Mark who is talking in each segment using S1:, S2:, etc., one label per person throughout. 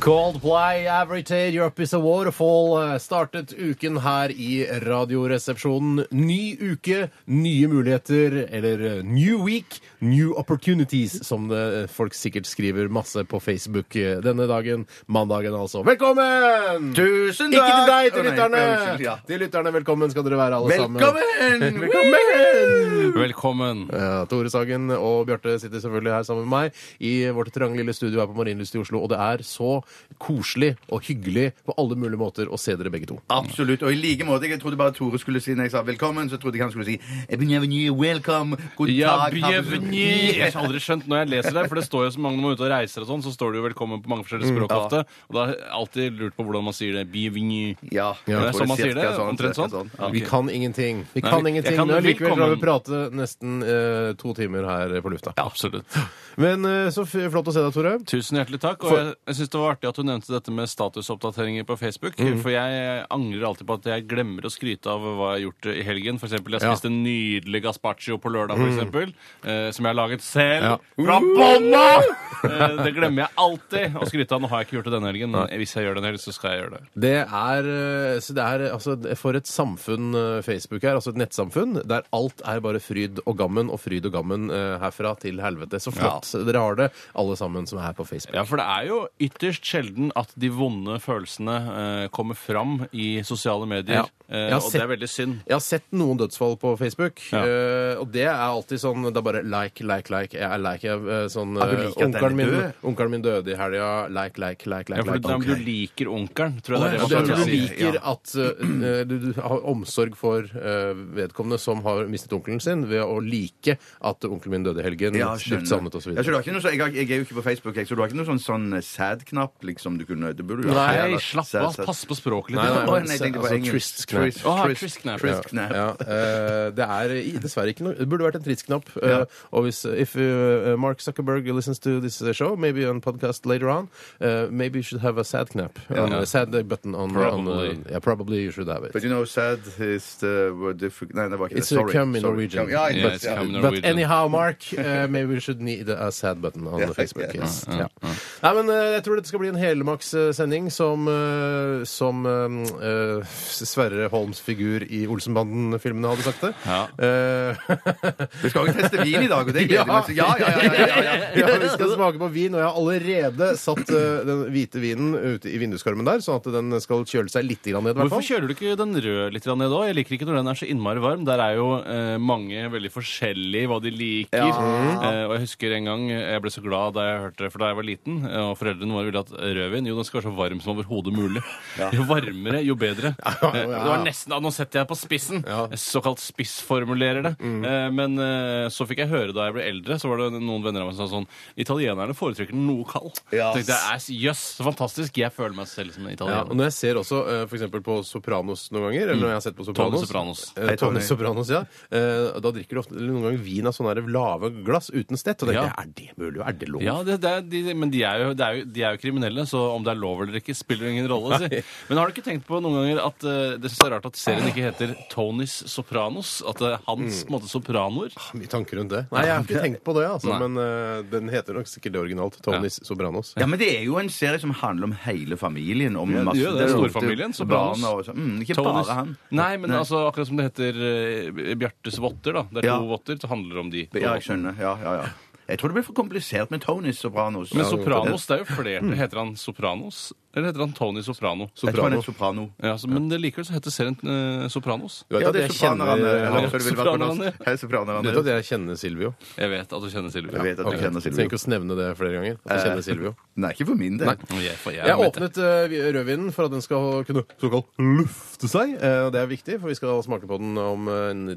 S1: Coldplay, Every Day, Europe is a Waterfall eh, startet uken her i Radioresepsjonen. Ny uke, nye muligheter, eller eh, new week, new opportunities, som det, eh, folk sikkert skriver masse på Facebook eh, denne dagen, mandagen altså. Velkommen!
S2: Tusen
S1: Ikke til deg,
S2: takk!
S1: til
S2: Å, nei,
S1: lytterne!
S2: unnskyld, ja.
S1: Til lytterne, velkommen skal dere være, alle
S2: Velkommen!
S1: sammen. Velkommen!
S3: Velkommen.
S1: Ja, Tore Sagen og Bjarte sitter selvfølgelig her sammen med meg i vårt trange lille studio her på Marienlyst i Oslo, og det er så koselig og hyggelig på alle mulige måter å se dere begge to.
S2: Absolutt. Og i like måte. Jeg trodde bare Tore skulle si når jeg sa velkommen, så trodde jeg han skulle si bienvenue, welcome, god
S3: Ja,
S2: dag
S3: bienvenue! Jeg har aldri skjønt når jeg leser det, for det står jo så mange når man er ute og reiser og sånn, så står det jo 'velkommen' på mange forskjellige
S1: Mm,
S3: språk ofte. Og da har jeg alltid lurt på hvordan man sier det. Bienvenue.
S2: Ja,
S3: det
S2: jeg
S3: er
S2: tror
S3: sånn man sier
S2: cirka
S3: det, omtrent
S2: cirka
S3: sånn.
S2: Ja.
S1: Vi kan ingenting. Vi
S3: Nei,
S1: kan
S3: vi-
S1: ingenting,
S3: jeg kan
S1: men allikevel klarer vi å
S3: velkommen.
S1: prate nesten eh, to timer her på lufta.
S3: Ja, absolutt.
S1: Men eh, så f- flott å se deg, Tore.
S3: Tusen hjertelig takk. Og
S1: For-
S3: jeg, jeg syns det var artig at du nevnte dette med statusoppdateringer på Facebook.
S1: Mm.
S3: For jeg angrer alltid på at jeg glemmer å skryte av hva jeg har gjort i helgen. For eksempel, jeg
S1: Ja. Mm.
S3: spiste en nydelig gazpacho på lørdag, for eksempel. eh, som jeg har laget selv.
S1: Ja.
S3: Fra bånna! Eh, det glemmer jeg alltid å skryte av. Nå har jeg ikke gjort det denne helgen, men hvis jeg gjør det en helg, så skal jeg gjøre det.
S1: Det er, eh, så det er altså, for et samfunn eh, Facebook er, altså et nettsamfunn, der alt er bare fryd og gammen og fryd og gammen eh, herfra til helvete. Så flott dere har det, alle sammen som er på Facebook.
S3: Ja, for det er jo ytterst sjelden at de vonde følelsene eh, kommer fram i sosiale medier.
S1: Ja.
S3: Eh,
S1: Jeg har
S3: og
S1: sett-
S3: det er veldig synd.
S1: Jeg har sett noen dødsfall på Facebook,
S3: Ja.
S1: eh, og det er alltid sånn Det er bare like, like, like. Jeg er like jeg, eh, sånn
S2: du
S1: eh,
S2: liker at den er
S1: onkelen, min,
S2: død?
S1: onkelen min døde i helga. Like, like, like, like.
S3: Ja, for
S1: like.
S3: det,
S1: Ok.
S3: Du liker onkelen, tror jeg det
S1: Ja, det
S3: er det
S1: er
S3: man
S1: at
S3: skal
S1: du
S3: si.
S1: liker at eh, du, du har omsorg for eh, vedkommende som har mistet onkelen sin, ved å like at onkelen min døde i helgen.
S2: Ja, skjønner.
S1: dypt savnet og så
S2: Ja, så du
S1: videre.
S2: har ikke noe, så jeg, har- jeg er jo ikke på Facebook, jeg, så du har ikke noe sånn, sånn sad-knapp liksom du kunne det burde du ha.
S3: Nei,
S2: Eller
S3: slapp
S2: sad,
S3: av.
S2: sad.
S3: Pass på språket litt.
S1: Nei, nei,
S2: Å,
S1: men
S2: nei, jeg
S1: se-
S2: tenkte på
S1: altså,
S2: engelsk.
S1: twist-knapp.
S2: Twist,
S3: Å,
S2: twist,
S3: twist-knapp, ja.
S2: twist-knapp.
S1: Ja, eh, det er i- dessverre ikke noe Det burde vært en tristknapp. Uh, og hvis eh, if eh, Mark Zuckerberg listens to this eh, show, maybe on podcast later on, eh, maybe you should have a sad knap. on- a sad button on
S3: Probably.
S1: on, eh, yeah, probably you should have it.
S2: But
S1: But,
S2: you know, sad is the word different Nei, det var ikke
S1: It's
S2: det.
S1: a
S2: Sorry.
S1: cum in
S2: Sorry.
S1: Norwegian.
S2: Ja,
S3: Ja,
S2: but-
S3: it's cum in
S2: ja.
S3: Norwegian.
S1: anyhow, Mark, eh, maybe we should need a sad button on
S2: Ja,
S1: the Facebook.
S2: ja,
S1: Yes. Ja. Nei, men eh, jeg tror dette skal bli en helmakssending som, eh, som eh, eh, Sverre Holms figur i Olsenbanden-filmene hadde sagt det.
S3: Ja.
S1: Eh,
S2: Vi skal jo teste vin i dag, og det gleder vi oss til. Ja, ja, ja, ja, ja, ja.
S1: Ja, vi skal smake på vin, og jeg har allerede satt eh, den hvite vinen ute i vinduskarmen der, sånn at den skal kjøle seg litt grann ned. i hvert
S3: Hvorfor
S1: fall.
S3: kjøler du ikke den røde litt grann ned òg? Jeg liker ikke når den er så innmari varm. Der er jo eh, mange veldig forskjellige hva de liker. Eh, og jeg husker en gang eh, jeg ble så glad da jeg hørte det, for da jeg var liten, eh, og foreldrene våre ville at rødvin jo, den skal være så varm som overhodet mulig. Jo varmere, jo bedre.
S1: ja, ja.
S3: Eh, Det var nesten, ah, Nå setter jeg på spissen!
S1: Ja. Mm.
S3: Jeg Såkalt spissformulerer det. Eh, men eh, så fikk jeg høre da jeg ble eldre, så var det noen venner av meg som sa sånn Italienerne foretrekker den noe kald.
S2: Ja.
S3: Så tenkte jeg, "Æs, Jøss, så fantastisk! Jeg føler meg selv som en
S1: Ja, og
S3: italiener.
S1: når jeg ser også eh, for eksempel på Sopranos noen ganger, eller når jeg har sett på Sopranos,
S3: Tony Sopranos.
S1: eh,
S2: Hei, Tony.
S1: Tony Sopranos ja, eh, da drikker de ofte eller noen ganger vin av sånne her lave glass uten stett, og tenker
S3: Ja.
S1: jeg, er det mulig, og er det lov?
S3: Ja, det, det, er- de, men de er, jo, det er jo, de er jo kriminelle, så om det er lov eller ikke, spiller ingen rolle. Si. Men har du ikke tenkt på noen ganger at eh, det synes jeg er rart at serien ikke heter Tonys Sopranos? At det er
S2: Mm.
S3: hans på en måte, sopranoer?
S1: Ah, Mye tanker rundt det. Nei, jeg har ikke tenkt på det, altså,
S3: Nei.
S1: men eh, den heter nok sikkert det originalt, Tonys Sopranos.
S2: Ja, men det er jo en serie som handler om hele familien. Om
S3: det
S2: masse,
S3: gjør det.
S2: er jo
S3: Storfamilien, så bra,
S2: barna og sånn. Mm, ikke
S3: Tonys-
S2: bare han.
S3: Nei, men altså akkurat som det heter eh, Bjartes votter, da. Det er
S2: Ja.
S3: to votter, så handler det om de. to
S2: Ja, jeg
S3: votter.
S2: skjønner. Ja, ja, ja. Jeg tror det blir for komplisert med Tony Sopranos.
S3: Men Sopranos, det er jo flere. Heter han Sopranos? Eller heter han Tony Soprano?
S2: Jeg tror han
S1: Soprano.
S2: er soprano.
S3: Ja, så, men det likevel så heter serien eh, Sopranos.
S1: Du vet
S2: Ja,
S1: at
S2: det er
S1: jeg kjenner,
S2: sopranerne. eller
S3: ja,
S2: så det ville vært på norsk.
S3: sopranerne.
S2: Hei, sopranerne.
S1: du vet at jeg kjenner Silvio?
S3: Jeg vet at du kjenner Silvia.
S2: Jeg vet at
S1: Ok,
S2: du kjenner
S1: Trenger
S2: Silvio. Eh.
S1: ikke å nevne det flere ganger. At jeg kjenner Silvio.
S2: Nei, ikke for min del.
S3: Jeg, for jeg,
S1: Jeg
S3: vet det.
S1: åpnet eh, rødvinen for at den skal kunne såkalt lufte seg. Eh, og det er viktig, for vi skal smake på den om eh,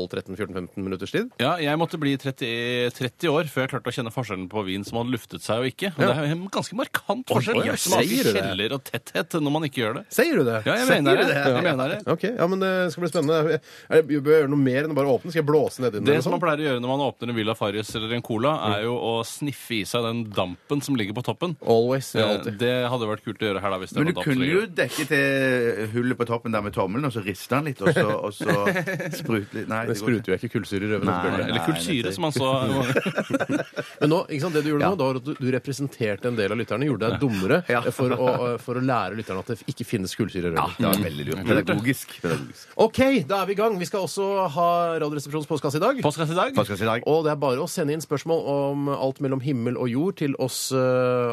S1: 10-12-13-14-15 minutters tid.
S3: Ja, jeg måtte bli 30, 30 år før jeg klarte å kjenne forskjellen på vin som hadde luftet seg og ikke. Og Det er en ganske markant forskjell.
S1: Oi, oi,
S3: som at-
S1: sier du
S3: kjeller og tetthet når man ikke gjør det.
S1: Sier du det?
S3: Ja, jeg
S1: Sier
S3: mener
S1: du
S3: det. Jeg mener det.
S1: Ok, ja, men eh, Det skal bli spennende. Er det, bør jeg gjøre noe mer enn å bare åpne? Skal jeg blåse nedi den?
S3: Det
S1: eller sånn?
S3: som
S1: noe
S3: man pleier å gjøre når man åpner en Villa Farris eller en Cola, er jo å sniffe i seg den dampen som ligger på toppen.
S1: sånt? Always. Ja,
S3: Eh,
S1: alltid.
S3: Det hadde vært kult å gjøre her, da. Hvis det
S2: Men du
S3: var damp som
S2: kunne
S3: ligger
S2: jo
S3: der.
S2: dekke til hullet på toppen der med tommelen, og så riste han litt, og så, og så sprute litt
S1: Det
S2: Nei, går ikke.
S1: spruter jo ikke kullsyre i røven.
S2: Nei,
S1: selvfølgelig.
S3: Eller kullsyre,
S2: nettopp.
S3: som han sa.
S1: Men nå, ikke sant, det du gjorde
S3: Ja.
S1: nå, da var at du, du representerte en del av lytterne, gjorde deg dummere
S2: Ja.
S1: eh, for, å, eh, for å lære lytterne at det ikke finnes kullsyre i
S2: Ja,
S1: røven.
S2: det var veldig lurt. Pedagogisk. Pedagogisk.
S1: OK, da er vi i gang. Vi skal også ha Radioresepsjonens postkasse i dag.
S3: Postkasse i dag.
S2: Hva skal jeg si i dag?
S1: Og det er bare å sende inn spørsmål om alt mellom himmel og jord til oss eh,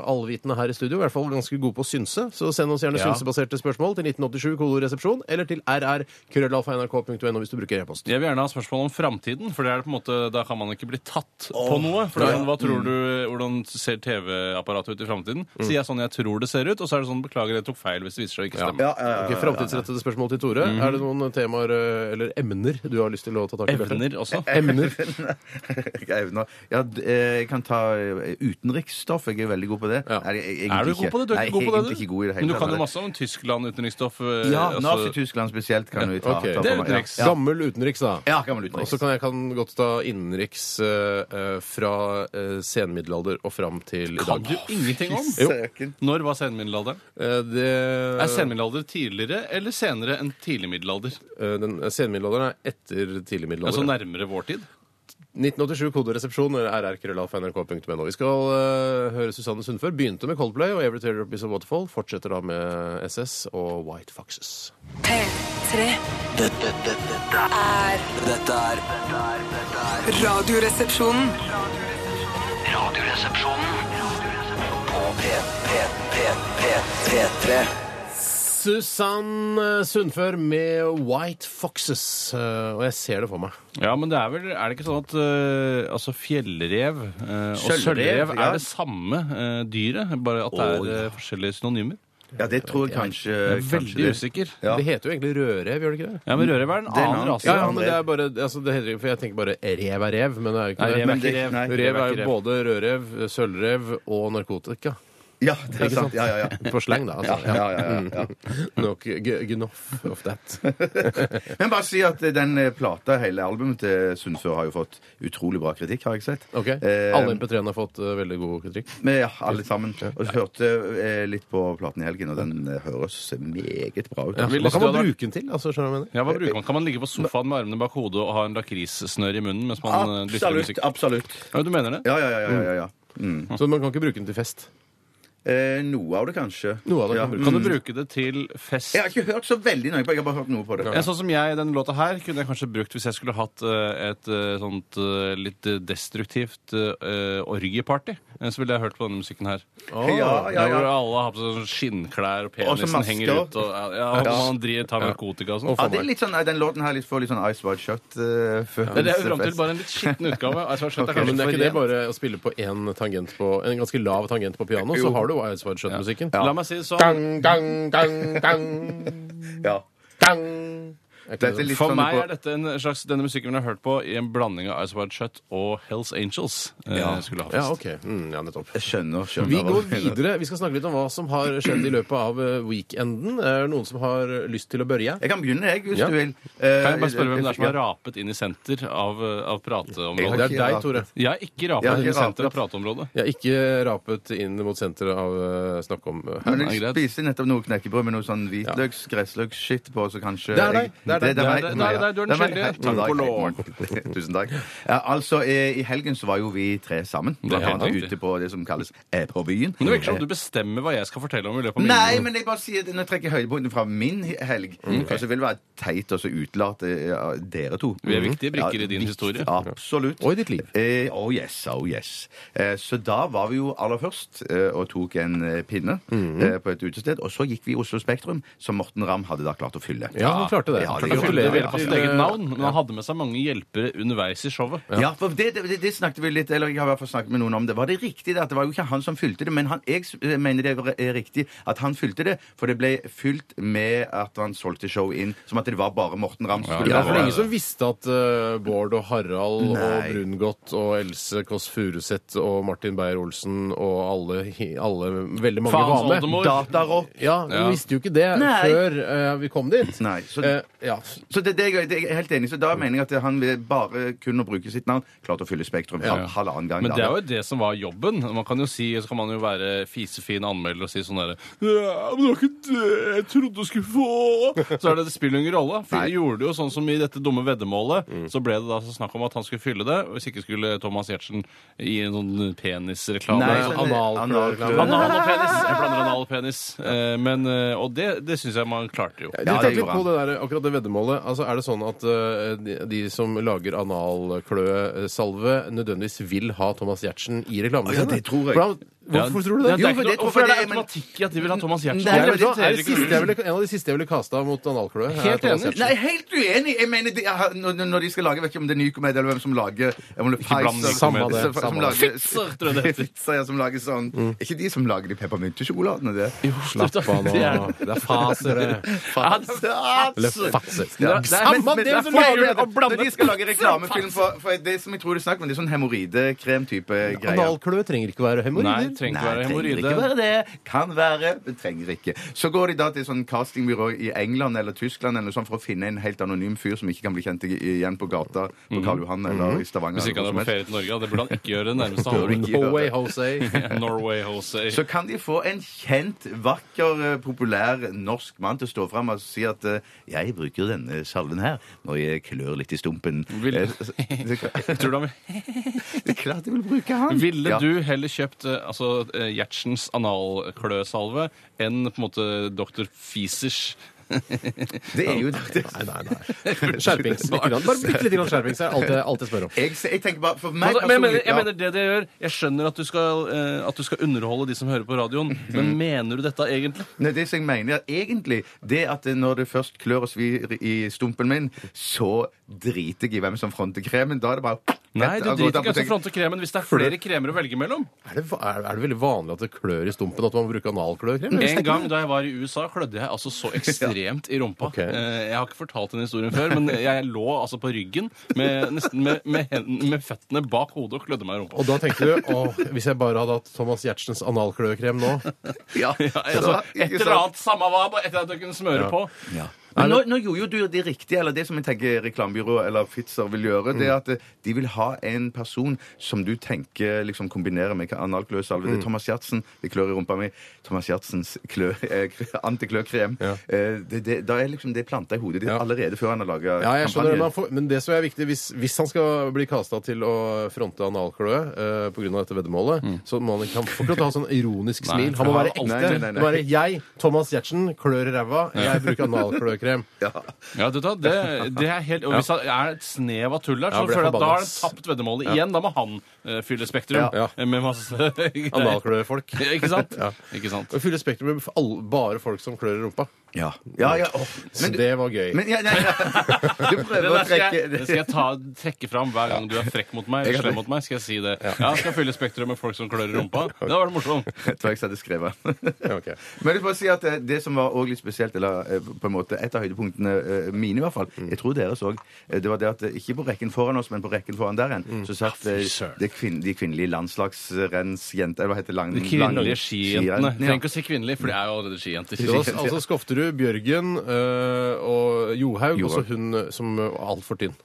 S1: allvitende her i studio. I hvert fall ganske gode på å synse. Så send oss gjerne
S3: Ja.
S1: synsebaserte spørsmål til 1987 kodoresepsjon eller til rr.krøllalfa.nrk.no hvis du bruker e-post.
S3: Jeg vil gjerne ha spørsmål om framtiden, for det er det på en måte, da kan man ikke bli tatt på noe. For
S1: Ja, ja.
S3: Hva
S2: Mm.
S3: tror du, Hvordan ser TV-apparatet ut i framtiden? Sier jeg sånn jeg tror det ser ut, og så er det sånn beklager, jeg tok feil hvis det viser seg å ikke stemme.
S2: Ja, ja, ja,
S1: Ok,
S2: ja.
S1: Framtidsrettede spørsmål til Tore. Er det noen temaer eh, eller emner du har lyst til å ta tak i? Bjarte?
S3: Evner også.
S1: Emner.
S2: Jeg evner. Ja, d- eh, jeg kan ta eh, utenriksstoff. Jeg er veldig god på det.
S1: Ja.
S2: Nei, jeg- jeg-
S3: Er du
S2: egentlig
S3: god på det? Du er
S2: Nei,
S3: ikke god på det,
S2: egentlig
S3: du?
S2: ikke god i det hele
S3: Men du
S2: tatt,
S3: kan jo
S2: nei.
S3: masse om Tyskland, utenriksstoff eh,
S2: Ja,
S3: altså-
S2: Nazi-Tyskland spesielt kan vi ta.
S1: ok.
S2: ta
S3: Det er
S2: for meg.
S3: utenriks.
S2: Ja.
S1: Gammel utenriks, da.
S2: Ja, gammel utenriks.
S1: Og så kan jeg kan godt ta innenriks eh, eh, fra eh, senmiddelalder og fram til i dag.
S3: Kan du ingenting om?
S1: Jo.
S2: Søken.
S3: Når var senmiddelalderen?
S1: Eh, det,
S3: Er senmiddelalder tidligere eller senere enn tidlig middelalder?
S1: eh, den, eh, senmiddelalderen er etter tidlig middelalder.
S3: Altså nærmere vår tid?
S1: 1987 koderesepsjon eh, rrkrøllalfa.nrk.no. Vi skal eh, høre Susanne Sundfør. Begynte med Coldplay og Every Tear Is a Waterfall. Fortsetter da med SS og White Foxes.
S4: P3
S5: Dette, dette, dette er
S4: er
S5: Dette er dette er- dette er
S4: Radioresepsjonen.
S5: Radioresepsjonen på P, P, P, P, P3.
S1: Susann Sundfør med White Foxes. eh, og jeg ser det for meg.
S3: Ja, men det er vel Er det ikke sånn at eh, altså fjellrev eh, og
S2: Sølvrev,
S3: sølvrev
S2: ja.
S3: er det samme eh, dyret, bare at det er
S2: Å, ja.
S3: eh, forskjellige synonymer?
S2: Ja, det tror jeg kanskje
S3: Jeg er
S2: kanskje
S3: veldig
S2: det.
S3: usikker.
S2: Ja.
S1: Det heter jo egentlig rødrev, gjør det ikke det?
S3: Ja, men rødrev er en
S2: er en
S3: annen
S2: annen.
S3: rase.
S1: Ja, ja, men det er bare, altså, det heter, ikke- for Jeg tenker bare rev er rev, men det er jo ikke
S3: Nei, rev er
S1: det.
S3: ikke
S2: det-
S3: rev.
S2: nei,
S1: Rev er jo både rødrev, sølvrev og narkotika.
S2: Ja, det er sant. Ja, ja, ja.
S1: På slang, da.
S2: Ja,
S1: altså.
S2: ja, ja, ja, ja.
S3: Mm.
S1: Nok g- enough of that.
S2: Men bare si at den eh, plata, hele albumet til Sundfør, har jo fått utrolig bra kritikk, har jeg sett.
S1: Ok,
S2: Eh,
S1: Alle MP3-ene har fått eh, veldig god kritikk.
S2: Men ja, alle sammen. Og så hørte eh, litt på platen i helgen, og den eh, høres meget bra ut.
S1: Ja,
S3: vil
S1: hva kan
S3: du
S1: man
S3: ha-
S1: bruke den til? altså, skjønner du hva jeg mener?
S3: Ja, hva bruker man? Kan man ligge på sofaen med armene bak hodet og ha en lakrissnørr i munnen mens man eh, lytter til
S2: Absolutt.
S3: musikk?
S2: absolutt.
S3: Ja, du mener det?
S2: Ja, ja, ja. ja, ja, ja. Mm.
S1: Så man kan ikke bruke den til fest?
S2: Eh, noe av det, kanskje.
S1: Noe av det
S2: ja.
S1: kan man bruke.
S3: Kan du bruke det til fest?
S2: Jeg har ikke hørt så veldig nøye på jeg har bare hørt noe på det.
S3: Ja, sånn som jeg, Den låta her kunne jeg kanskje brukt hvis jeg skulle hatt eh, et eh, sånt eh, litt eh, destruktivt eh, orgieparty. Eh, Så ville jeg hørt på denne musikken her.
S1: Å,
S2: Ja, ja,
S3: Der hvor
S2: ja.
S3: alle har på seg sånn skinnklær, og
S2: Og så
S3: penisen
S2: masker.
S3: henger ut. Og, ja, og
S2: Ja.
S3: man driver, tar narkotika
S1: Å,
S3: og sånn.
S2: Ja,
S1: faen
S2: det er
S1: meg.
S2: litt sånn, nei, Den låten her litt får litt sånn Ice Wide Shut.
S3: Det er
S2: eh,
S3: det jeg
S2: følelse-
S3: er fram til, bare en litt skitten utgave. Altså, jeg skjønner at det
S1: Ja, men det er
S3: kanskje
S1: ikke det
S3: for rent.
S1: bare å spille på en, tangent på, en ganske lav tangent på piano, så
S2: Jo.
S1: har du Eidsvard Schjøtt-musikken.
S3: La meg si det sånn.
S1: Dang, dang, dang, dang,
S2: Ja.
S1: dang. Er ikke
S2: Dette er
S1: det sånn?
S2: litt
S3: For
S2: sånn
S3: meg
S2: på-
S3: er dette en slags, denne musikken vi har hørt på i en blanding av Ice Wide Shut og Hells Angels. eh, skulle ha
S1: Ja,
S3: fest.
S1: ok. Mm, ja, nettopp.
S2: Jeg skjønner. skjønner
S1: Vi
S2: hva
S1: går
S2: du mener.
S1: videre. Vi skal snakke litt om hva som har skjedd i løpet av eh, weekenden. Er det noen som har lyst til å børje?
S2: Jeg kan begynne, jeg, hvis
S1: Ja.
S2: du vil. Eh,
S3: Kan jeg bare spørre hvem det er som har rapet inn i senter av, eh, av prateområdet?
S1: Det er deg, Tore.
S3: Jeg har ikke rapet
S2: Jeg har
S3: inn i
S2: ikke
S3: senter av
S2: rapet.
S3: prateområdet.
S1: Jeg har ikke rapet inn mot senteret av eh, snakk om eh,
S2: Men
S1: her.
S3: Nei,
S2: jeg
S3: greit.
S2: spiste nettopp noe knekkebrød med noe sånn hvitløks, gressløks, shit på, så kanskje
S1: Det er deg.
S2: jeg-
S1: Det er deg.
S3: Det er
S2: meg.
S3: deg.
S2: meg, ja.
S3: Nei, nei, du er den
S2: Det meg.
S3: skyldige.
S2: Hei,
S3: Takk
S2: hei, hei, Tusen takk. Ja, altså, eh, i helgen så var jo vi tre sammen.
S3: Det er
S2: Blant
S3: helt
S2: annet
S3: riktig.
S2: ute på det som kalles eh, på byen.
S3: Men det virker som du bestemmer hva jeg skal fortelle om i løpet av min
S2: Nei, men jeg bare sier, nå trekker jeg høydepunktene fra min helg.
S3: Mm.
S2: Og så vil det være teit å så utelate eh, dere to.
S3: Vi er viktige brikker
S2: Ja,
S3: i din
S2: vikt-
S3: historie.
S2: Absolutt.
S1: Og i ditt liv.
S2: Eh, oh yes, oh yes. Eh, så da var vi jo aller først eh, og tok en eh,
S1: Mm.
S2: pinne eh, på et utested. Og så gikk vi i Oslo Spektrum, som Morten Ramm hadde da klart å fylle.
S1: Ja, han klarte det.
S2: Ja,
S3: klart han fylte
S1: Gratulerer
S3: Velpa sitt
S1: til,
S3: eget
S1: eh,
S3: navn, men han hadde med seg mange hjelpere underveis i showet.
S2: Ja, for det, det, det snakket vi litt Eller jeg har i hvert fall snakket med noen om det. Var det riktig det at det var jo ikke han som fylte det? Men han, jeg s- eh, mener det var- er riktig at han fylte det, for det ble fylt med at han solgte show inn som at det var bare Morten Ramm. som skulle
S1: Ja,
S2: være-
S1: for det er ingen som visste at eh, Bård og Harald og
S2: Nei.
S1: Brungot og Else Kåss Furuseth og Martin Beyer-Olsen og alle, hi- alle veldig mange
S3: Faens
S1: var med.
S3: oldemor.
S2: Datarock.
S1: Ja, vi
S3: Ja.
S1: visste jo ikke det
S2: Nei.
S1: før eh, vi kom dit.
S2: Nei, så-
S1: Eh, ja.
S2: Så det, det, er jeg- det er jeg helt enig i. Så da mener jeg at han vil bare kunne bruke sitt navn. Klart å fylle Spektrum hal- halvannen gang.
S3: Men
S2: da.
S3: det er jo det som var jobben. Man kan jo si, så kan man jo være fisefin anmelder og si sånn derre Ja, men det var ikke det jeg trodde du skulle få! Så er det, det spiller jo ingen rolle. For
S2: Nei. Mm.
S3: de gjorde det jo sånn som i dette dumme veddemålet. Så ble det da så snakk om at han skulle fylle det, og hvis ikke skulle Thomas Giertsen i en sånn penisreklame.
S2: Nei,
S3: Nei,
S2: sånn-
S1: Analklø-
S2: analklø-
S3: Anal og penis. Jeg blander anal og penis. Eh, Men, eh, og det, det syns jeg man klarte jo.
S1: Jeg
S2: Ja, det
S1: tenkte litt
S2: gjorde
S1: på
S2: han.
S1: det der, akkurat det veddemålet. Altså, er det sånn at eh, de, de som lager analkløesalve, nødvendigvis vil ha Thomas Giertsen i reklamene
S2: Å, ja, det tror jeg.
S1: Hvordan- Hvorfor tror du det?
S3: Ja, det
S2: Jo,
S3: er
S2: for
S3: ikke noe,
S2: det- for
S3: hvorfor er det
S2: det- men-
S3: automatikk i at de vil ha Thomas Giertsen?
S2: Nei,
S3: Jeg
S2: men det-
S1: Det er
S3: relaterer
S1: det
S3: ikke til
S1: siste jeg ville, en av de siste jeg ville kasta mot analkløe. er
S3: Helt
S1: Thomas
S3: enig.
S1: Giertsen.
S2: Nei, helt uenig! Jeg mener det, er- når, når de skal lage Jeg vet ikke om det er Nycomed eller hvem som lager om det er
S3: Ikke bland
S2: Pfizer,
S3: Nycomed.
S2: som-
S1: Samme det,
S2: som- som
S1: samme det. Mm.
S2: lager-
S3: Pfizer, tror jeg det heter.
S2: Pfizer, ja, som lager sånn Er ikke de som lager de peppermyntesjokoladene, det?
S1: Slapp av nå.
S3: Det er-
S1: Det er faser, det. Eller fatser.
S2: Ja.
S1: Samme
S2: men- men-
S1: det
S2: men-
S1: som
S2: men-
S1: lager
S2: men-
S1: og blander.
S2: Når de skal lage reklamefilm for, for det som jeg tror det er snakk om, det er sånn hemoroidekremtype greier.
S1: Analkløe trenger ikke være
S3: Nei,
S1: hemoroider.
S3: det trenger
S2: Nei,
S3: ikke være
S2: trenger
S3: hemoroide.
S2: ikke være det. Kan være, men trenger ikke. Så går de da til sånn castingbyrå i England eller Tyskland eller noe sånt for å finne en helt anonym fyr som ikke kan bli kjent i- igjen på gata på Karl Johan eller i Stavanger.
S3: Mhm. Hvis ikke
S2: eller
S3: han er på
S2: hvor som helst.
S3: ferie til Norge, ja, det burde han ikke gjøre. Det nærmeste
S2: Det burde
S3: han
S2: ikke
S1: No way, Jose.
S3: Norway Jose.
S2: Så kan de få en kjent, vakker, eh, populær norsk mann til å stå fram og si at eh, 'jeg bruker denne salven her når jeg klør litt i stumpen'.
S3: Vil-
S2: Eh, så- det
S3: Tror du han,
S2: er klart de vil bruke han!
S3: ville
S2: Ja.
S3: du heller kjøpt eh, altså, eh, Gjertsens analkløsalve enn på en måte Dr. Fisers
S2: Det er jo det.
S1: Nei, nei, nei. Skjerpings. Litt grann. Bare bitte lite grann skjerpings. Det er alt jeg- alt jeg spør om.
S2: Jeg, jeg tenker bare For meg
S3: Altså, men, jeg mener-
S2: personlig
S3: jeg mener det det gjør Jeg skjønner at du, skal, eh, at du skal underholde de som hører på radioen, men mener du dette egentlig?
S2: Nei, det som jeg mener egentlig, det er at når det først klør og svir i stumpen min, så driter jeg i hvem som fronter kremen. Da er det bare
S3: Nei,
S1: Altså,
S3: du
S2: Rett altså, av gårde
S3: driter ikke i å
S2: apotek.
S3: fronte kremen hvis det er flere kremer å velge mellom.
S1: Er det, er, er det veldig vanlig at det klør i stumpen at man bruker analkløekrem? eller?
S3: En gang da jeg var i USA, klødde jeg altså så ekstremt i rumpa.
S1: Ok.
S3: Eh, Jeg har ikke fortalt den historien før, men jeg lå altså på ryggen med, nesten med, med, hendene- med føttene bak hodet og klødde meg i rumpa.
S1: Og da tenkte du åh, hvis jeg bare hadde hatt Thomas Giertsens analkløekrem nå
S2: Ja,
S3: Ja, altså, et
S2: ikke
S3: eller
S2: sant?
S3: annet samme hva, bare etter at du kunne smøre på.
S2: Men nå, nå gjorde jo du det riktige, eller det som jeg tenker reklamebyrået eller Fitzer vil gjøre, det er
S1: Mm.
S2: at eh, de vil ha en person som du tenker liksom kombinerer med analkløsalve.
S1: Mm.
S2: Det er Thomas Giertsen, det klør i rumpa mi. Thomas Giertsens klø- eh, antikløkrem.
S1: Ja.
S2: Eh, det- det- Da er liksom det planta i hodet ditt
S1: Ja.
S2: allerede før han har laga
S1: Ja, jeg skjønner det, men, han får, men det som er viktig, hvis, hvis han skal bli kasta til å fronte analkløe eh, på grunn av dette veddemålet, så må han ikke han får ikke lov til å ha sånn ironisk
S3: Nei,
S1: smil. Han må
S3: for
S1: være ekte.
S3: han-
S2: Mm. Nei, nei, nei, nei.
S1: Det må være jeg, Thomas Giertsen, klør i ræva, jeg bruker analkløekrem.
S3: Ja, du vet hva, det, det er helt, og Hvis det er et snev av tull der,
S1: Ja,
S3: så
S1: blir
S3: føler jeg at da
S1: forbanna,
S3: har han
S1: ass.
S3: tapt veddemålet igjen. Da må han eh, fylle Spektrum
S1: Ja.
S3: eh, med masse greier.
S1: Analkløefolk.
S3: Ikke sant?
S1: Ja.
S3: Ikke sant?
S1: Og Fylle spektrum med all- bare folk som klør i rumpa.
S2: Ja, ja, ja. åh.
S1: Så
S2: Men, du-
S1: det var gøy.
S2: men ja, nei, ja. Du
S3: Det
S2: prøver å
S3: der skal
S2: trekke
S3: jeg, det skal jeg ta, trekke fram hver gang du er frekk mot meg.
S2: Jeg
S3: Eller
S2: er
S3: slem
S2: frekk.
S3: mot meg, skal jeg si det. Ja, jeg skal fylle Spektrum med folk som klør i rumpa. Det hadde vært morsomt.
S2: Jeg tror jeg hadde skrevet
S1: Ja, ok.
S2: Men jeg vil bare si at eh, det som var også litt spesielt, eller eh, på en måte et av høydepunktene eh, mine i hvert fall,
S3: Mm.
S2: jeg tror deres òg, det var det at eh, ikke på rekken foran oss, men på rekken foran der igjen, så satt eh,
S3: Mm. søren.
S2: det kvinn, de kvinnelige landslagsrennsjentene Eller hva heter det? Lang,
S3: De kvinnelige
S2: lang-
S3: skijentene.
S2: skirennene,
S3: Trenger ikke å si kvinnelige, for de er jo allerede skijenter.
S1: Det var altså Skofterud, Bjørgen øh, og Johaug,
S2: Johaug.
S1: og så hun øh, som øh, var altfor tynn.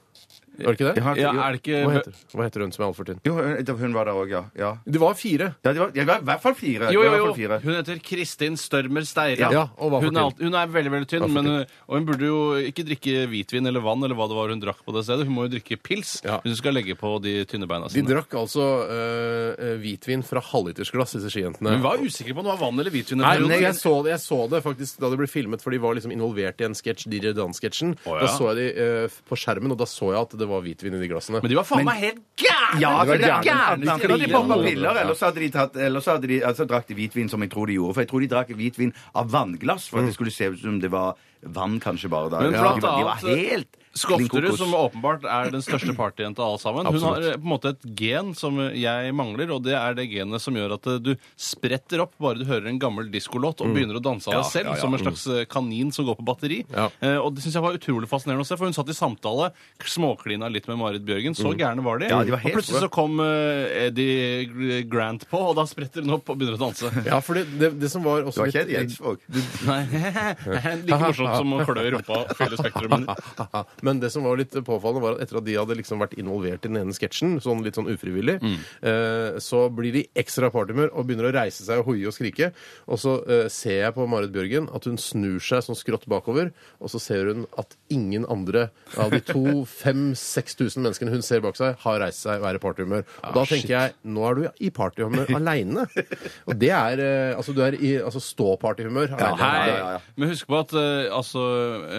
S1: Var det ikke det?
S3: Ja,
S2: Ja.
S3: er
S1: Hva
S3: det ikke
S1: heter, hva heter hun som er altfor tynn?
S2: Jo, hun- hun var der òg, ja. ja.
S1: Det var fire.
S2: ja det, var, ja, det var i hvert fall fire.
S3: Jo,
S2: Det var
S3: jo,
S2: i hvert fall
S3: jo.
S2: fire.
S3: Hun heter Kristin Størmer Steire.
S1: Ja, og hva for til?
S3: hun, er alt, hun er veldig veldig tynn,
S1: Hva for
S3: men, hun- og hun burde jo ikke drikke hvitvin eller vann eller hva det var hun drakk på det stedet. Hun må jo drikke pils
S1: Ja.
S3: hvis hun skal legge på de tynne beina
S1: De
S3: sine.
S1: drakk altså øh, øh, hvitvin fra halvlitersglass, disse skijentene.
S3: Hun var usikker på om det var vann eller hvitvin. i
S1: Nei,
S3: perioden.
S1: men jeg, så det, jeg så det faktisk da det ble filmet, for de var liksom involvert i en sketsj. Dirre Dan-sketsjen.
S3: Å, ja.
S1: Da så jeg de øh, på skjermen, og da så jeg at det var hvitvin i de glassene.
S3: Men de var faen meg helt gærne!
S2: Ja, altså,
S1: Det var
S2: det er
S1: gærent.
S3: At
S2: gærent.
S3: de
S2: Enten hadde de
S3: gir
S2: poppa
S3: noe.
S2: piller, eller så hadde de, tatt, eller så hadde de altså, drakk de hvitvin som jeg tror de gjorde. For jeg tror de drakk hvitvin av vannglass for at det skulle se ut som det var vann kanskje bare da.
S3: Men
S2: Ja.
S3: blant
S2: de, var, de var
S3: annet,
S2: helt
S3: Skofterud,
S2: klinkokos.
S3: som åpenbart er den største partyjenta av alle sammen, hun har
S2: Absolutt.
S3: eh, på en måte et gen som jeg mangler, og det er det genet som gjør at eh, du spretter opp bare du hører en gammel diskolåt og begynner å danse av
S2: Mm. Ja,
S3: deg selv,
S2: ja, Mm. ja.
S3: som en slags eh, kanin som går på batteri.
S1: Ja.
S3: Eh, og det syns jeg var utrolig fascinerende å se, for hun satt i samtale, k- småklina litt med Marit Bjørgen, så gærne var de.
S2: Mm. Ja, de var
S3: og
S2: helt
S3: plutselig
S2: bra.
S3: så kom eh, Eddie Gr- Grant på, og da spretter hun opp og begynner å danse.
S1: Ja, for det, det, det som var også
S2: Det var ikke
S1: litt-
S2: Eddie Eidsvåg.
S3: Nei, Like morsomt som å klø i rumpa og fylle spektrumet.
S1: Men det som var litt påfallende var at etter at de hadde liksom vært involvert i den ene sketsjen, sånn litt sånn ufrivillig, eh, så blir de ekstra partyhumør og begynner å reise seg og hoie og skrike. Og så eh, ser jeg på Marit Bjørgen at hun snur seg sånn skrått bakover, og så ser hun at ingen andre av de to, fem, seks tusen menneskene hun ser bak seg, har reist seg og er i partyhumør. Og da tenker jeg nå er du i partyhumør aleine. Og det er eh, Altså, du er i altså, stå-partyhumør.
S3: Hei.
S2: Ja, ja, ja.
S3: Men husk på at eh, altså,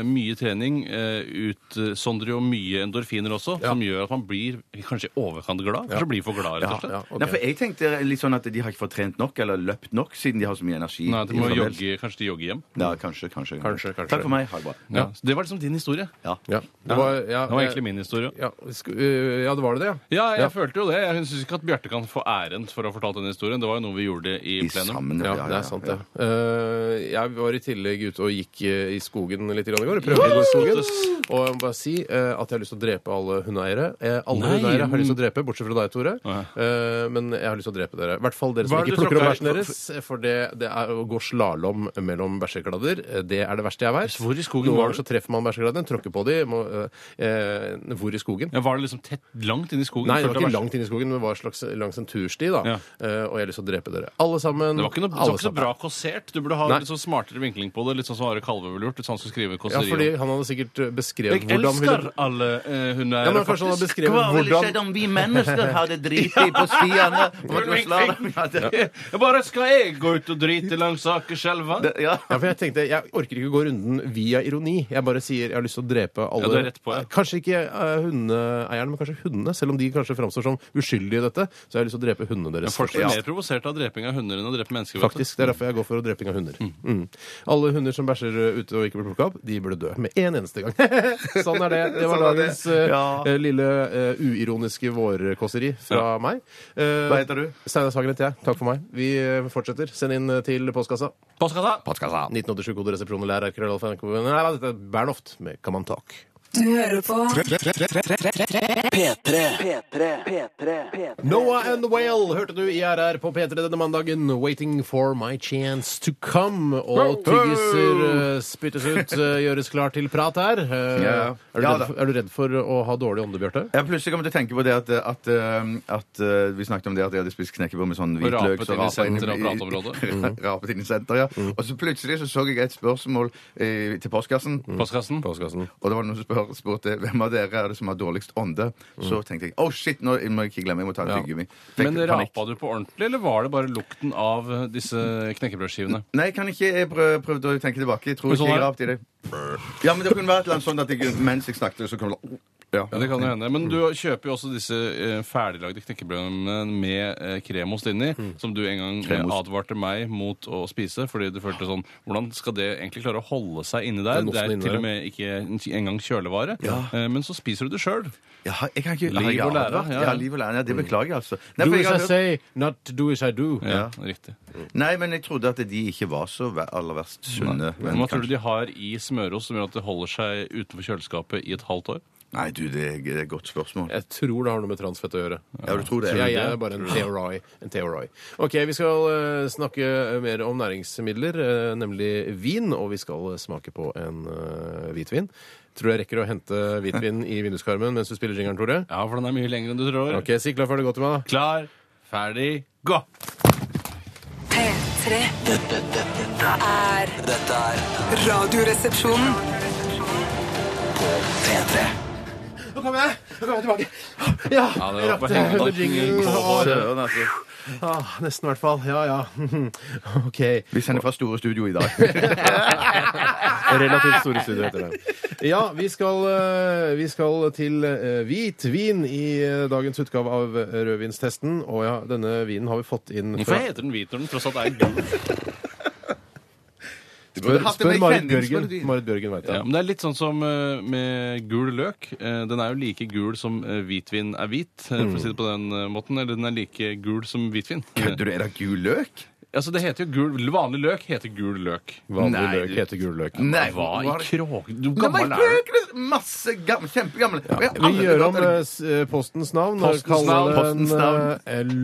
S3: mye trening uh, utsondrer jo mye endorfiner også, som gjør at man blir kanskje i overkant glad. Kanskje blir for glad, rett og slett.
S1: Ja, ok.
S2: Nei, for jeg tenkte litt sånn at de har ikke fått trent nok eller løpt nok, siden de har så mye energi.
S3: Nei, du må
S2: Fremdeles.
S3: jogge, kanskje de jogger hjem.
S2: Ja, kanskje, kanskje,
S1: Kanskje, kanskje.
S2: Takk for meg. Ha det bra.
S3: Ja. Så det var liksom din historie.
S2: Ja.
S1: Ja. Det var, ja,
S3: Det var egentlig
S1: eh,
S3: min historie.
S1: Ja, sku, øh, ja det var det det, ja.
S3: Ja, jeg følte jo det. Jeg syns ikke at Bjarte kan få æren for å ha fortalt den historien. Det var jo noe vi gjorde i
S2: I
S3: plenum.
S2: sammen,
S1: Ja,
S2: ja,
S1: det
S2: ja,
S1: er sant,
S2: ja.
S1: det. Eh, jeg var i tillegg ute og gikk eh, i skogen litt grann i går. Prøvde å gå i skogen. Og jeg må bare si eh, at jeg har lyst til å drepe alle hundeeiere. Eh, alle
S3: Nei,
S1: hundeeiere har jeg lyst til
S3: men-
S1: å drepe, bortsett fra deg, Tore. Eh, men jeg har lyst til å drepe dere. I hvert fall dere som
S3: Hva er det
S1: ikke
S3: du
S1: plukker opp
S3: tråkker-
S1: bæsjen deres. eh, For det, det er å gå slalåm mellom bæsjekladder, eh, det er det verste jeg vet.
S3: Hvor i skogen
S1: Noen
S3: var
S1: ganger
S3: du?
S1: så treffer man bæsjekladdene, tråkker på dem. eh, hvor i skogen?
S3: Ja, var det liksom tett langt inn i skogen?
S1: Nei, det var
S3: Følte
S1: ikke
S3: jeg var-
S1: langt inn i skogen, men det var slags, langs en tursti. da
S3: Ja.
S1: Eh, Og jeg har lyst til å drepe dere. Alle sammen.
S3: Det var ikke, noe, det
S1: alle
S3: var ikke så
S1: sammen.
S3: bra kåsert. Du burde ha
S1: Nei.
S3: litt sånn smartere vinkling på det. Litt sånn som Are Kalve ville gjort. Hvis han skulle skrive
S1: Ja,
S3: kåserier.
S1: fordi han hadde sikkert eh, beskrevet
S3: Jeg
S1: hvordan hun-
S3: elsker alle eh, hundeeiere,
S1: Ja, men kanskje han hadde
S3: faktisk.
S1: beskrevet hvordan
S2: om vi mennesker hadde driti på stiene?
S3: Jeg bare skal jeg gå ut og drite langs Akerselva?
S2: Ja.
S1: ja, for Jeg tenkte, jeg orker ikke gå runden via ironi. Jeg bare sier jeg har lyst til å drepe alle.
S3: Ja, du er rett på, ja.
S1: Kanskje ikke eh, hundeeierne, men kanskje hundene. Selv om de kanskje framstår som uskyldige i dette, så jeg har lyst til å drepe hundene deres.
S3: Folk blir
S2: Ja.
S3: mer provosert av dreping av hunder enn å drepe mennesker. vet du.
S1: Faktisk, Det er derfor jeg går for dreping av hunder. Mm. Alle hunder som bæsjer eh, ute og ikke blir plukka opp, de burde dø med en eneste gang. sånn er det. Det var
S2: Sånn er det.
S1: dagens eh,
S2: Ja.
S1: eh, lille eh, uironiske vårkåseri fra meg. Eh,
S2: Hva heter du?
S1: Steinar Sagen heter jeg. Takk for meg. Vi eh, fortsetter. Send inn eh, til postkassa.
S3: Postkassa.
S1: 1987 kode resepsjon og lærer krøllalfa NRK. Nei, nei, dette er Bernhoft med Come on Talk.
S4: Du hører på
S5: P3 P3 P3 P3
S1: Noah and the Whale hørte du i RR på P3 denne mandagen. Waiting for my chance to come. Og tyggiser eh, spyttes ut, eh, gjøres klar til prat her. Eh,
S2: Ja, ja.
S1: Er, du
S2: Ja,
S1: redd
S2: da.
S1: for, er du redd for å ha dårlig ånde, Bjarte?
S2: Jeg plutselig kom til å tenke på det at, at, um, at uh, Vi snakket om det at jeg hadde spist knekkebrød med sånn
S3: Og
S2: hvitløk.
S3: rapet
S2: så
S3: inn i
S2: rapet inn i-
S3: senter av prateområdet.
S2: Mm. rapet inn i senter, ja. Og så plutselig så, så jeg et spørsmål eh, til postkassen.
S3: Postkassen.
S1: Mm. Postkassen.
S2: Og det var noen som spør, spurte hvem av dere er det som har dårligst ånde. Så tenkte jeg oh shit, nå må jeg ikke glemme, jeg må ta en
S1: Ja.
S2: tyggegummi. Fikk
S3: Men
S2: panikk.
S3: rapa du på ordentlig, eller var det bare lukten av eh, disse knekkebrødskivene?
S2: Nei, jeg kan ikke. Jeg prøv, prøvde å tenke tilbake. Jeg tror
S3: Men
S2: ikke
S3: sånn
S2: jeg
S3: er-
S2: rapte i det. Ja, men det kunne vært noe sånn at jeg, mens jeg snakket, så kom det ja.
S3: Ja, det kan jo hende. Men du kjøper jo også disse eh, ferdiglagde knekkebrødene med eh, kremost inni, som du en gang eh,
S2: Kremost.
S3: advarte meg mot å spise, fordi du følte sånn Hvordan skal det egentlig klare å holde seg inni
S1: Det er
S3: der? Det er
S1: mosten
S3: til
S1: inni
S3: og med ikke en- engang kjølevare. Eh, Men så spiser du det sjøl.
S2: Ja, jeg kan ikke,
S3: Liv
S2: har jeg
S3: og lære,
S2: advart?
S3: ja.
S2: Ja, liv og lære. Ja, det beklager jeg, altså. Nei,
S1: Do
S2: for jeg
S1: as I
S2: hadde-
S1: say, not do as I do.
S3: Ja, riktig.
S2: Nei, men jeg trodde at de ikke var så ver- aller verst sunne. Men
S3: Hva tror
S2: kanskje-
S3: du de har i smørost som gjør at det holder seg utenfor kjøleskapet i et halvt år?
S2: Nei, du, det er det er et godt spørsmål.
S1: Jeg tror det har noe med transfett å gjøre.
S2: Ja, du tror det?
S1: Ja, jeg er bare en teori. En teori. Ok, vi skal eh, snakke mer om næringsmidler, eh, nemlig vin, og vi skal eh, smake på en eh, hvitvin. Tror jeg rekker å hente hvitvin i vinduskarmen mens du spiller jingeren, Tore.
S3: Ja, for den er mye lengre enn du tror.
S1: Ok, Si klar, ferdig, gå til meg, da.
S3: Klar, ferdig, gå!
S4: P3
S5: Dette, dette, dette,
S4: er
S5: dette er
S4: Radioresepsjonen.
S5: P3
S1: Nå kommer jeg! Nå kommer jeg tilbake. Ja,
S3: det var
S1: rakk
S3: på
S1: det
S3: hengende
S1: under jinglen.
S3: på håret.
S2: Søren, altså.
S1: Ah, nesten, i hvert fall. Ja, ja. OK.
S2: Vi sender fra store studio i dag.
S1: Relativt store studio heter det. Ja, vi skal, eh, vi skal til eh, hvitvin i eh, dagens utgave av rødvinstesten. Og ja, denne vinen har vi fått inn
S3: Hvorfor
S1: fra
S3: heter den hvit når den tross alt er gul?
S2: Du burde
S1: Spør,
S2: hatt det
S1: spør
S2: med
S1: Marit
S2: kjenningsmelodi.
S1: Bjørgen. Marit Bjørgen vet det.
S3: Ja, men Det er litt sånn som eh, med gul løk. Eh, Den er jo like gul som eh, hvitvin er hvit, eh,
S1: Mm.
S3: for å si det på den eh, måten. Eller den er like gul som hvitvin.
S2: Kødder du? Er det gul løk?
S3: Altså, det heter jo gul, Vanlig løk heter gul løk.
S1: Vanlig
S2: Nei,
S1: løk
S2: du-
S1: heter gul løk.
S2: Nei,
S3: Hva i
S2: var det-
S3: kråk... Du
S2: Nei,
S3: gammel er du?
S2: Marit Bjørgen, Masse gammel, kjempegammel. Og jeg har
S1: Vi
S2: aldri
S1: gjør
S2: hørt
S1: om
S2: det.
S1: eh, s- eh, postens navn og
S3: Postens
S1: kaller
S2: navn,
S1: den
S2: postens navn.
S1: eh,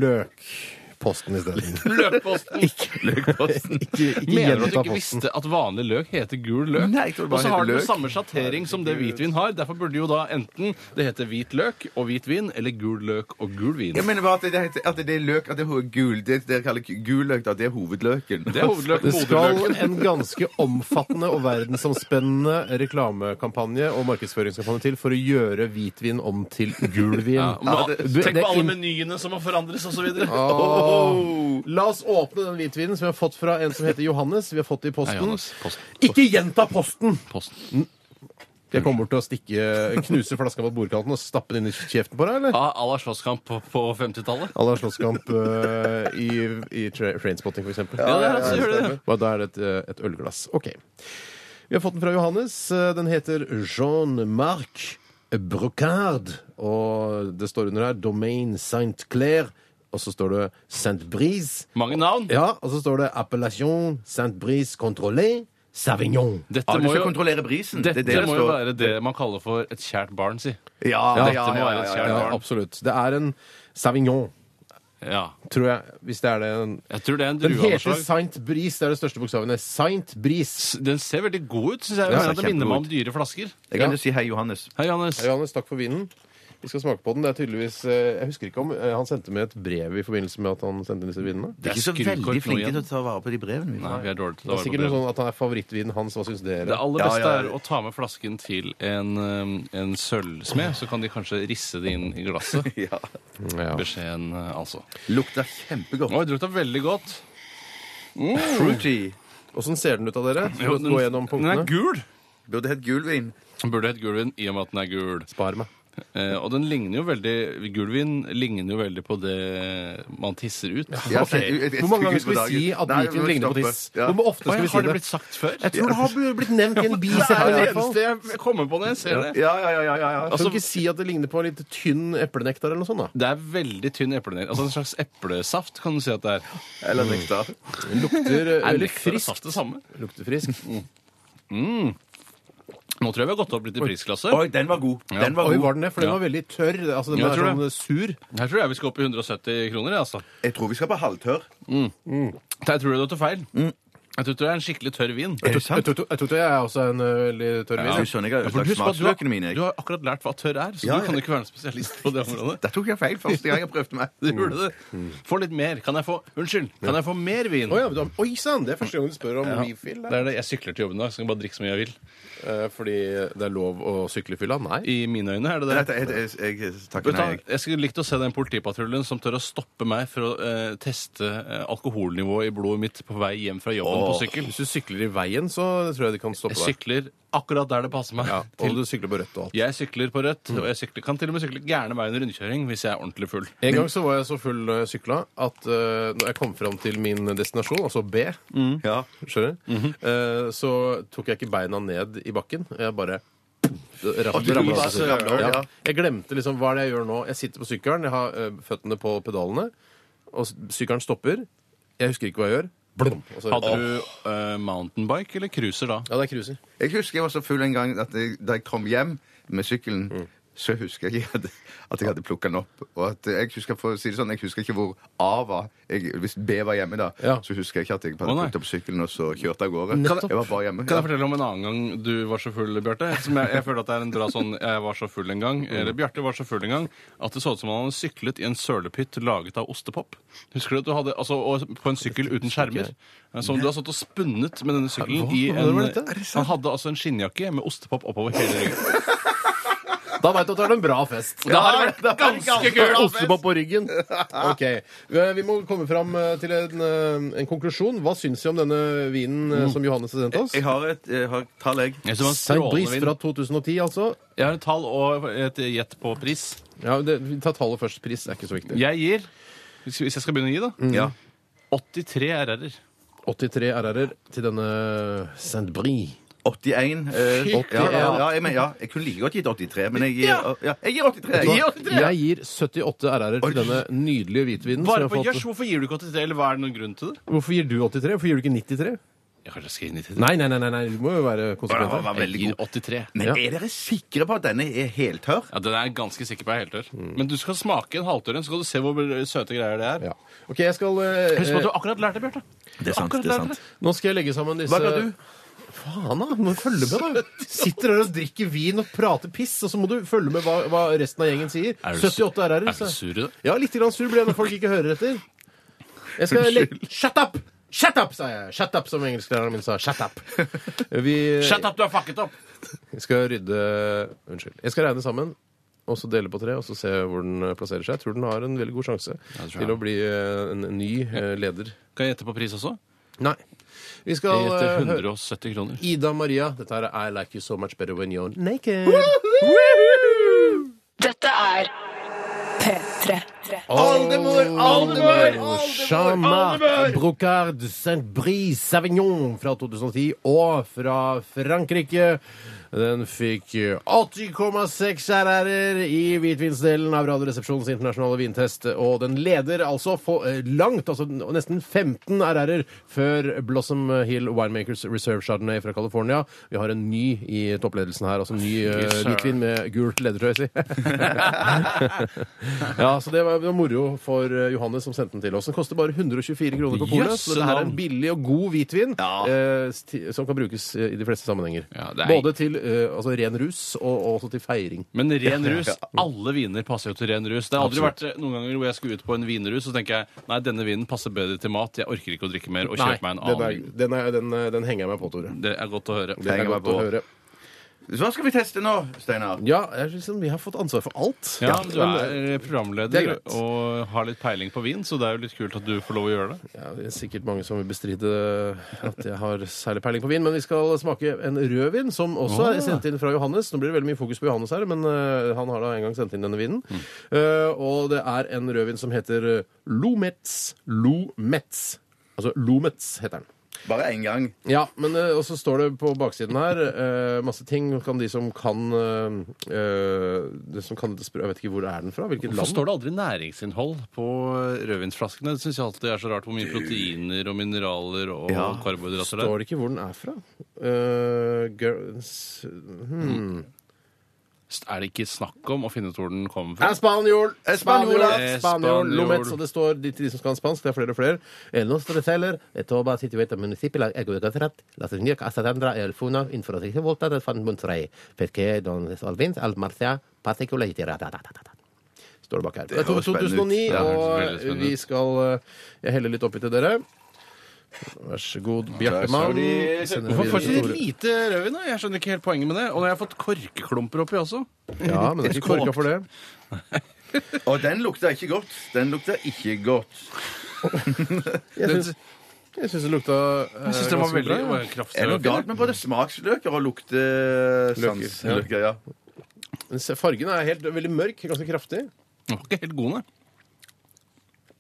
S1: Løkposten isteden.
S3: Løkposten!
S2: Løkposten.
S1: Ikke, ikke
S3: Mener du at du
S1: gjenta
S3: ikke
S1: posten.
S3: visste at vanlig løk heter gul løk?
S2: Nei, jeg tror det
S3: og
S2: bare
S3: så har
S2: heter
S3: den
S2: løk.
S3: samme sjattering som det hvitvin har. Derfor burde jo da enten det hete hvit løk og hvit vin, eller gul løk og gul vin.
S2: Jeg mener bare at det, heter, at det er løk, at det er gul, det dere kaller gul løk, da, det er hovedløken.
S3: Det er hovedløk,
S1: Det skal
S3: moderløken.
S1: en ganske omfattende og verdensomspennende reklamekampanje og markedsføringskampanje til for å gjøre hvitvin om til gul vin.
S3: Ja, men,
S1: det- det
S3: tenk
S1: er
S3: på alle
S1: in-
S3: menyene som må forandres, osv.
S2: Åh.
S1: La oss åpne den hvitvinen som vi har fått fra en som heter Johannes. Vi har fått det i posten.
S3: Nei, Johannes, posten.
S1: Ikke gjenta posten!
S3: Posten.
S1: Jeg kommer til å stikke, knuse flaska på bordkanten og stappe den inn i kjeften på deg, eller?
S3: À la slåsskamp på, på 50-tallet.
S1: À la slåsskamp eh, i, i tra Trainspotting, for eksempel.
S3: Ja, det er altså, gjør det.
S1: Og da er det et, eh, et ølglass. OK. Vi har fått den fra Johannes. Eh, Den heter Jean-Marc Brocard. Og det står under her Domaine Saint-Clair. Og så står det Saint-Brice.
S3: Mange navn.
S1: Ja, og så står det Appellation Saint-Brice Contrôlé Savignon.
S3: Dette,
S2: Ja, du
S3: må
S2: skal
S3: jo,
S2: kontrollere brisen.
S3: dette
S2: det
S3: må jo
S2: står.
S3: være det man kaller for et kjært barn, si.
S2: Ja,
S3: Dette
S2: ja,
S3: må
S2: ja,
S3: være et
S2: ja,
S3: kjært
S1: Ja,
S3: barn.
S1: absolutt. Det er en Savignon,
S3: Ja.
S1: tror jeg. Hvis det er det.
S3: Jeg tror det er en
S1: Den
S3: drue av noe
S1: heter
S3: slag.
S1: Saint-Brice. Det er de største bokstavene. Saint-Brice.
S3: Den ser veldig god ut, syns jeg.
S2: Ja,
S3: jeg. mener at Den
S2: den ser
S3: minner meg om
S2: kjempegod
S3: dyre flasker.
S2: Jeg kan jo si hei, Johannes.
S3: Hei, Johannes.
S1: Hei, Johannes, takk for vinen. Vi skal smake på den. Det er tydeligvis eh, Jeg husker ikke om eh, han sendte med et brev i forbindelse med at han sendte disse vinene.
S2: De er ikke så
S3: skrukork
S2: veldig
S3: nå
S2: flinke
S3: igjen.
S2: til å ta vare på de brevene mine.
S3: Nei, vi er dårlige til
S1: Det
S3: å
S1: er
S3: ta
S1: sikkert noe
S3: vare på det.
S1: sånn at han er favorittvinen hans. Hva syns dere?
S3: Det aller
S2: Ja,
S3: beste
S2: ja,
S3: er
S2: ja.
S3: å ta med flasken til en, um, en sølvsmed, så kan de kanskje risse det inn i glasset.
S2: Ja.
S1: Mm, Ja.
S3: Beskjeden, uh, altså.
S2: Lukter kjempegodt.
S3: Oi, det lukta veldig godt.
S2: Fruity.
S1: Åssen ser den ut av dere? Skal vi gå gjennom
S3: den er
S1: punktene?
S3: gul.
S2: Burde hett gulvin.
S3: Den burde hett gulvin i og med at den er gul.
S1: Spar meg.
S3: Eh, og den ligner jo veldig Gulvin ligner jo veldig på det man tisser ut.
S2: Ja,
S1: Ok.
S2: et- et- et
S1: Hvor mange ganger skal
S2: skudd på
S1: vi si
S2: dagen.
S1: at
S2: Nei, vi
S1: hvitvin
S2: må
S1: ligner på
S2: stoppe.
S1: tiss?
S2: Ja.
S1: Hvor ofte
S3: Oi,
S1: skal vi si
S3: har det
S1: det?
S3: blitt sagt før?
S1: Jeg tror det har blitt nevnt i en
S3: det
S1: bisetning i
S3: er det
S1: hvert fall.
S3: eneste Altså- jeg kommer på når jeg ser det.
S2: Ja, ja, ja, ja, ja.
S1: Kan du ikke si at det ligner på en litt tynn eplenektar eller noe sånt? da?
S3: Det er veldig tynn eplenegl. Altså en slags eplesaft, kan du si at det er.
S2: Eller nektar.
S1: Det lukter eh,
S3: Er
S1: veldig
S3: nektar og
S1: friskt.
S3: saft det samme?
S1: Lukter frisk.
S3: Nå tror jeg vi har gått opp litt i prisklasse.
S2: Oi, den var god. Den var
S1: Oi,
S2: god.
S1: var den det? For den
S3: Ja.
S1: var veldig tørr. Altså, den
S3: Ja,
S1: var
S3: jeg tror
S1: sånn sur.
S3: Her tror jeg vi skal opp i 170 kroner. jeg, Altså.
S2: Jeg tror vi skal på halvtørr.
S3: Jeg tror du tar feil. Jeg tror det er en skikkelig tørr vin.
S2: Er det
S1: Mm. Jeg
S2: sant?
S1: tror jeg tror jeg er også en ø, veldig tørr vin.
S2: Ja. Du skjønner ikke
S3: Ja, for
S2: jeg
S3: husk på
S2: har
S3: at du, har,
S2: smaksløkene mine.
S3: du
S2: Jeg.
S3: har akkurat lært hva tørr er, så
S2: Ja,
S3: du kan
S2: ja.
S3: jo ikke være en spesialist på det området.
S2: Der tok jeg feil første gang jeg prøvde meg.
S1: Mm.
S3: Du gjorde det. Få litt mer. Kan jeg få Unnskyld, kan jeg få mer vin?
S1: Å ja, men du har- Oi sann! Det er første gang du spør om refill.
S3: Det er det. Jeg sykler til jobben i dag, så kan jeg bare drikke så mye jeg vil.
S1: Eh, Fordi det er lov å sykle i fylla? Nei.
S3: I mine øyne er det
S2: Nei,
S3: det.
S2: Jeg, jeg, jeg, jeg takker
S3: Vet du,
S2: nei.
S3: hva,
S2: jeg.
S3: jeg skulle likt å se den politipatruljen som tør å stoppe meg for å eh, teste eh, alkoholnivået i blodet mitt på vei hjem fra jobben på
S2: Åh.
S3: sykkel.
S1: Hvis du sykler i veien, så tror jeg de kan
S3: Jeg
S1: stoppe deg.
S3: sykler akkurat der det passer meg.
S1: Ja, og
S3: til,
S1: du sykler på rødt og alt.
S3: jeg sykler på rødt, og jeg sykler, kan til og med sykle gærne veien rundkjøring hvis jeg er ordentlig full.
S1: En gang så var jeg så full når jeg sykla at eh, når jeg kom fram til min destinasjon, altså B,
S3: Mm.
S2: Ja.
S1: skjønner du,
S3: Mhm.
S1: Eh, så tok jeg ikke beina ned i bakken. Jeg bare
S2: Å, du
S1: Ratt- ramlet
S2: bare
S1: av sykkelen.
S2: søler, ja.
S1: Ja. Jeg glemte liksom hva er det jeg gjør nå. Jeg sitter på sykkelen, jeg har eh, føttene på pedalene, og s- sykkelen stopper. Jeg husker ikke hva jeg gjør. Blum, og så-
S3: Hadde du eh, mountainbike eller cruiser da?
S1: Ja, det er cruiser.
S2: Jeg husker jeg var så full en gang at jeg, da jeg kom hjem med sykkelen
S1: Mm.
S2: Så husker jeg at, at jeg hadde plukka den opp. Og at jeg husker for å si det sånn, jeg husker ikke hvor A var. Jeg, hvis B var hjemme, da,
S1: Ja.
S2: så husker jeg ikke at jeg
S3: Å,
S2: hadde
S3: nei.
S2: plukket opp sykkelen og så kjørte av gårde.
S1: Nettopp.
S2: Jeg var bare hjemme.
S3: Kan jeg fortelle om en annen gang du var så full, Bjarte? Som jeg, jeg føler at det er en bra sånn Jeg var så full en gang. Eller Bjarte var så full en gang at det så ut som han hadde syklet i en sølepytt laget av ostepop. Husker du at du hadde Altså og på en sykkel uten skjermer. eh, Som du har stått og spunnet med denne sykkelen i
S1: Hva
S3: en
S1: var dette? Er
S3: Han hadde altså en skinnjakke med ostepop oppover hele ryggen.
S1: Da veit du at det er en bra fest.
S3: Det hadde vært ganske kult!
S1: Ostepop på ryggen. Ok, Eh, Vi må komme fram eh, til en, eh, en konklusjon. Hva syns vi om denne vinen
S3: Mm.
S1: eh, som Johannes har sendt oss?
S2: Jeg har et jeg har et tall, jeg.
S3: Jeg synes det var en
S1: Saint
S3: strålende
S1: Brice
S3: vin.
S1: fra 2010, altså.
S3: Jeg har et tall og et gjett på pris.
S1: Ja, det, vi tar tallet først. Pris er ikke så viktig.
S3: Jeg gir, hvis hvis jeg Mm. skal begynne å gi, da
S2: Ja.
S3: 83 RR-er.
S1: 83 RR-er til denne Saint-Brie.
S2: 81. eh,
S1: Fy
S2: ja, ja,
S1: faen.
S2: ja, jeg, men, ja, jeg kunne like godt gitt 83, men jeg gir,
S1: Ja.
S2: ja, jeg gir 83. Jeg gir 83.
S1: Jeg gir 78 RR-er til denne nydelige hvitvinen. som
S3: Bare
S1: jeg har
S3: på
S1: fått-
S3: gjørs, hvorfor gir du ikke 83? Eller hva er det noen grunn til det?
S1: Hvorfor gir du 83? Hvorfor gir du ikke 93?
S3: Jeg kanskje skal inn i det.
S1: Nei, nei, nei, nei, nei. du må jo være konsekvent.
S2: Ja, det var
S1: her.
S2: veldig
S3: Jeg gir 83.
S2: Men
S1: Ja.
S2: er dere sikre på at denne er heltørr?
S3: Ja, Den er jeg ganske sikker på er heltørr. Men du skal smake en halvtørr en, så skal du se hvor søte greier det er.
S1: Ja. OK, jeg skal eh,
S3: Husk på at du akkurat lærte det, Bjarte.
S2: Det er sant.
S3: Akkurat
S2: det er
S3: lærte
S2: sant.
S1: Nå skal jeg legge sammen disse
S2: Hva ga du?
S1: Faen, da! Må du følge med, da. Sitter her og drikker vin og prater piss, og så må du følge med hva, hva resten av gjengen sier.
S3: Er du
S1: 78 RR-er.
S3: Er du
S1: så-
S3: sur i det?
S1: Ja, litt grann sur ble jeg når folk ikke hører etter. Jeg skal legge Shut up! Shut up, sa jeg. Shut up, som engelsklæreren min sa. Shut up. Vi
S3: Shut up, du har fucket opp!
S1: skal rydde Unnskyld. Jeg skal regne sammen. Og så dele på tre og så se hvor den eh, plasserer seg. Jeg tror den har en veldig god sjanse
S3: det tror jeg.
S1: til å bli eh, en ny eh, leder.
S3: Kan jeg gjette på pris også?
S1: Nei. Vi
S3: Jeg
S1: skal eh,
S3: gjetter
S1: hø-
S3: 170 kroner.
S1: Ida Maria. Dette her er I Like You So Much Better When You're Naked.
S6: Dette er P3.
S2: Oldemor, oldemor!
S1: Jean-Marc Brocard de Saint-Brice Savignon fra 2010 og fra Frankrike. Den fikk 80,6 RR-er i hvitvinsdelen av Radioresepsjonens internasjonale vintest. Og den leder altså for, eh, langt, altså n- nesten 15 RR-er før Blossom Hill Winemakers Reserve Chardonnay fra California. Vi har en ny i toppledelsen her, altså en ny eh,
S3: Yes, sir.
S1: hvitvin med gult ledertrøy, si. Ja, så det var, det var moro for eh, Johannes som sendte den til oss. Den koster bare 124 kroner på polet.
S3: Jøsse
S1: Så det her er
S3: navn.
S1: en billig og god hvitvin
S2: Ja.
S1: eh, sti- som kan brukes eh, i de fleste sammenhenger.
S3: Ja, det er-
S1: Både til eh, altså, ren rus og, og også til feiring.
S3: Men ren rus, alle viner passer jo til ren rus. Det har aldri vært eh, noen ganger hvor jeg skulle ut på en vinrus, og så tenker jeg nei, denne vinen passer bedre til mat, jeg orker ikke å drikke mer, og kjøper meg en
S1: den,
S3: annen
S1: er,
S3: vin.
S1: den, er, den, eh, den henger jeg meg på, Tore.
S3: Det er godt å høre.
S1: Den er
S2: Henger meg
S1: godt å
S2: på.
S1: høre.
S2: Så hva skal vi teste nå, Steinar?
S1: Ja, jeg synes vi har fått ansvar for alt.
S3: Ja, du
S1: men, eh,
S3: er
S1: det
S3: programleder
S1: er greit.
S3: og har litt peiling på vin, så det er jo litt kult at du får lov å gjøre det.
S1: ja, Det er sikkert mange som vil bestride at jeg har særlig peiling på vin, men vi skal smake en rødvin som også
S3: Ah.
S1: er sendt inn fra Johannes. Nå blir det veldig mye fokus på Johannes her, men eh, han har da en gang sendt inn denne vinen.
S3: Mm.
S1: Eh, og det er en rødvin som heter eh, Lometz. Lometz. Altså Lometz heter den.
S2: Bare én gang.
S1: Ja, men eh, og så står det på baksiden her eh, masse ting. Kan de som kan eh, eh, de som kan dette språket- Jeg vet ikke hvor er den fra? Hvilket
S3: Hvorfor
S1: land?
S3: står det aldri næringsinnhold på rødvinsflaskene? Det syns jeg alltid er så rart. Hvor mye proteiner og mineraler og
S2: Ja,
S3: karbohydrater det er.
S1: Står det ikke hvor den er fra? Eh, girls hmm.
S3: Er det ikke snakk om å finne ut hvor den kommer fra?
S1: Espanjol! Espanjola!
S3: Espanjol.
S1: Espanjol, Lometz, og det står de, til de som skal ha spansk. Det er flere og flere. El nostre teller, et oba situert municipi, la ego de rett, la tenir asatandra el funa, inforatice volta del fan montrei, perché don solvins al marcia particularity. Står det bak her. Det er
S2: høres spennende
S1: 2009,
S2: ut.
S3: Ja, det høres veldig
S1: og
S3: spennende
S1: vi
S3: ut.
S1: skal eh, Jeg heller litt oppi til dere. Vær så god, Bjartemann. Vi sender videre
S3: Hvorfor får
S1: til
S3: ikke
S1: Tore.
S3: de lite rødvin? da? Jeg skjønner ikke helt poenget med det. Og jeg har fått korkklumper oppi også.
S1: Ja, men det er ikke korka for det.
S2: Og den lukter ikke godt. Den lukter ikke godt.
S1: Jeg syns, jeg syns det lukta eh,
S3: Jeg synes den var
S1: ganske
S3: veldig
S1: bra, ja.
S3: var kraftig.
S2: Er det noe galt med både smaksløker og luktesans?
S1: Løker, ja.
S2: Løker, ja.
S1: Men se, Fargen er helt veldig mørk, ganske kraftig.
S3: Den var ikke helt god, nei.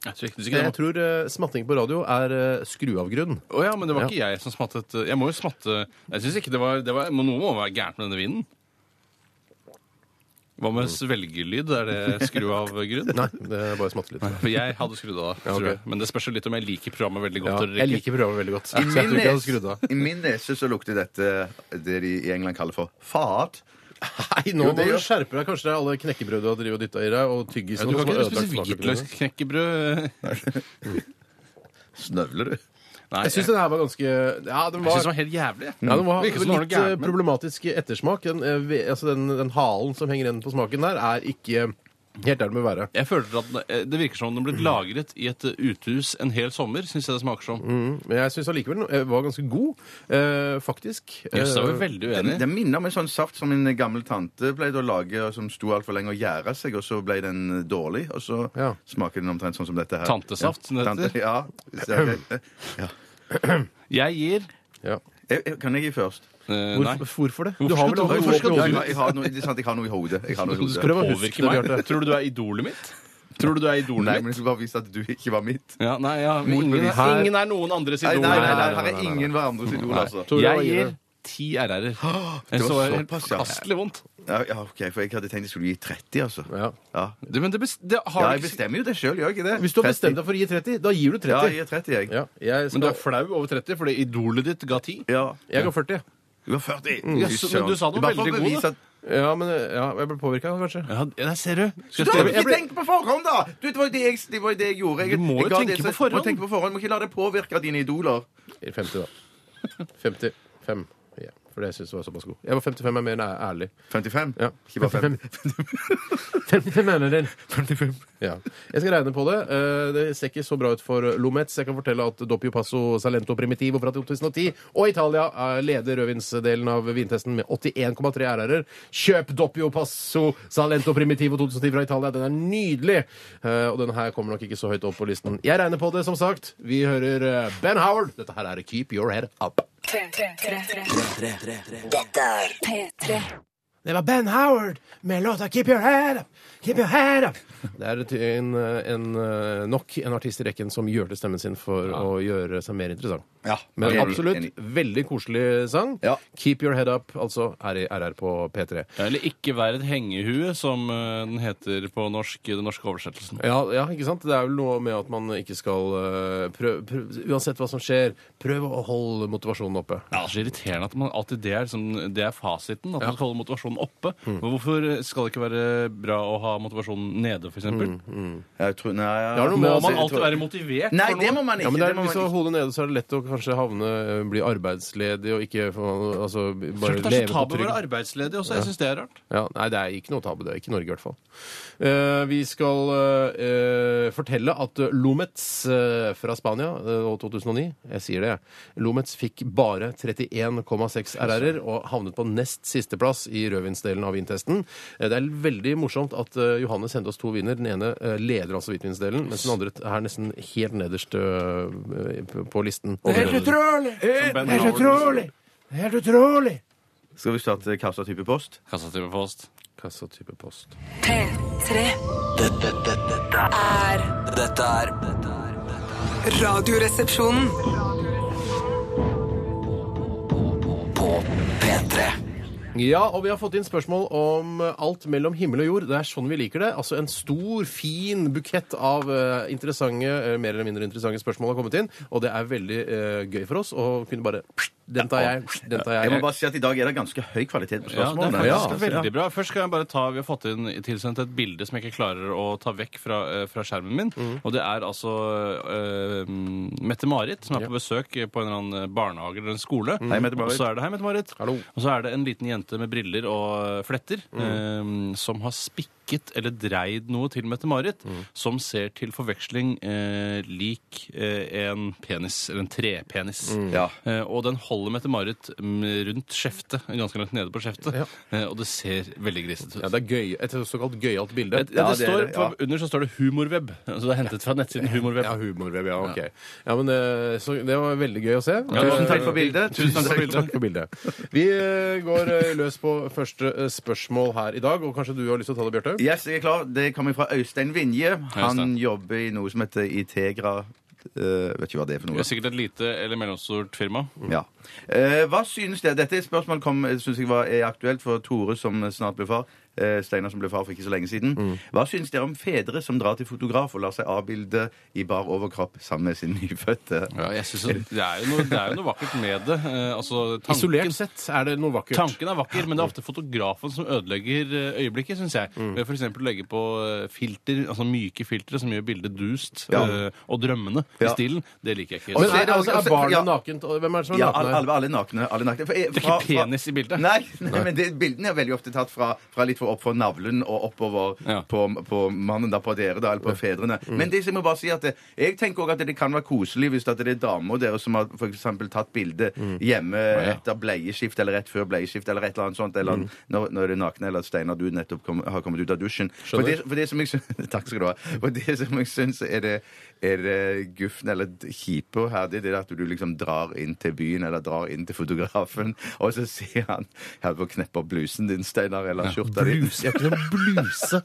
S3: Jeg tror ikke, jeg tror ikke
S1: Jeg
S3: det var.
S1: tror eh, smatting på radio er eh, skru av grunn.
S3: Å ja, men det var ikke jeg som smattet. eh, Jeg må jo smatte Jeg synes ikke det var, det var Noe må være gærent med denne vinen. Hva med svelgelyd? Er det skru av grunn?
S1: Nei, det er bare smatte litt.
S3: For jeg hadde skrudd av,
S1: Ja,
S3: tror
S1: ok.
S3: jeg. Men det spørs jo litt om jeg liker programmet veldig
S1: Ja,
S3: godt.
S1: jeg liker programmet veldig godt. Så jeg tror ikke jeg hadde skrudd av.
S2: I min nese så lukter dette det de i England kaller for fat.
S1: Nei, nå
S2: Jo,
S1: må
S2: det
S1: du
S2: gjør-
S1: skjerpe deg. Kanskje det er alle knekkebrød du har drevet og dytta i deg, og tyggis
S3: Du
S1: og noe
S3: kan
S1: som har
S3: ikke
S1: ødelagt
S3: spise hvitløksknekkebrød.
S1: smaken.
S2: Snøvler du?
S3: Nei,
S1: Jeg syns den her var ganske Ja, den
S3: Jeg
S1: var,
S3: syns det var helt jævlig.
S1: ja, den var
S3: Virker som det var noe
S1: litt eh,
S3: gærent med den.
S1: problematisk ettersmak. Den, eh, ve- altså den, den halen som henger igjen på smaken der, er ikke helt der den bør være.
S3: Jeg føler at den- eh, Det virker som om den ble lagret i et eh, utehus en hel sommer. Synes jeg det smaker som.
S1: Men jeg syns allikevel den eh, var ganske god, eh, faktisk.
S3: Jøss, da er vi
S1: Eh,
S3: veldig
S2: Den,
S3: uenige.
S2: den minner om en sånn saft som min gammel tante pleide å lage, og som sto altfor lenge og gjæra seg, og så ble den eh, dårlig, og så
S1: Ja.
S2: smaker den omtrent sånn som dette her.
S3: Tantesaft, som det heter.
S2: ja. Eh, Så- ja.
S3: Jeg gir
S1: ja.
S2: Jeg, jeg, eh, kan jeg gi først?
S3: eh, Nei.
S1: Hvorfor, hvorfor det?
S3: Hvorfor
S1: Du har
S3: skal
S1: vel
S3: du-
S1: aldri
S3: hvorfor skal
S1: noe
S3: du-
S1: oppi
S2: Ja,
S1: hodet
S2: jeg, har noe, det er sant, jeg har noe i hodet. Jeg har noe i
S3: Du
S2: hodet.
S3: skal
S1: Prøv å huske
S3: påvirke
S1: det, Bjarte.
S3: meg. Tror du du er idolet mitt? Tror du du er idolet
S2: Nei,
S3: mitt?
S2: men jeg skulle bare vise at du ikke var mitt.
S3: Ja, nei, ja, men ingen,
S2: Motbevis.
S3: er- ingen er noen andres
S2: Nei,
S3: idol.
S2: nei, nei,
S3: her.
S2: nei, her er ingen hverandres idol, altså.
S1: Tore, hva
S3: Jeg
S1: gir
S3: gir
S1: du?
S3: ti RR-er. Jeg
S2: det var
S3: så helt
S2: såpass, ja.
S3: forkastelig vondt.
S2: Ja, ja, ok, For jeg hadde tenkt jeg skulle gi 30, altså.
S1: Ja.
S2: Ja.
S3: Det, men det, bes- det
S2: Ja,
S3: har
S2: jeg
S3: du ikke
S2: bestemmer jo det sjøl, gjør jeg ikke det?
S1: Hvis du har bestemt deg for å gi 30, da gir du
S2: Ja, jeg
S1: 30.
S2: gir 30, jeg.
S1: Ja, jeg,
S3: Men du er
S1: skal,
S3: flau over 30 fordi idolet ditt ga 10?
S2: Ja.
S1: jeg går 40.
S2: Du var 40.
S3: Ja, så- men Mm. du sa noe veldig god, da.
S1: Ja, men ja, jeg ble påvirka, kanskje.
S3: Ja, der ser du. Skal
S2: Du
S3: jeg
S2: har
S3: skrive-
S2: ikke tenkt på forhånd, da! Du, det, var jo det, jeg, det var jo det jeg gjorde. Jeg,
S3: Du må jo
S2: jeg ga
S3: tenke
S2: det-
S3: på forhånd.
S2: Du må tenke på forhånd. Du må ikke la det påvirke av dine idoler.
S1: 50, da. 55. Ja, for det syns jeg var såpass god. Jeg var 55 er mer enn jeg er ærlig.
S2: 55?
S1: Ja.
S2: Ikke bare 50.
S1: 55 mener den. 55. Ja. Jeg skal regne på det. Eh, Det ser ikke så bra ut for Lometz. Jeg kan fortelle at Doppio Passo Salento Primitivo fra 2010 og Italia eh, leder rødvinsdelen av vintesten med 81,3 RR-er. Kjøp Doppio Passo Salento Primitivo 2010 fra Italia. Den er nydelig. Eh, Og den her kommer nok ikke så høyt opp på listen. Jeg regner på det, som sagt. Vi hører eh, Ben Howard. Dette her er Keep Your Head Up.
S6: P3.
S1: Det var Ben Howard med låta 'Keep Your Head Up'. Keep your head up. Det er ty- en, en, eh, nok en artist i rekken som gjør til stemmen sin for å gjøre seg mer interessant.
S2: Ja,
S1: Men
S2: jeg er
S1: absolutt
S2: enig.
S1: veldig koselig sang.
S2: Ja.
S1: 'Keep Your Head Up', altså er i RR på P3.
S3: Ja, Eller ikke vær et hengehue, som eh, den heter på norsk, i den norske oversettelsen.
S1: Ja, ja, ikke sant? Det er vel noe med at man ikke skal eh, prøv, prøv, Uansett hva som skjer, prøv å holde motivasjonen oppe.
S3: Det er så irriterende at man alltid det er, liksom, det er fasiten. At man skal holde motivasjonen oppe.
S1: Mm.
S3: Men Hvorfor skal det ikke være bra å ha motivasjonen nede, f.eks.? eksempel?
S2: Jeg tror, nei, ja.
S1: har noe med Mm,
S3: Må
S1: altså,
S3: man
S1: jeg
S3: alltid være motivert?
S2: Nei,
S3: for
S2: det
S3: noe?
S2: må man ikke.
S1: Ja, men det er,
S2: det må
S1: Hvis du
S3: liksom
S2: man
S1: har hodet nede, så er det lett å kanskje havne, eh, bli arbeidsledig og ikke få- altså, bare
S3: Selv om det er
S1: leve
S3: så
S1: på
S3: tabu å
S1: trygd.
S3: være arbeidsledig også. Jeg syns det er rart.
S1: Ja, nei, det er ikke noe tabu. Det er ikke i Norge, i hvert fall. Eh, vi skal eh, eh, fortelle at Lometz eh, fra Spania eh, og 2009 Jeg sier det, jeg. Lometz fikk bare 31,6 RR-er og havnet på nest sisteplass i rødvinsdelen av vintesten. Eh, det er veldig morsomt at eh, Johanne sendte oss to viner. Den ene eh, leder altså hvitvinsdelen, mens den andre er nesten helt nederst eh, på- på listen.
S3: Helt
S1: utrolig!
S3: Ben Helt Howard. utrolig!
S1: Helt utrolig!
S2: ikke. Skal vi starte Kassa type post?
S3: Kassative post.
S1: Hva så type post?
S6: P3
S5: Dette, dette, dette, er-
S6: er
S5: dette er dette er- dette er
S4: Radioresepsjonen.
S5: På P3
S1: Ja, og vi har fått inn spørsmål om alt mellom himmel og jord. Det er sånn vi liker det. Altså en stor, fin bukett av eh, interessante, eh, mer eller mindre interessante spørsmål har kommet inn, og det er veldig eh, gøy for oss å kunne bare Den tar jeg, den tar
S2: Jeg må
S1: jeg.
S2: bare si at i dag er det ganske høy kvalitet
S3: Ja,
S2: på
S3: det er
S2: spørsmålene.
S3: faktisk
S2: Ja.
S3: veldig bra. Først skal jeg bare ta, Vi har fått inn tilsendt et bilde som jeg ikke klarer å ta vekk fra, eh, fra skjermen min.
S1: Mm.
S3: Og det er altså eh, Mette-Marit som er på besøk på en eller annen barnehage eller en skole.
S2: Hei,
S3: Og
S2: Mette-Marit.
S3: så er det hei, Mette-Marit.
S1: Mm. Hallo.
S3: Og så er det en liten jente med briller og eh, fletter eh, som har spikket eller dreid noe til Mette-Marit, som ser til forveksling eh, lik eh, en penis, eller en trepenis.
S2: Ja.
S3: Eh, og den holder Mette-Marit mm, rundt skjeftet, ganske langt nede på skjeftet. Eh, og det ser veldig grisete ut.
S1: Ja, det er gøy. Et såkalt gøyalt bilde.
S3: Et- ja, det
S2: det er
S3: står,
S2: det, ja.
S3: på- Under så står det 'Humorweb'. Så det er hentet fra nettsiden Humorweb.
S1: Ja, humorweb, ja. Ok. Ja, men eh, så Det var veldig gøy å se. Eh,
S2: Tusen takk for bildet.
S3: Tusen takk for bildet.
S1: Takk for bildet. Vi eh, går eh, løs på første eh, spørsmål her i dag, og kanskje du har lyst til å ta det, Bjarte?
S2: Yes, jeg er klar. Det kommer fra Øystein Vinje. Han
S3: Øystein.
S2: jobber i noe som heter Integra. Eh, vet ikke hva det er for
S3: Det
S2: noe.
S3: er sikkert et lite eller mellomstort firma.
S2: Ja. Eh, hva synes dere Dette spørsmålet kom, eh, synes jeg var, er aktuelt for Tore, som snart blir far. eh, Steinar, som ble far for ikke så lenge siden.
S3: Mm.
S2: Hva synes dere om fedre som drar til fotograf og lar seg avbilde i bar overkropp sammen med sin nyfødte?
S3: Ja, jeg synes det, det, er jo noe, det er jo noe vakkert med det. Eh, altså, tanken,
S1: Isolert sett er det noe vakkert.
S3: Tanken er vakker, men det er ofte fotografen som ødelegger eh, øyeblikket, syns jeg.
S2: Mm.
S3: Ved for eksempel å legge på eh, filter, altså myke filtre som gjør bildet dust eh, og drømmende i
S2: Ja.
S3: stilen. Det liker jeg ikke.
S1: Men
S2: så er
S1: er,
S2: det
S1: altså, er
S2: også-
S1: barnet
S2: ja.
S1: nakent? Og Hvem er det som er
S2: Ja,
S1: naken
S2: alle,
S1: her?
S2: alle, alle nakne. Alle nakne. For, eh,
S3: Det er
S2: fra-
S3: ikke
S2: fra-
S3: penis i bildet.
S2: Nei, nei, men det, bildene er veldig ofte tatt fra, fra litt for opp for navlen og oppover
S3: Ja. Mm.
S2: på, på mannen, da, på dere, da, eller på fedrene. Men det, så jeg må bare si at det, jeg tenker også at det kan være koselig hvis at det er damer dere som har for eksempel tatt bilde
S3: Mm.
S2: hjemme etter bleieskift eller rett før bleieskift eller et eller annet sånt,
S1: Mm.
S2: eller når, når det er nakne, eller at Steinar, du nettopp kom, har kommet ut av dusjen. For det, for det som jeg syns Takk skal du ha. For det som jeg syns er det, er det guffen eller d- kjipe her, det er det at du liksom drar inn til byen eller drar inn til fotografen, og så sier han Jeg holdt på å kneppe opp blusen din, Steinar, eller skjorta di.
S1: bluse. Jeg har ikke noen bluse.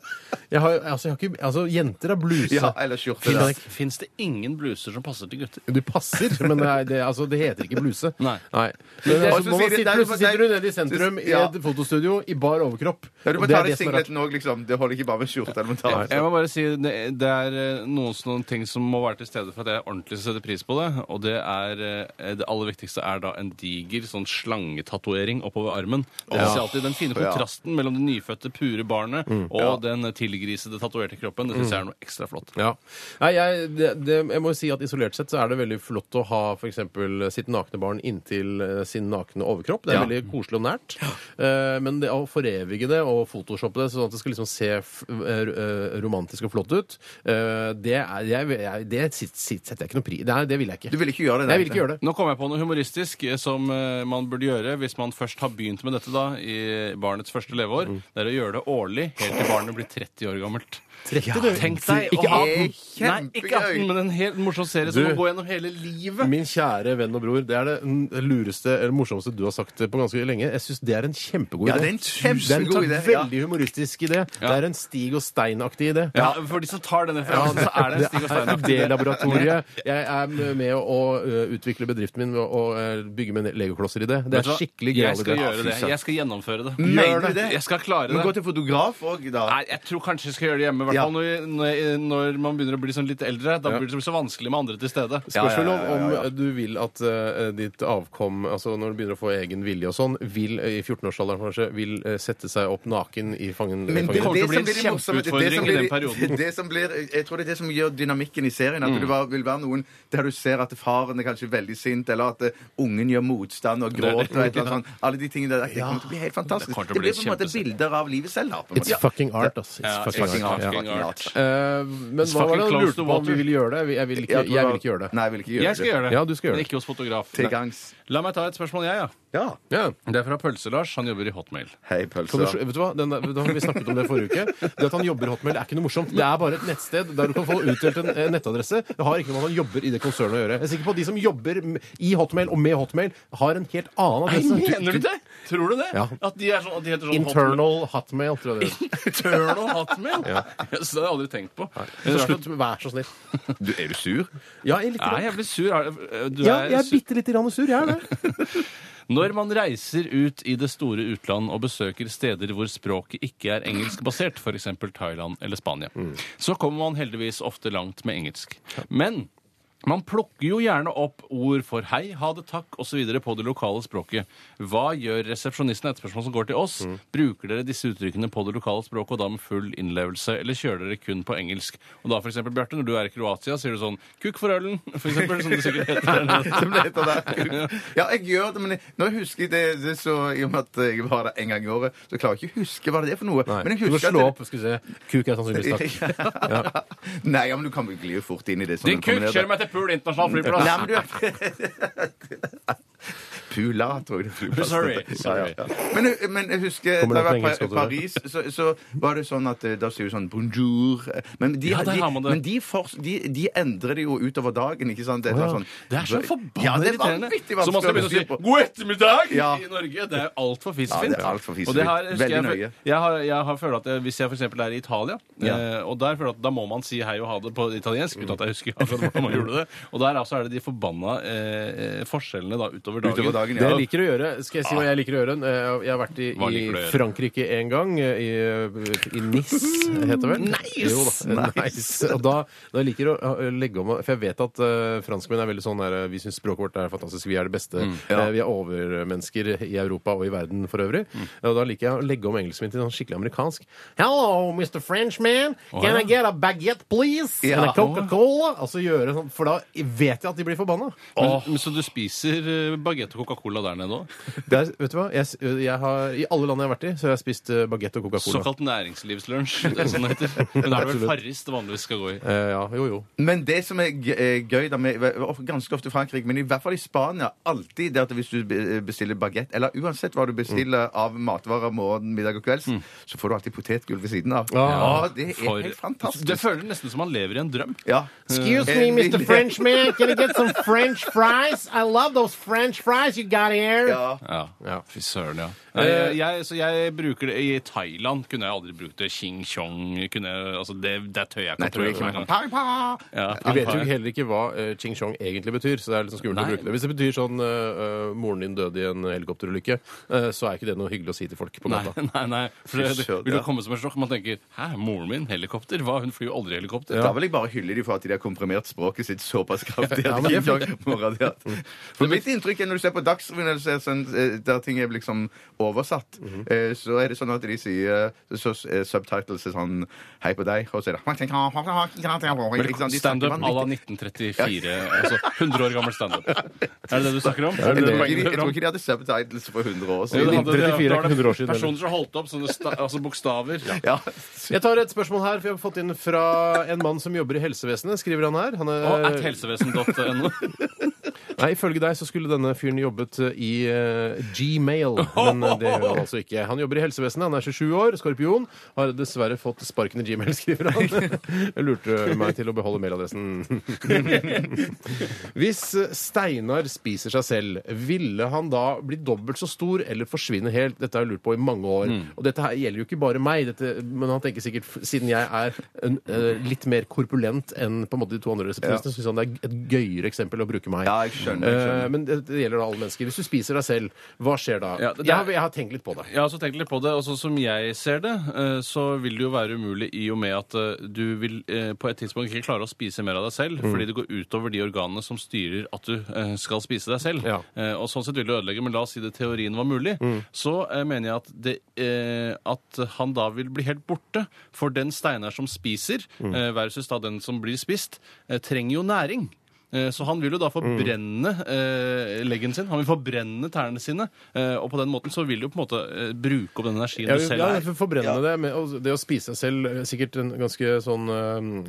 S1: Jeg har, altså, jeg har ikke, altså, jenter har bluse.
S2: Ja, eller skjorte.
S1: Finn
S2: da.
S1: deg-
S3: Fins det ingen bluser som passer til gutter?
S1: Du passer, men det, er, det, altså, det heter ikke bluse.
S3: Nei.
S1: Men, altså,
S2: Og så
S1: nå
S2: sier de-
S1: sitter,
S2: der-
S1: plutselig sitter du nede i sentrum i
S2: Ja.
S1: et fotostudio i bar overkropp.
S2: Ja, du må
S1: Og det
S2: ta
S1: er
S2: deg
S1: det som er rart.
S2: singleten òg, liksom. Det holder ikke bare med skjorte. eller noe annet.
S3: Jeg må bare si, Det det er eh, noen sånne ting som må være til stede for at jeg ordentlig skal sette pris på det. Og det er eh, det aller viktigste er da en diger sånn slangetatovering oppover armen. Det vil si alltid Den fine
S2: Ja. Mm.
S3: kontrasten mellom det nyfødte, pure barnet og den tilgrisede, tatoverte kroppen. Det syns jeg er noe ekstra flott.
S1: Ja. Nei, jeg, det, det, jeg må jo si at isolert sett så er det veldig flott å ha f.eks. sitt nakne barn inntil eh, sin nakne overkropp. Det er
S2: Ja.
S1: veldig koselig og nært. Eh, men det å forevige det og photoshoppe det sånn at det skal liksom se f eh, eh, romantisk og flott ut, eh, det, er, jeg, jeg, det sit, sit, setter jeg ikke noe pri Det, er- det vil jeg ikke.
S2: Du vil ikke gjøre det?
S1: jeg vil ikke gjøre det.
S3: Nå kom jeg på noe humoristisk eh, som eh, man burde gjøre hvis man først har begynt med dette da, i barnets første leveår. Det er å gjøre det årlig helt til barnet blir 30 år gammelt. Tenk deg å
S2: Ikke
S3: ha
S2: 18.
S3: Nei, ikke 18, men en helt morsom serie som
S1: Du- Mm.
S3: må gå gjennom hele livet.
S1: Min kjære venn og bror, det er det n- lureste eller morsomste du har sagt på ganske lenge. Jeg syns det er en kjempegod idé.
S2: Ja, det er en kjempegod
S1: Det er
S2: idé,
S1: en
S2: ja.
S1: veldig humoristisk idé. Det er en Stig og Stein-aktig idé.
S3: Ja, For de som tar den referansen, så er det en Stig og
S1: er
S3: Stein-aktig.
S1: det laboratoriet. Jeg er med å ø, utvikle bedriften min ved å ø, bygge med legoklosser i det. Det
S3: Vet du
S1: er
S3: hva?
S1: skikkelig
S3: Jeg
S1: gøy.
S3: skal gjøre det.
S2: Fy søren.
S3: Jeg skal gjennomføre det.
S2: Mener
S3: Gjør
S2: du det?
S3: Jeg skal klare
S2: Men gå
S3: det.
S2: til fotograf òg, da.
S3: Nei, jeg tror kanskje jeg skal gjøre det hjemme. i hvert
S2: Ja.
S3: fall når, når, når man begynner å bli sånn litt eldre. Da blir det så vanskelig med andre til stede.
S1: Spørsmålet
S2: Ja, ja,
S1: om
S2: ja, ja, ja.
S1: om du vil at ø, ditt avkom, altså når du begynner å få egen vilje og sånn, vil ø, i 14-årsalderen kanskje, vil ø, sette seg opp naken i fangen.
S2: Men
S1: fangen-
S3: det kommer til å bli en
S2: som blir morsomt, det- det
S3: kjempeutfordring
S2: som
S3: i
S2: blir-
S3: den perioden. Mm.
S2: Det som blir, jeg tror det er det som gjør dynamikken i serien. At du bare vil være noen der du ser at faren er kanskje veldig sint, eller at eh, ungen gjør motstand og gråter. og et eller annet sånt. Alle de tingene der. Det kommer til å bli helt fantastisk.
S3: Det kommer til å
S2: Det blir på
S3: bli
S2: en måte
S3: kjempeserie.
S2: bilder av livet selv. da. på en måte.
S1: It's fucking art, ass. It's
S3: Ja,
S1: fucking
S3: fucking
S1: art.
S3: art.
S1: Ja.
S3: fucking
S1: Eh, men hva
S3: fucking
S1: var det du
S3: close
S1: lurte
S3: to
S1: på om vi
S3: water.
S1: ville gjøre det? Vi- Jeg vil ikke,
S2: Jeg tror
S1: jeg vil
S2: det-
S1: ikke gjøre det.
S2: Nei, jeg vil ikke gjøre
S3: Jeg skal gjøre det.
S1: Ja, du skal gjøre
S3: Men
S1: det.
S3: ikke hos fotograf.
S2: Til gangs.
S3: La meg ta et spørsmål, jeg, ja.
S2: Ja.
S1: Ja.
S3: Det er fra Pølse-Lars. Han jobber i Hotmail.
S2: Hei,
S1: Kan du,
S2: pølser.
S1: vet du hva? Den, der- da har vi snakket om det forrige uke. Det at han jobber i Hotmail, er ikke noe morsomt. Det er bare et nettsted der du kan få utdelt en eh, nettadresse. Det har ikke noe med at han jobber i det konsernet å gjøre. Jeg er sikker på at de som jobber m- i Hotmail og med Hotmail, har en helt annen adresse.
S3: Mener du det? Tror du det?
S1: Ja.
S3: At de, er sånn, at de heter sånn
S1: Internal Hotmail, tror jeg det heter.
S3: Hotmail? Internal Hotmail? Så det har jeg aldri tenkt på.
S1: Så slutt, vær så snill.
S2: Du, er du sur?
S1: Ja, jeg, litt,
S3: Nei, jeg blir sur. Er det- Du
S1: ja,
S3: er
S1: jeg er
S3: sur.
S1: bitte lite grann sur, jeg er det.
S3: Når man reiser ut i det store utland og besøker steder hvor språket ikke er engelskbasert, f.eks. Thailand eller Spania, så kommer man heldigvis ofte langt med engelsk. Men man plukker jo gjerne opp ord for hei, ha det, takk osv. på det lokale språket. Hva gjør resepsjonisten? er Et spørsmål som går til oss. Bruker dere disse uttrykkene på det lokale språket og da med full innlevelse, eller kjører dere kun på engelsk? Og da f.eks. Bjarte, når du er i Kroatia, sier du sånn 'kukk for ølen', f.eks., som det sikkert heter der nede.
S2: Som det heter der. Ja, jeg gjør det, men jeg, nå husker jeg det, det så, I og med at jeg var der en gang i året, så klarer jeg ikke å huske hva det er for noe. Men jeg
S1: Du må
S2: husker
S1: slå
S2: at
S1: opp, skal vi se. Kuk er sannsynligvis takk.
S2: Nei, ja, men du kan vel gli jo fort inn i det.
S3: Din kukk kjører meg til Pool internasjonal flyplass!
S2: Nei, men du Pula, tror jeg det er flyplassen.
S3: Sorry, sorry.
S2: Ja, ja. Men, jeg- men jeg husker
S1: Kommer
S2: da
S1: det på
S2: jeg var
S1: engelsk
S2: i
S1: også,
S2: Paris, så, så var det sånn at eh, da sier du sånn bonjour eh, Men de,
S3: Ja, der
S2: de,
S3: har man det.
S2: men de, fors- de, de endrer det jo utover dagen, ikke sant? Det,
S1: Å, ja.
S2: sånn,
S3: Det er så forbanna
S2: ja, det er
S3: irriterende.
S2: vanvittig
S3: Så man skal
S2: vanskelig
S3: begynne å si
S2: styre på.
S3: 'god ettermiddag'
S2: Ja.
S3: i Norge. Det er jo altfor
S2: Ja,
S3: fisefint.
S2: det er alt for fisefint.
S3: Og det her husker
S2: Veldig
S3: jeg-
S2: nøye.
S3: Jeg har, jeg har følt at jeg, Hvis jeg f.eks. er i Italia,
S2: Ja.
S3: eh, og der føler jeg at da må man si hei og ha det på italiensk uten at jeg husker akkurat hvordan man gjorde det. Og der altså er det de forbanna eh, eh, forskjellene da utover dagen.
S2: Utover dagen,
S1: Det
S2: ja.
S1: jeg liker å gjøre, skal jeg si hva jeg liker å gjøre? Eh, Jeg har vært i,
S3: Hva
S1: i
S3: liker du å gjøre?
S1: Frankrike en gang, eh, i, i Nis, heter det vel?
S3: Nice!
S1: Jo da, eh, nice. Og da, da liker jeg å eh, legge om, for jeg vet at eh, franskmenn er veldig sånn der, eh, vi synes språket vårt er fantastisk, vi er det beste,
S3: Mm,
S1: Eh, vi er overmennesker i Europa og i verden for øvrig.
S3: Mm.
S1: Og da liker jeg å legge om engelsken min til sånn skikkelig amerikansk. Hello, Mr. Frenchman, can I get a baguette, please?
S2: Ja.
S1: And a Coca-Cola? Altså gjøre sånn, for da vet jeg at de blir forbanna.
S3: Men, men Så du spiser eh, baguette og Coca-Cola der nede òg?
S1: Det er, vet du hva? Jeg, s- jeg har, I alle land jeg har vært i, så har jeg spist eh, baguette og Coca-Cola.
S3: Såkalt næringslivslunsj. Det er sånn det heter. Men da er det vel Farris det vanligvis skal gå i.
S1: Eh, ja, jo, jo.
S2: Men det som er g- eh, gøy da med of- ganske ofte i Frankrike, men i hvert fall i Spania, alltid det at hvis du be- eh, bestiller baguette, eller uansett hva du bestiller av matvarer morgen, middag og kvelds, så får du alltid potetgull ved siden av. Ja, det er
S3: For-
S2: helt fantastisk.
S3: Det føles nesten som man lever i en drøm.
S2: ja.
S1: Excuse
S2: me, Mr.
S1: Frenchman, can I get some French fries? I love those French fries. you got here.
S2: Ja. Eh,
S3: Ja.
S1: Ja.
S3: Fy søren, ja. Nei, jeg, jeg, så jeg bruker det I Thailand kunne jeg aldri brukt det. Ching chong kunne jeg, altså det, det tør jeg ikke
S2: Nei, tror jeg ikke man kan.
S3: engang. Ja,
S1: Vi vet jo heller ikke hva eh, ching chong egentlig betyr. så det er litt sånn skummelt å
S3: Nei.
S1: bruke det. Hvis det betyr sånn eh, eh, 'moren din døde i en helikopterulykke', eh, så er ikke det noe hyggelig å si til folk på
S3: Nei,
S1: gata.
S3: nei, nei. For det, det
S2: søren,
S3: vil jo
S2: ja.
S3: komme som et sjokk. Man tenker 'hæ, moren min? Helikopter?' Hva, hun flyr jo aldri helikopter.
S2: Da vil jeg bare hylle dem for at de har komprimert språket sitt såpass kraftig.
S1: Ja,
S2: at
S1: men
S2: de
S1: det er
S2: ikke må radere. For Mitt inntrykk er når du ser på Dagsrevyen eller ser sånn, eh, der ting er liksom oversatt, eh, så er det sånn at de sier så, eh, subtitles er sånn Hei på deg, og så er det Ikke sant? De snakker
S3: Standup à la
S2: vanvittig.
S3: 1934. Altså 100 år gammel standup. Er det det du snakker om?
S2: Jeg tror ikke de- jeg tror ikke de hadde subtitles for 100
S3: Jo,
S2: år
S3: det
S2: siden.
S3: hadde det.
S1: 1934 er
S3: Da var det
S1: 100 år siden, eller?
S3: Personer som holdt opp sånne sta altså bokstaver.
S2: Ja.
S1: Jeg tar et spørsmål her, for jeg har fått inn fra en mann som jobber i helsevesenet. skriver han her. Han er,
S3: Og at helsevesen.no.
S1: nei, Ifølge deg så skulle denne fyren jobbet eh, i eh, Gmail, men eh, det gjør han altså ikke. Han jobber i helsevesenet, han er 27 år, skorpion. Har dessverre fått sparken i Gmail, skriver han. Jeg lurte meg til å beholde mailadressen. Hvis eh, Steinar spiser seg selv, ville han da bli dobbelt så stor eller forsvinne helt? Dette har jeg lurt på i mange år.
S2: Mm.
S1: Og dette her gjelder jo ikke bare meg, dette, men han tenker sikkert, f- siden jeg er en, eh, litt mer korpulent enn på en måte de to andre resepsjonistene, synes han det er et gøyere eksempel å bruke meg.
S2: Ja, jeg skjønner, jeg skjønner.
S1: Eh, Men det, det gjelder da alle mennesker. Hvis du spiser deg selv, hva skjer da?
S3: Ja, det-
S1: jeg, har, jeg har tenkt litt på det.
S3: Jeg har også tenkt litt på det, og sånn som jeg ser det, eh, så vil det jo være umulig i og med at eh, du vil eh, på et tidspunkt ikke klare å spise mer av deg selv, fordi det går utover de organene som styrer at du eh, skal spise deg selv.
S1: Ja.
S3: Eh, Og sånn sett vil det ødelegge, men la oss si det teorien var mulig,
S1: Mm.
S3: så eh, mener jeg at, det, eh, at han da vil bli helt borte, for den Steinar som spiser,
S1: Mm.
S3: eh, versus da den som blir spist, eh, trenger jo næring. Eh, Så han vil jo da
S1: Mm.
S3: forbrenne eh, leggen sin. Han vil forbrenne tærne sine. Eh, og på den måten så vil du på en måte eh, bruke opp den energien
S1: Ja,
S3: du selv
S1: ja,
S3: er.
S1: for- forbrenne det. Med, og det å spise seg selv er sikkert en ganske sånn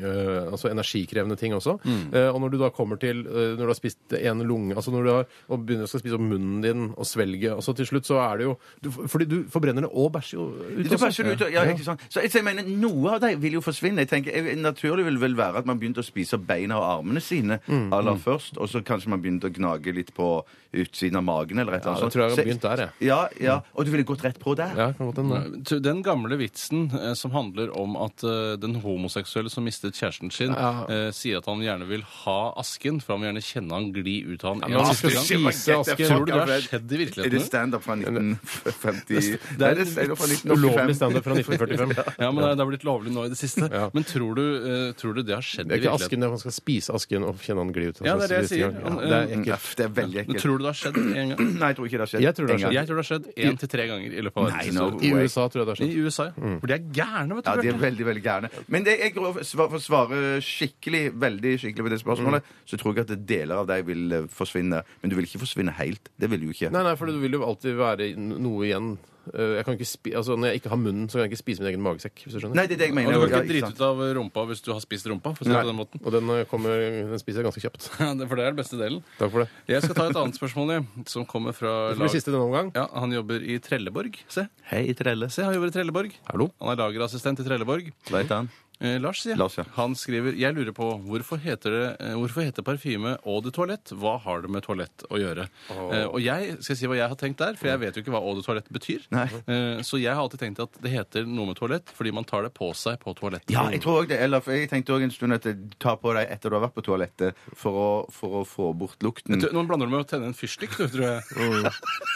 S1: øh, altså energikrevende ting også.
S2: Mm.
S1: Eh, og når du da kommer til øh, når du har spist en lunge altså når du har, og begynner å skal spise opp munnen din og svelget, og så til slutt så er det jo du, Fordi du forbrenner det og bæsjer jo ut.
S2: Du
S1: også.
S2: bæsjer ut, ja, ikke sant? Så jeg, så jeg mener, Noe av det vil jo forsvinne. Jeg tenker, jeg, Naturlig vil vel være at man begynte å spise beina og armene sine
S1: Mm,
S2: aller først, og så kanskje man begynte å gnage litt på utsiden av magen eller et eller
S1: Ja,
S2: annet.
S1: jeg tror jeg har
S2: sånt.
S1: begynt der, jeg.
S2: Så- Ja, ja, Og du ville gått rett på der?
S1: Ja, kan godt hende.
S3: Så Den gamle vitsen eh, som handler om at eh, den homoseksuelle som mistet kjæresten sin,
S1: Ja.
S3: eh, sier at han gjerne vil ha asken, for han vil gjerne kjenne han gli ut av han
S1: men
S3: en
S1: han skal
S3: siste gang.
S1: spise asken.
S3: Tror du det har
S2: Fuck,
S3: skjedd i
S2: Er det
S3: virkeligheten?
S2: standup fra 1950
S1: Det
S2: Nei,
S1: er
S2: stand-up fra
S1: en
S2: 1985.
S1: ulovlig standup fra 1945.
S3: Ja, men det er- det har blitt lovlig nå i det siste. Men tror du, eh, tror du det har skjedd
S1: Det er
S3: i
S1: ikke
S3: virkeligheten?
S1: asken, det er man skal spise asken og kjenne han gli ut.
S3: Ja, det er det jeg sier. Um,
S1: Ja, det er ekkelt.
S2: Uff, det er veldig ekkelt.
S3: Tror du det har skjedd en gang?
S2: Nei, jeg tror ikke det har skjedd.
S1: Jeg tror det har
S2: En gang.
S3: Jeg tror det har skjedd én til tre ganger i løpet av verdens
S2: Nei, no.
S3: historie.
S1: I USA tror jeg det sånn. har skjedd.
S3: I USA, ja. For de er gærne, vet du.
S2: Ja, de er
S3: Bjarte.
S2: veldig, veldig gærne. Men det, jeg for å svare skikkelig veldig skikkelig på det spørsmålet,
S3: Mm.
S2: så tror jeg at deler av deg vil eh, forsvinne. Men du vil ikke forsvinne helt. Det vil du ikke.
S1: Nei, nei, for du vil jo alltid være i no- noe igjen. Eh, Jeg kan ikke spi altså, når jeg ikke har munnen, så kan jeg ikke spise min egen magesekk. hvis du skjønner.
S2: Nei, det er det jeg
S3: Og
S2: mener.
S3: du kan
S2: Ja,
S3: ikke
S2: ikke
S3: drite
S2: sant?
S3: ut av rumpa hvis du har spist rumpa. For, å si det på den måten.
S1: Og den, eh, kommer, den spiser jeg ganske kjapt.
S3: Ja, det- for det er den beste delen.
S1: Takk for det.
S3: Jeg skal ta et annet spørsmål, jeg, som kommer fra
S1: Det blir
S3: lag...
S1: siste denne omgang.
S3: Ja, Han jobber i Trelleborg. Se,
S2: Hei, Trelle.
S3: Se han jobber i Trelleborg.
S1: Hallo.
S3: Han er lagerassistent i Trelleborg.
S2: Hva heter han?
S3: Eh, Lars, sier jeg.
S2: Lars, ja.
S3: Han skriver Jeg lurer på hvorfor heter, det, eh, hvorfor heter parfyme eau de toalett? Hva har det med toalett å gjøre? Eh, og jeg skal si hva jeg har tenkt der, for jeg vet jo ikke hva eau de toalett betyr.
S2: Nei.
S3: Eh, så jeg har alltid tenkt at det heter noe med toalett fordi man tar det på seg på toalettet.
S2: Ja, jeg tror også det. Eller for jeg tenkte òg en stund at ta på deg etter du har vært på toalettet for å, for å få bort lukten.
S3: Du, Nå blander du med å tenne en fyrstikk, du, tror jeg.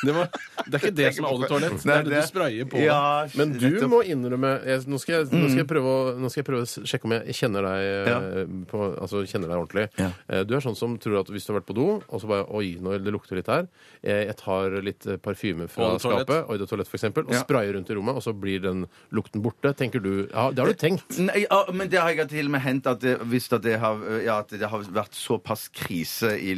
S3: Det, var, det er ikke det som er eau de toalett, det
S2: Nei,
S3: er det du sprayer på.
S2: Ja,
S1: Men du
S2: nettopp. Mm.
S1: må innrømme jeg, nå, skal jeg, nå, skal jeg prøve å, nå skal jeg prøve å s- sjekke om jeg kjenner deg, eh, på, altså, kjenner deg ordentlig.
S2: Ja.
S1: Eh, Du er sånn som tror at hvis du har vært på do, og så bare Oi, nå det lukter litt her. Eh, Jeg tar litt eh, parfyme fra
S3: Eau de Toilette.
S1: skapet, Oi de Toilette f.eks., og
S2: Ja.
S1: sprayer rundt i rommet, og så blir den lukten borte. Tenker du Ja, det har du tenkt.
S2: Nei, ja, men det har jeg til og med hendt at det, hvis at det, har, ja, at det har vært såpass krise i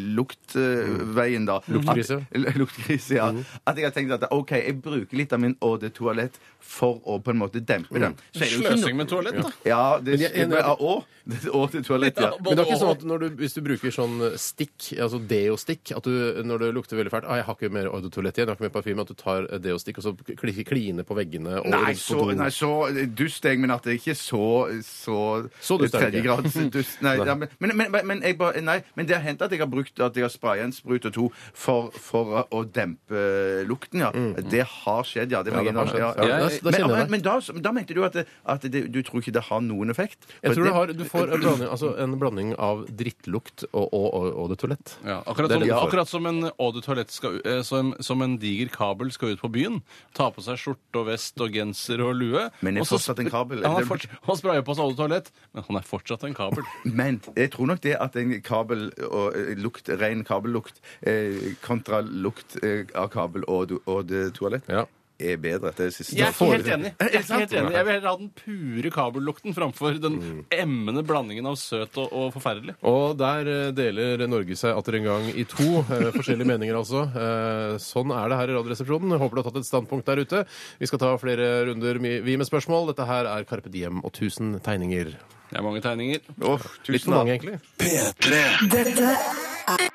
S2: luktveien, da
S1: Mm. Luktkrise. Mm.
S2: At, l- luktkrise, ja. At jeg har tenkt at OK, jeg bruker litt av min eau de toalett for å på en måte dempe den. Så er det jo ikke
S3: Sløsing
S2: no-
S3: med toalett, da.
S2: ja, A, det,
S1: Mm. Men jeg- jeg-
S2: med A, å. Det er Å til toalett, ja.
S1: Men det er ikke sånn at når du, hvis du bruker sånn stikk, altså deo-stikk, at du når det lukter veldig fælt ah, 'Jeg har ikke mer Eau de Toilette igjen, jeg har ikke mer parfyme', at du tar deo-stikk og så kli- kline på veggene og
S2: Nei,
S1: rundt på
S2: så,
S1: doen.
S2: nei, så eh, dust er jeg, men at det ikke er så Så,
S1: Så dust er det ikke.
S2: tredjegrads dust. Nei, ja, men, men, men, men, jeg bare, nei, men det har hendt at jeg har brukt At jeg har spraya en sprut og to for, for å dempe lukten, ja. Det har skjedd, ja. Det må
S1: Mm. Ja, det
S2: jeg
S1: har
S2: innrømme,
S1: skjedd.
S2: ja.
S1: Ja, da- da
S2: Men,
S1: kjenner jeg
S2: men,
S1: deg.
S2: men da, da mente du at, det, at det, du tror ikke det har noen effekt?
S1: Jeg tror
S2: For
S1: det har, du får en blanding, altså en blanding av drittlukt og, og, og, og det toalett.
S3: Ja, akkurat,
S1: Det er
S3: som,
S2: sånn-
S1: det du får.
S3: akkurat som en eau de toilette skal, eh, som, som en diger kabel skal ut på byen. Ta på seg skjorte og vest og genser og lue.
S2: Men er
S3: og så
S2: fortsatt en
S3: spr-
S2: kabel.
S3: Han, er forts- han sprayer på seg eau de toilette, men han er fortsatt en kabel.
S2: Men jeg tror nok det at en kabel og eh, lukt, ren kabellukt eh, kontra lukt eh, av kabel og, do- og det toalett
S1: Ja.
S2: er bedre. Det er siste.
S3: Jeg er ikke helt
S2: Foreløpig.
S3: enig. Jeg, er ikke helt enig. jeg vil heller ha den pure kabellukten framfor den
S2: Mm.
S3: emmende blandingen av søt og, og forferdelig.
S1: Og der eh, deler Norge seg atter en gang i to. eh, Forskjellige meninger, altså. Eh, Sånn er det her i Radioresepsjonen. Jeg Håper du har tatt et standpunkt der ute. Vi skal ta flere runder mi- vi med spørsmål. Dette her er Carpe Diem og 1000 tegninger.
S3: Det er mange tegninger.
S2: Åh, tusen
S1: Litt for mange, egentlig.
S6: Dette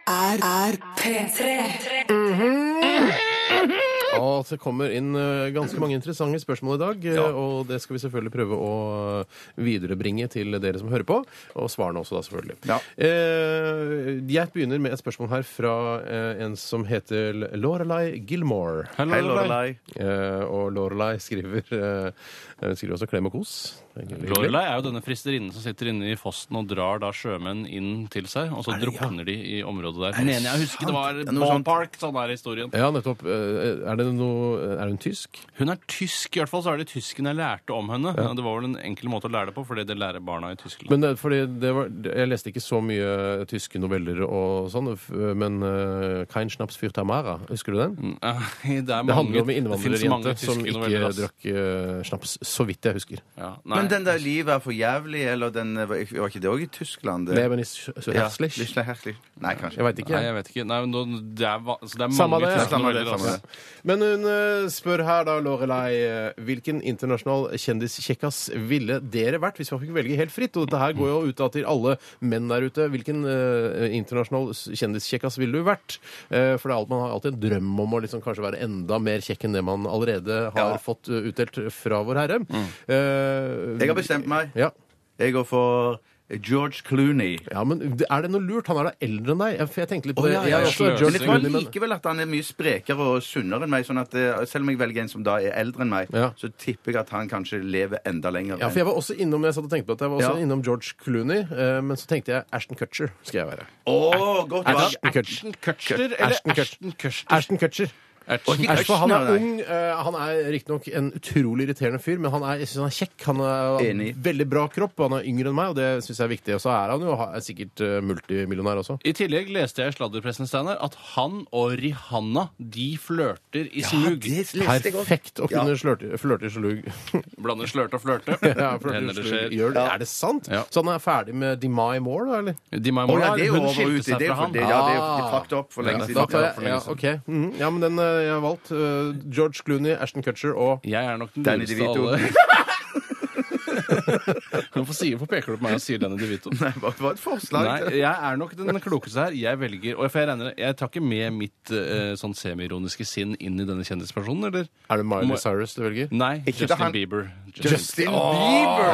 S6: er, er P3.
S2: Mhm.
S1: Og det kommer inn eh, ganske mange interessante spørsmål i dag, eh, og det skal vi selvfølgelig prøve å eh, viderebringe til dere som hører på, og svarene også da, selvfølgelig.
S2: Ja.
S1: Eh, jeg begynner med et spørsmål her fra eh, en som heter Lorelei Gilmore.
S2: Hei, Lorelei.
S1: Eh, og Lorelei skriver, eh, hun skriver også klem og kos. Det er hyggelig.
S3: Lorelei er jo denne fristerinnen som sitter inne i fossen og drar da sjømenn inn til seg, og så drukner de i området der. Mener jeg husker det var
S2: sant? Noe sånt.
S3: Ballpark, sånn er historien.
S1: Ja, nettopp. Eh, Er, det noe, er hun tysk?
S3: Hun er tysk, i hvert fall så er det tysken jeg lærte om henne. Og Det var vel en enkel måte å lære det på, fordi det lærer barna i Tyskland.
S1: Men det, fordi det var, Jeg leste ikke så mye tyske noveller og sånn, f- men eh, 'Kein Schnaps für Tamara', husker du den?
S3: Nei, det, er
S1: Det handler om en
S3: det finnes mange
S1: innvandrerjente som
S3: tyske
S1: ikke
S3: noveller, ass.
S1: drakk eh, snaps, så vidt jeg husker.
S3: Ja, nei.
S2: Men den der 'Livet er for jævlig', eller den eh, var var ikke det òg i Tyskland? Det?
S1: Leben is so
S2: Ja,
S1: herzlich.
S2: litt slik herselig. Nei, kanskje.
S1: Jeg veit ikke.
S3: Nei, jeg vet ikke. Nei, men nå- det er, va- så det er
S1: Samme
S3: mange
S1: det, ja.
S3: tyske
S2: Samme det,
S3: noveller,
S2: samme
S3: altså.
S2: det.
S1: Men hun eh, spør her, da, Lorelei, eh, hvilken internasjonal kjendiskjekkas ville dere vært hvis man fikk velge helt fritt? Og dette her går jo ut da til alle menn der ute. Hvilken eh, internasjonal s- kjendiskjekkas ville du vært? Eh, for det er alt, man har alltid en drøm om å liksom kanskje være enda mer kjekk enn det man allerede har
S2: Ja.
S1: fått eh, utdelt fra Vårherre. Eh,
S2: Jeg har bestemt meg.
S1: Ja.
S2: Jeg går for George Clooney.
S1: Ja, men det- Er det noe lurt? Han er da eldre enn deg? Jeg- For jeg tenkte litt på
S3: Å,
S1: det.
S3: ja,
S1: Jeg er også
S3: ja, sløsing.
S1: George
S2: Men jeg tror
S1: Clooney, men
S2: likevel at han er mye sprekere og sunnere enn meg. Sånn at eh, Selv om jeg velger en som da er eldre enn meg,
S1: Ja.
S2: så tipper jeg at han kanskje lever enda lenger.
S1: ja, for jeg var også innom jeg satt og tenkte på at jeg var også
S2: Ja.
S1: innom George Clooney, eh, men så tenkte jeg Ashton Cutcher skal jeg være.
S2: Åh, godt valg.
S1: Ashton Kutcher.
S3: Ashton Kutcher eller
S1: Ashton Kutcher.
S3: Ashton Kutcher?
S1: Ashton Kutcher.
S3: Ashton
S2: Ikke
S1: Ashton, han er
S2: Kutcher, nei.
S1: ung. eh, Han er riktignok en utrolig irriterende fyr, men han er, jeg synes han er kjekk. Han er han
S2: Enig.
S1: har veldig bra kropp, og han er yngre enn meg, og det syns jeg er viktig. Og så er han jo ha- er sikkert eh, multimillionær også.
S3: I tillegg leste jeg i sladderpressen Steiner, at han og Rihanna de flørter i smug.
S1: Perfekt å kunne
S2: Ja.
S1: slørte- flørte i slug.
S3: Blander slørte og flørte.
S1: Ja, flørte i
S3: Hender det
S1: slug.
S3: skjer.
S1: Gjør det. Er det sant?
S3: Ja.
S1: Så han er ferdig med Demi Moore, da, eller?
S3: De Mai
S2: Å,
S3: Moore,
S2: ja, det er jo
S3: hun
S2: over og
S3: skilte
S2: ut. Det
S3: seg
S2: er jo
S3: fra
S2: for-
S3: han.
S2: det- ja, det er jo fucked up for lenge
S1: Ja,
S2: siden.
S1: Da tar
S2: Fucked up for
S1: jeg, ja,
S2: lenge siden.
S1: ok. Mhm, ja, men den eh, jeg har valgt eh, George Clooney, Ashton Cutcher og
S3: Jeg er nok den
S2: Danny
S3: lureste av
S2: DeVito.
S3: alle. Hvorfor sier- hvorfor peker du på meg og sier Danny DeVito?
S2: Nei, hva hva er et forslag?
S3: Nei, jeg er nok den klokeste her. Jeg velger og for jeg, regner, jeg tar ikke med mitt eh, sånn semi-ironiske sinn inn i denne kjendispersonen, eller?
S1: Er det Miley
S3: Må-
S1: Cyrus du velger?
S3: Nei,
S2: Ikke da
S3: Justin
S2: han-
S3: Bieber.
S2: Justin Bieber!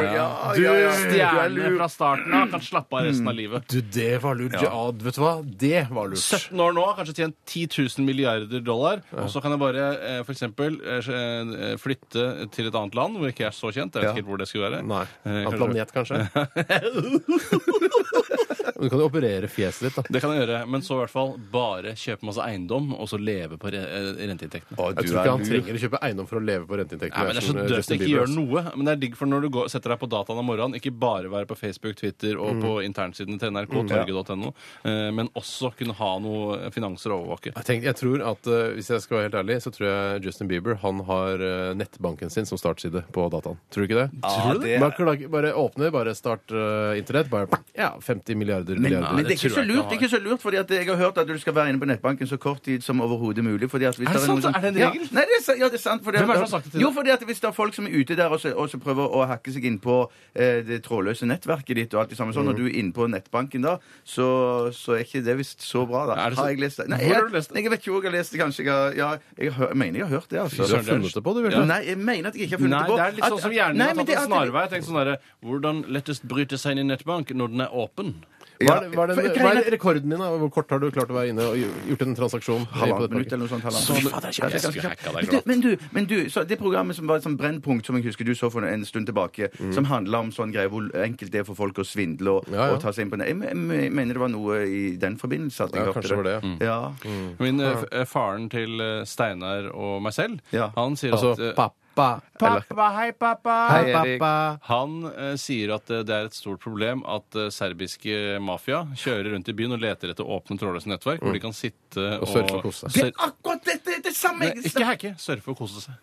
S2: Mm. Ja,
S1: Du-
S2: ja, ja. Du er
S3: Stjerne
S2: lur.
S3: fra starten av kan slappe av resten av livet.
S1: Du, det var lurt. Ja. vet du hva? Det var lurt.
S3: 17 år nå, kanskje tjent 10 000 milliarder dollar. Og så kan jeg bare eh, for eksempel eh, eh, flytte til et annet land hvor jeg ikke er så kjent. Jeg vet ikke helt hvor det skulle være.
S1: Nei.
S3: Eh,
S1: Av
S3: kanskje-
S1: planet, kanskje? Men Du kan jo operere fjeset ditt, da.
S3: Det kan jeg gjøre, men så i hvert fall bare kjøpe masse eiendom og så leve på re eh, renteinntektene.
S2: Å, du
S1: Jeg tror
S2: er
S1: ikke han
S2: lur.
S1: trenger å kjøpe eiendom for å leve på renteinntekter.
S3: Nei, men Det er så
S1: som, eh,
S3: døvt å
S1: Justin
S3: ikke
S1: Bieber,
S3: gjøre
S1: altså.
S3: noe. Men det er digg for når du går, setter deg på dataen om morgenen, ikke bare være på Facebook, Twitter og
S1: Mm.
S3: på internsidene til NRK, torget.no, eh, men også kunne ha noe eh, finanser å overvåke.
S1: Jeg, tenker, jeg tror at, eh, Hvis jeg skal være helt ærlig, så tror jeg Justin Bieber han har eh, nettbanken sin som startside på dataen. Tror du ikke det?
S2: Ja, Tror du det? det-
S1: Man klager, bare åpner, bare start eh, internett. Bare ja, 50 milliarder milliarder,
S2: Men,
S1: milliarder.
S2: men det, er ikke
S3: det
S2: så
S3: tror jeg
S2: lurt,
S3: ikke
S2: det er ikke så lurt, fordi at jeg har hørt at du skal være inne på nettbanken så kort tid som overhodet mulig. Fordi at hvis
S3: Er det
S2: noen
S3: sant?
S2: som-
S3: Er det en
S2: ja.
S3: regel?
S2: Nei, det er, sa- ja, det er sant. fordi at-
S3: Hvem er det som har sagt det til
S2: Jo,
S3: deg?
S2: fordi at hvis det er folk som er ute der og så, og så prøver å hakke seg inn på eh, det trådløse nettverket ditt og alt det samme sånn, og
S3: Mm.
S2: du er inne på nettbanken da, så, så er ikke det visst så bra, da.
S3: Er det så-
S2: Har jeg lest det? Nei,
S3: Hvor
S2: jeg,
S3: har du lest det?
S2: Nei, jeg vet ikke hvor jeg har lest det, kanskje. Jeg, har- ja, jeg, har, jeg mener jeg har hørt det, altså.
S1: Du har funnet det på, du, Bjarte.
S2: Nei, jeg mener at jeg ikke har funnet
S3: Nei,
S2: det på.
S3: det er litt sånn
S2: At-
S3: som hjernen
S2: Nei,
S3: har tatt
S2: men det er
S3: en
S2: at-
S3: snarvei. Tenk sånn derre Hvordan lettest bryte seg inn i nettbank når den er åpen?
S1: Hva er, det-
S2: Ja.
S1: hva, er
S2: For-
S1: det, hva er rekorden din? da? Hvor kort har du klart å være inne og gjort en transaksjon?
S2: halvannet minutt eller noe sånt. halvannet
S1: Sånn.
S3: Så-
S2: minutt.
S3: Fader,
S2: Ja, det er
S3: jeg skulle
S2: ganske
S3: hacka
S2: kjapt.
S3: deg,
S2: Men du, men du, så det programmet som var et sånt Brennpunkt, som jeg husker du så for en stund tilbake, som handla om sånn greier hvor enkelt det er for folk å svindle og,
S1: Mm. Ja, ja.
S2: og ta seg inn på det. Jeg, me- jeg mener det var noe i den forbindelse. At jeg
S1: Ja,
S2: hørte
S1: kanskje var det, ja. Mm.
S2: Ja.
S3: Min, eh, f- eh, faren til eh, Steinar og meg selv,
S2: Ja.
S3: han sier
S1: Altså
S3: at eh,
S1: pappa.
S3: Pappa, hei, pappa!
S1: Hei,
S2: Hei, Erik.
S1: pappa.
S3: Han eh, sier at eh, det er et stort problem at eh, serbiske mafia kjører rundt i byen og leter etter åpne trådløse nettverk hvor de kan sitte og,
S1: surfe Mm. og kose seg.
S2: Det
S3: Sur-
S2: er akkurat dette! Det er samme!
S3: Nei, ikke hacke. Surfe og kose seg.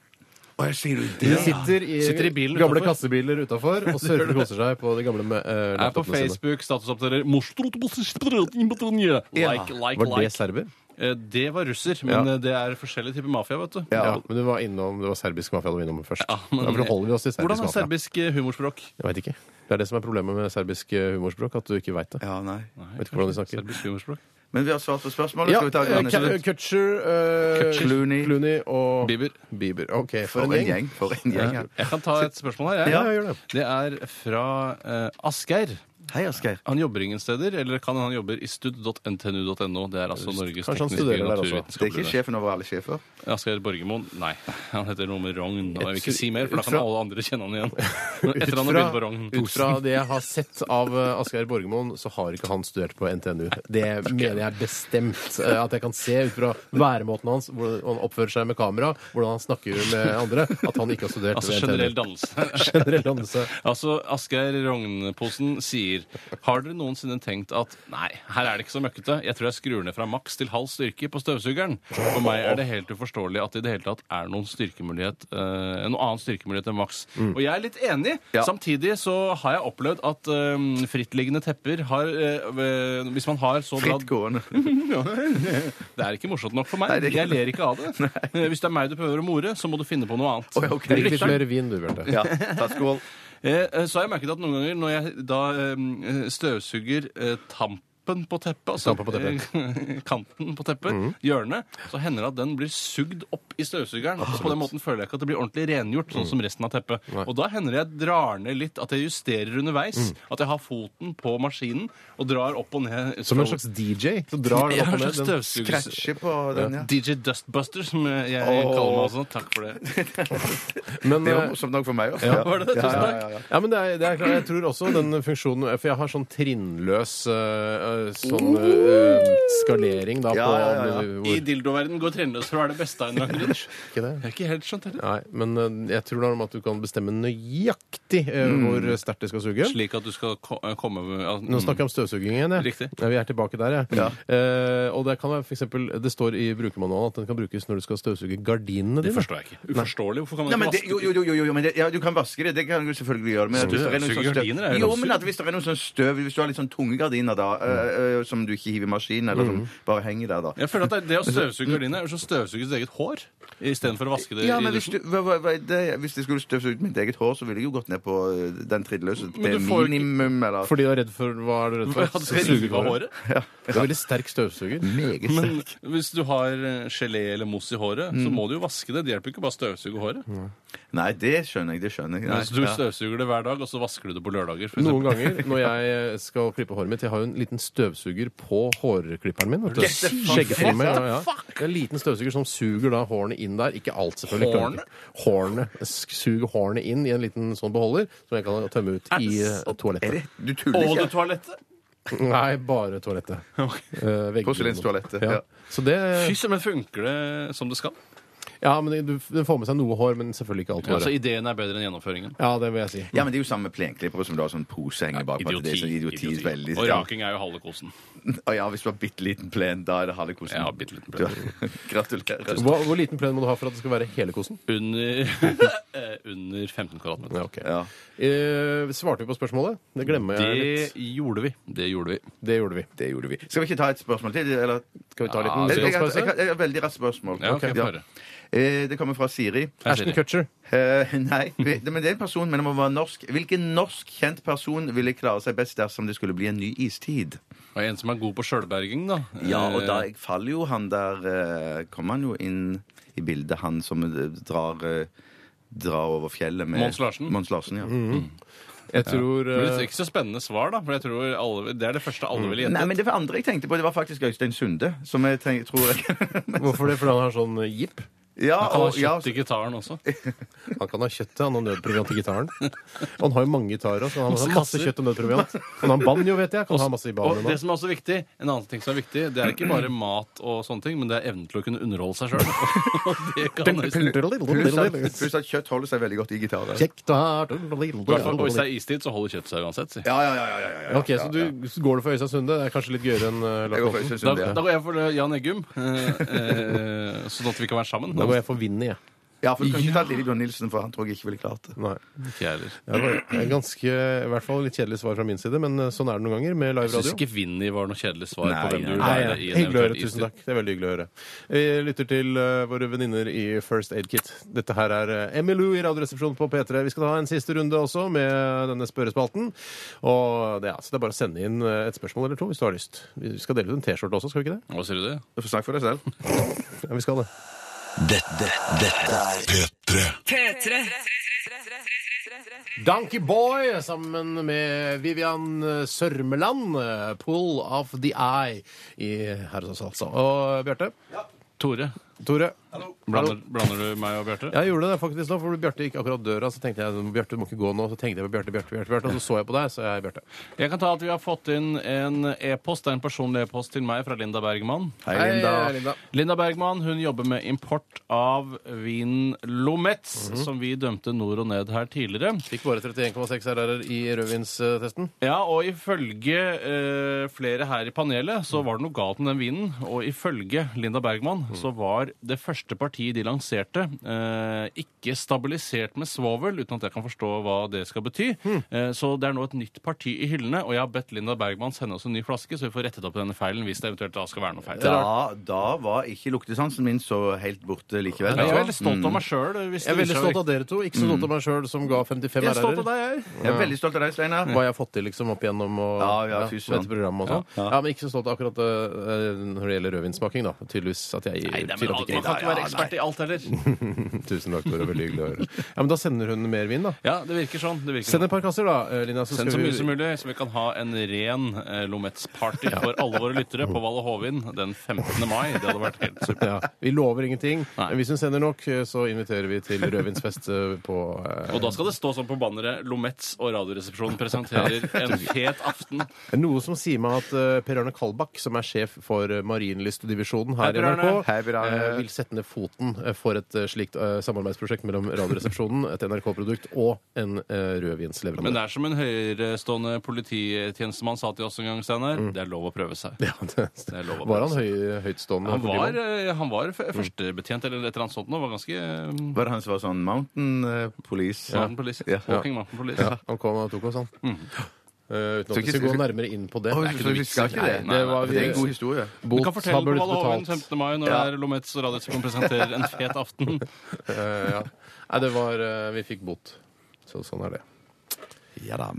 S2: Å, jeg sier du
S1: De
S2: det?
S1: sitter i,
S3: Sitter i bilen
S1: gamle
S3: utenfor.
S1: kassebiler utafor og surfer og koser seg på de gamle eh,
S3: Er på
S1: laptopene sine.
S3: Facebook, statusoppdaterer Like, like,
S1: Var det
S3: like.
S1: serber?
S3: Eh, Det var russer, men eh, det er forskjellige typer mafia, vet du.
S1: Ja. men du var innom, det var serbisk mafia du var innom først.
S3: Ja, men- eh,
S1: da forholder vi oss til serbisk
S3: Hvordan er
S1: mafia.
S3: serbisk eh, humorspråk?
S1: Jeg vet ikke. Det er det som er problemet med serbisk eh, humorspråk, at du ikke veit det.
S2: Ja, nei.
S1: Vet ikke hvordan de snakker.
S3: Serbisk humorspråk.
S2: Men vi har svart på spørsmålet.
S1: Ja,
S2: Skal vi ta
S1: eh,
S2: Johannes?
S1: Ka- Kutcher, eh,
S2: Kutcher. Clooney.
S1: Clooney og
S3: Bieber.
S1: Bieber. OK, for,
S2: For en gjeng. For en gjeng. ja.
S3: Jeg kan ta et spørsmål her. jeg.
S1: Ja, gjør det.
S3: Det er fra eh, Asgeir.
S2: Hei, Asgeir.
S3: Han jobber ingen steder, eller kan han jobber i stud.ntnu.no. Det er altså Norges
S1: Kanskje han
S3: tekniske
S1: studerer der også.
S2: Det er ikke
S3: naturvitenskapelige
S2: sjefen over alle sjefer.
S3: Asgeir Borgermoen? Nei. Han heter noe med Rogn. og Jeg vil ikke si mer, for da kan
S1: Ut fra-
S3: alle andre kjenne han igjen. Etter han har begynt på Rogn.
S1: ut fra det jeg har sett av eh, Asgeir Borgermoen, så har ikke han studert på NTNU. Det mener jeg bestemt eh, at jeg kan se ut fra væremåten hans, hvordan han oppfører seg med kamera, hvordan han snakker med andre, at han ikke har studert
S3: Altså
S1: ved NTNU.
S3: generell dannelse.
S1: Generell dannelse.
S3: Altså, Asgeir Rognposen sier Har dere noensinne tenkt at Nei, her er det ikke så møkkete. Jeg tror jeg skrur ned fra maks til halv styrke på støvsugeren. For meg er det helt uforståelig at det i det hele tatt er noen styrkemulighet eh, noen annen styrkemulighet enn maks. Og jeg er litt enig.
S2: Mm. Ja.
S3: Samtidig så har jeg opplevd at eh, frittliggende tepper har eh, ved- Hvis man har så bra
S2: Fritt gående.
S3: Det er ikke morsomt nok for meg.
S2: Nei, det er ikke-
S3: Jeg ler ikke av det. Hvis det er meg du prøver å more, så må du finne på noe annet.
S2: Oi, ok.
S3: Lytteren-
S1: Drikk litt mer vin, du, Bjarte.
S2: Ja, ta skål.
S3: Eh, eh, så har jeg merket at noen ganger når jeg da eh, støvsuger eh, tampen på teppet, altså
S1: Tampen på teppet. Mm.
S3: eh, kanten på teppet, hjørnet, så hender det at den blir sugd opp i støvsugeren. og På den måten føler jeg ikke at det blir ordentlig rengjort,
S1: Mm.
S3: sånn som resten av teppet. Og da hender det jeg drar ned litt, at jeg justerer underveis,
S1: Mm.
S3: at jeg har foten på maskinen og drar opp og ned.
S1: Som en slags DJ. Så drar
S3: jeg
S1: den opp
S3: har en
S1: og
S3: slags
S1: ned. Den
S3: støvsugs...
S2: Scratche på den, ja.
S3: DJ Dustbuster, som eh, jeg
S2: Åh.
S3: kaller meg også. Takk for det.
S1: Men,
S2: Det var
S1: eh,
S2: morsomt nok for meg også.
S3: Ja, var det det? Tusen takk.
S1: Ja, men det er, det er klart, Jeg tror også den funksjonen For jeg har sånn trinnløs øh, øh, sånn øh, skalering da
S2: Ja,
S1: på
S2: ja, ja, ja.
S3: I
S1: Hvor,
S3: dildoverden går trendløs fra er det beste av en eller annen grunn.
S1: ikke det?
S3: Jeg er ikke helt skjønt heller.
S1: Nei, men øh, jeg tror da om at du kan bestemme nøyaktig øh,
S3: Mm.
S1: hvor sterkt det skal suge.
S3: Slik at du skal ko eh, komme mm, at,
S1: Nå snakker jeg om støvsuging igjen. Jeg.
S3: Riktig.
S1: Ja, vi er tilbake der, jeg. Eh, og det kan være for eksempel, Det står i brukermanualen at den kan brukes når du skal støvsuge gardinene
S3: Det
S1: dine.
S3: forstår jeg ikke. Uforståelig. Hvorfor kan man
S2: Nei, men
S3: ikke
S2: det,
S3: vaske
S2: jo, jo, jo, jo, jo men det, ja, du kan vaske det. Det kan du selvfølgelig gjøre. Men at hvis det er
S3: Støvsuger
S2: noe sånn
S3: gardiner er jo
S2: støv, jo,
S3: ganske Mm.
S2: men at hvis det er noe sånn støv Hvis du har litt sånn tunge gardiner da, øh, øh, som du ikke hiver i maskinen, eller som bare henger der, da.
S3: Jeg føler at Mm. det, det å støvsuge gardinene er jo som å støvsuge sitt eget hår istedenfor å vaske det
S2: Ja,
S3: i
S2: men hvis,
S3: dusjen.
S2: du, hva, hva, hva, det, hvis jeg skulle støvse ut mitt eget hår, så ville jeg jo gått ned på øh, den trinløse
S3: Men
S2: til
S3: du får jo ikke-
S2: minimum, eller
S1: Fordi du er redd for Hva er du redd for?
S3: At det skal rive av håret.
S1: Det er veldig sterk støvsuger.
S2: Meget
S3: Men hvis du har eh, gelé eller mousse i håret, så må du jo vaske det. Det hjelper ikke å bare støvsuge håret.
S2: Nei, det skjønner jeg. Det skjønner jeg. Nei,
S3: Mens du
S2: ja.
S3: støvsuger det hver dag, og så vasker du det på lørdager. For
S1: Noen
S3: eksempel.
S1: ganger når jeg skal klippe håret mitt Jeg har jo en liten støvsuger på hårklipperen min. vet du.
S2: Get the fuck
S1: Skjeggtrimmer.
S3: out.
S1: Ja, ja. Det er en liten støvsuger som suger da hårene inn der. Ikke alt, selvfølgelig.
S3: Hårene?
S1: Hårene. Sk- Suger hårene inn i en liten sånn beholder som jeg kan tømme ut i eh,
S2: Er
S1: toalettet.
S2: det, du tuller
S3: Og du
S2: ikke?
S3: toalettet?
S1: Nei, bare toalettet. Eh, veggene.
S2: Porselenstoalettet, ja.
S1: Så det
S3: Fy søren, men funker det som det skal?
S1: Ja, men du, du får med seg noe hår, men selvfølgelig ikke alt
S3: Altså,
S1: håret.
S3: ideen er bedre enn gjennomføringen.
S1: Ja, det vil jeg si.
S2: Ja, men det er jo samme med plenklippere som du har sånn pose hengende bak.
S3: Idioti.
S2: det er sånn idioti,
S3: idioti.
S2: veldig
S3: Og raking er jo halve kosen.
S2: Å ja, hvis du har bitte liten plen, da er det halve kosen.
S3: Ja, bitteliten plen.
S2: Du- Gratulerer.
S1: Hvor, hvor liten plen må du ha for at det skal være hele kosen?
S3: Under, eh, under 15 kvadratmeter.
S1: Ja, ok.
S2: Ja.
S1: Eh, svarte vi på spørsmålet? Det glemmer jeg
S3: Det
S1: litt.
S3: gjorde vi. Det gjorde vi.
S1: Det gjorde vi.
S2: Det gjorde vi. Skal vi ikke ta et spørsmål til? Eller?
S1: Skal vi ta en
S3: Ja,
S1: liten
S2: Jeg, jeg, jeg,
S1: musikalspause?
S2: jeg, har et veldig raskt spørsmål.
S3: Ja, ok, få høre.
S2: Eh, Det kommer fra Siri.
S1: Ashton Kutcher.
S2: Eh, nei, vi- det, men det er en person, men det må være norsk. Hvilken norsk kjent person ville klare seg best dersom det skulle bli en ny istid?
S3: Og en som er god på sjølberging, da.
S2: Ja, og da
S3: Eh,
S2: faller jo han der eh, Kommer han jo inn i bildet, han som eh, drar eh, Drar over fjellet med Mm.
S3: Mons Larsen?
S2: Mons Larsen, ja.
S1: Jeg tror
S3: Men det
S1: eh,
S3: er ikke så spennende svar, da. For jeg tror alle, det er det første alle vil
S2: Nei,
S3: gjette.
S2: men det var andre jeg tenkte på. Det var faktisk Øystein Sunde. Som jeg tenk, tror
S1: Hvorfor det? Fordi han har sånn jeep?
S2: ja,
S3: Han
S2: og,
S3: har
S2: ja,
S3: kjøpt i gitaren også.
S1: Han kan ha kjøttet, han har nødproviant i gitaren. Og han har jo mange gitarer også. Han har
S3: Masse
S1: masse
S3: kasser.
S1: kjøtt og nødproviant. Han har banjo, vet jeg. Kan ha masse i
S3: Og
S1: banjoen
S3: det
S2: sånn-
S1: også.
S3: som er også viktig, En annen ting som er viktig, det er ikke bare mat, og sånne ting, men det er evnen til å kunne underholde seg sjøl.
S2: pluss, at, pluss at kjøtt holder seg veldig godt i gitarer.
S1: Kjekt å ha
S3: Hvis det er istid, så holder kjøttet seg uansett. si.
S2: Ja, ja, ja, ja, ja, ja, ja.
S1: Ok, så du så går du for Øystein Sunde? Det er kanskje litt gøyere enn eh,
S2: Jeg
S1: Lars
S2: går for
S1: Monsen?
S2: Øystein
S3: Da,
S2: Sunde. ja.
S3: da går jeg for eh, Jan Eggum, eh, eh, sånn at vi kan være sammen.
S1: Da går jeg for Vinni, jeg.
S2: Ja, for du kan ikke ta Lillebjørn Nilsen, for han tror jeg ikke ville klart det.
S1: Nei.
S3: Ikke jeg heller.
S1: Det var et ganske, i hvert fall litt kjedelig svar fra min side, men eh, sånn er det noen ganger med
S3: Jeg
S1: live
S3: syns
S1: radio.
S3: ikke Vinni var noe kjedelig svar
S2: Nei,
S3: på hvem du
S2: nei,
S3: vil
S1: Nei,
S3: være
S1: nei.
S3: i en
S1: Hyggelig å høre. Tusen
S3: eventuell istid.
S1: takk. Det er veldig hyggelig å høre. Vi lytter til eh, våre venninner i First Aid Kit. Dette her er eh, Emmy Lou i Radioresepsjonen på P3. Vi skal ta en siste runde også med denne spørrespalten. Og det, er altså, det er bare å sende inn eh, et spørsmål eller to hvis du har lyst. Vi skal dele ut en T-skjorte også, skal vi ikke det?
S3: Hva sier du det?
S2: Du får snakke for deg selv.
S1: Ja, vi skal det.
S5: Dette, dette er
S7: P3.
S6: P3.
S1: Donkey Boy sammen med Vivian Sørmeland. eh, Pull of the Eye i her hos oss, altså. Og Bjarte?
S3: Tore,
S1: Tore?
S3: blander, blander du meg og Bjarte?
S1: Jeg gjorde det faktisk nå, for Bjarte gikk akkurat døra. Så tenkte jeg Bjarte, du må ikke gå nå. Så tenkte jeg på Bjarte, Bjarte, Bjarte, Bjarte. Og så så jeg på deg, så jeg er Bjarte.
S3: Jeg kan ta at Vi har fått inn en e-post, det er en personlig e-post til meg fra Linda Bergman.
S2: Hei, Linda.
S3: Linda Bergman hun jobber med import av vinen Lometz,
S2: Mhm.
S3: som vi dømte nord og ned her tidligere.
S1: Fikk bare 31,6 RR-er i rødvinstesten.
S3: Ja, og ifølge eh, flere her i panelet så var det noe galt med den vinen. Og ifølge Linda Bergman
S1: Mm.
S3: så var det første partiet de lanserte, eh, ikke stabilisert med svovel, uten at jeg kan forstå hva det skal bety.
S1: Mm.
S3: Eh, så det er nå et nytt parti i hyllene, og jeg har bedt Linda Bergman sende oss en ny flaske, så vi får rettet opp denne feilen hvis det eventuelt da skal være noe feil.
S2: Da, da var ikke luktesansen min så helt borte likevel.
S3: Jeg er
S2: altså.
S3: veldig stolt av meg eh, sjøl.
S1: Mm. Jeg er veldig stolt av dere to. Ikke så stolt av meg sjøl som ga 55
S3: Mm. jeg er stolt
S1: RR-er.
S3: av deg, jeg.
S2: Jeg er veldig stolt av deg, Steinar.
S1: Hva jeg har fått til liksom opp igjennom og,
S2: Ja, ja, fy søren.
S1: dette programmet og sånn. Ja. men ikke så stolt av akkurat eh, når det gjelder rødvinsmaking, da. Tydeligvis at jeg
S3: Nei, nei, men,
S1: tydeligvis
S3: man
S1: at
S3: kan
S1: jeg
S3: ikke være ekspert i alt heller.
S1: ikke Tusen takk, Tore. Veldig hyggelig å høre. Ja, men da sender hun mer vin, da.
S3: Ja, det virker sånn. Det virker sånn.
S1: Send et par kasser, da, eh, Lina. Så
S3: Send så
S1: skal
S3: mye som
S1: vi
S3: mulig, så vi kan ha en ren eh, Lometz-party for alle våre lyttere på Valle Hovin den 15. mai. Det hadde vært helt supert.
S1: ja, Vi lover ingenting,
S3: Nei.
S1: men hvis hun sender nok, eh, så inviterer vi til rødvinsfest eh, på eh,
S3: Og da skal det stå sånn på banneret 'Lometz og Radioresepsjonen presenterer en fet aften'.
S1: Noe som sier meg at eh, Per Arne Kalbakk, som er sjef for eh, Marienlystdivisjonen
S3: Hei,
S1: her i
S3: Per
S1: NRK,
S3: Arne.
S2: Hei, Per Arne.
S1: eh, vil sette ned foten eh, for et eh, slikt eh, samarbeidsprosjekt mellom Radioresepsjonen, et NRK-produkt og en eh,
S3: Men det
S1: rødvinsleverandør.
S3: er som en høyerestående polititjenestemann sa til oss en gang, Steinar. Det er lov å prøve seg.
S1: Ja, Mm. det,
S3: er lov å
S1: var han
S3: prøve
S1: høy, høytstående?
S3: Han var,
S1: politimann?
S3: eh, han var
S1: Mm.
S3: f- førstebetjent eller et eller annet sånt nå. Var ganske eh,
S2: Var det han som var sånn Mountain eh, Police?
S3: Mountain Police.
S2: Ja.
S3: Walking Mountain Police.
S1: Ja, han kom og tok oss, han. Eh, uten
S2: Så
S1: at vi
S2: ikke-
S1: skal gå nærmere inn på det.
S2: Å,
S1: Det er ikke
S2: så
S1: noe
S2: vi
S1: vits.
S2: skal ikke det?
S1: Nei, det var,
S2: For Det er en god historie.
S3: Du
S1: Bot
S3: kan fortelle
S1: har
S3: på
S1: blitt
S3: Valle Hovin
S1: betalt.
S3: 15. mai når det er Lometz og Radioresepsjonen presenterer en fet aften.
S1: Eh, ja. Nei, det var eh, Vi fikk bot. Så sånn er det.
S2: Ja da.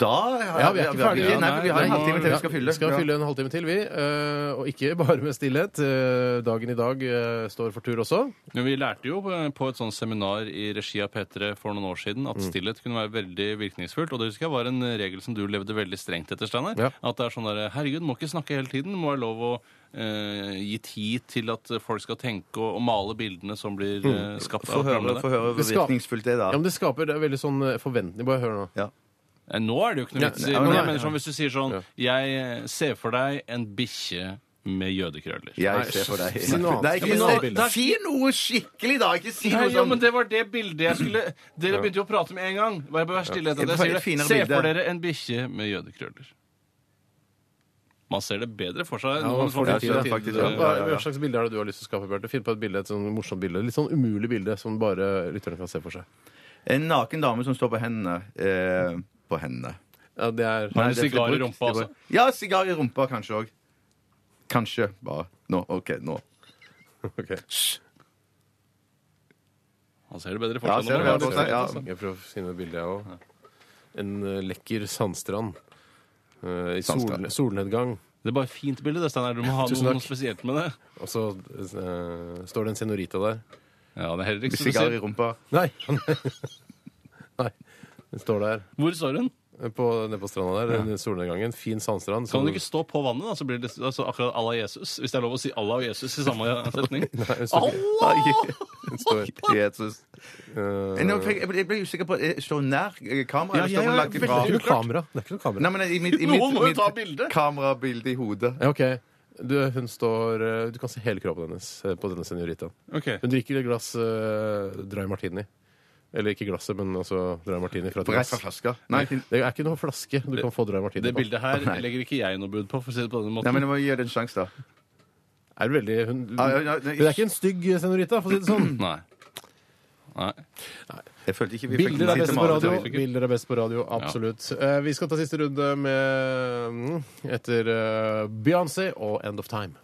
S2: Da har
S1: Ja, vi er ikke ferdige.
S2: Nei, for vi har en
S3: Nei,
S2: halvtime til vi skal fylle.
S1: Vi skal
S2: Ja.
S1: fylle en halvtime til, vi. eh, Og ikke bare med stillhet. Eh, Dagen i dag eh, står for tur også.
S3: Men vi lærte jo eh, på et sånt seminar i regi av P3 for noen år siden at stillhet kunne være veldig virkningsfullt. Og det husker jeg var en regel som du levde veldig strengt etter, Steinar.
S1: Ja.
S3: At det er sånn derre Herregud, må ikke snakke hele tiden. Må være lov å eh, gi tid til at folk skal tenke og, og male bildene som blir eh, skapt
S2: Få
S3: av
S2: høre,
S3: programmet.
S2: få høre hvor
S1: Vi skal-
S2: virkningsfullt det er,
S1: Ja, men
S2: da.
S1: Det skaper det er veldig sånn eh, forventning. Bare hør nå.
S2: Ja.
S3: Eh, Nå er det jo ikke noe vits i.
S2: nei,
S3: Men
S2: nei,
S3: jeg
S2: nei.
S3: mener sånn, hvis du sier sånn Jeg eh, ser for deg en bikkje med jødekrøller.
S2: Jeg ser på deg.
S1: si noe annet.
S2: Nei,
S1: Ja,
S2: ikke
S1: men
S2: si
S1: nå-
S2: noe-
S3: der-
S2: si noe skikkelig, da! Ikke si
S3: Nei,
S2: noe
S3: ja, men
S2: sånn.
S3: det var det bildet jeg skulle Dere begynte jo å prate med en gang. Vær vær stille etter
S2: Ja.
S3: det. Jeg sier det.
S2: Finere
S3: Se
S2: bilde.
S3: for dere en bikkje med jødekrøller. Man ser det bedre for seg.
S1: Ja,
S3: når
S1: man
S3: man
S1: får
S3: får
S1: det
S3: det
S1: til,
S3: til.
S2: faktisk,
S1: Hva,
S2: ja.
S1: hva slags bilde er det du har lyst til å skape, Bjarte? Finn på et bilde, et sånn morsomt bilde. Litt sånn umulig bilde som bare lytterne kan se for seg.
S2: En naken dame som står på hendene. Eh, på hendene.
S1: Ja, det er
S3: Men
S2: Nei, det er
S3: sigar i rumpa,
S2: brukt. Det er
S3: altså.
S2: brukt. Ja, sigar i rumpa kanskje òg. Kanskje bare. Nå. OK, nå.
S1: Ok.
S3: Man ser det bedre
S2: Ja,
S3: for seg.
S2: ser
S3: når
S2: det
S3: man
S2: bedre for
S3: har det.
S2: seg, ja.
S1: Jeg prøver å finne et bilde, jeg òg. En eh, lekker sandstrand. eh, I sol,
S2: Sandstrand.
S1: solnedgang.
S3: Det er bare et fint bilde, det, Steinar. Du må ha
S1: Tusen
S3: noe,
S1: takk.
S3: noe spesielt med det.
S1: Og så eh, står det en senorita der.
S3: Ja, det er heller ikke så
S2: Sigar i
S3: spesielt.
S2: rumpa.
S1: Nei! Nei. Den står der
S3: Hvor står hun?
S1: eh, på, nede på stranda der. den Solnedgangen. Fin sandstrand.
S3: Kan hun ikke stå på vannet, da? Så blir det altså, akkurat Allah Jesus. Hvis det er lov å si Allah og Jesus i samme setning.
S1: hun står ikke-
S3: Allah!
S1: den står,
S2: Jesus.
S1: eh,
S2: Nå fikk- Jeg ble- jeg ble usikker på eh, Står hun nær eh, kameraet? eller
S3: Ja,
S2: står hun
S3: ja,
S2: langt
S3: ja,
S2: ifra?
S1: Det er jo kamera. Det er ikke noe kamera.
S2: Nei, men i mitt, i mitt,
S3: Noen må jo
S2: mitt
S3: ta bildet.
S2: kamerabilde i hodet.
S1: Ja, OK. Du, hun står eh, Du kan se hele kroppen hennes eh, på denne senoritaen.
S3: Ok.
S1: Hun drikker et glass eh, dry martini. Eller ikke glasset, men altså dry martini fra et
S2: Rett
S1: glass.
S2: fra flaska. Nei, nei
S1: Det er ikke noen flaske du kan få dry martini
S3: Det
S1: på.
S3: bildet her legger ikke jeg noe bud på, for å si det på denne
S2: men jeg
S3: måten.
S2: må gi det en sjanse, da.
S1: Er veldig, hun, hun,
S2: Ah, ja, ja, nei,
S1: hun er ikke en stygg senorita, for å si det sånn.
S3: Nei. Nei.
S2: Jeg følte ikke vi fikk
S1: Bilder er
S2: tid
S1: best
S2: til
S1: på
S2: Marit.
S1: radio. Bilder er best på radio, Absolutt. Eh, vi skal ta siste runde med mm, etter eh, Beyoncé og End of Time.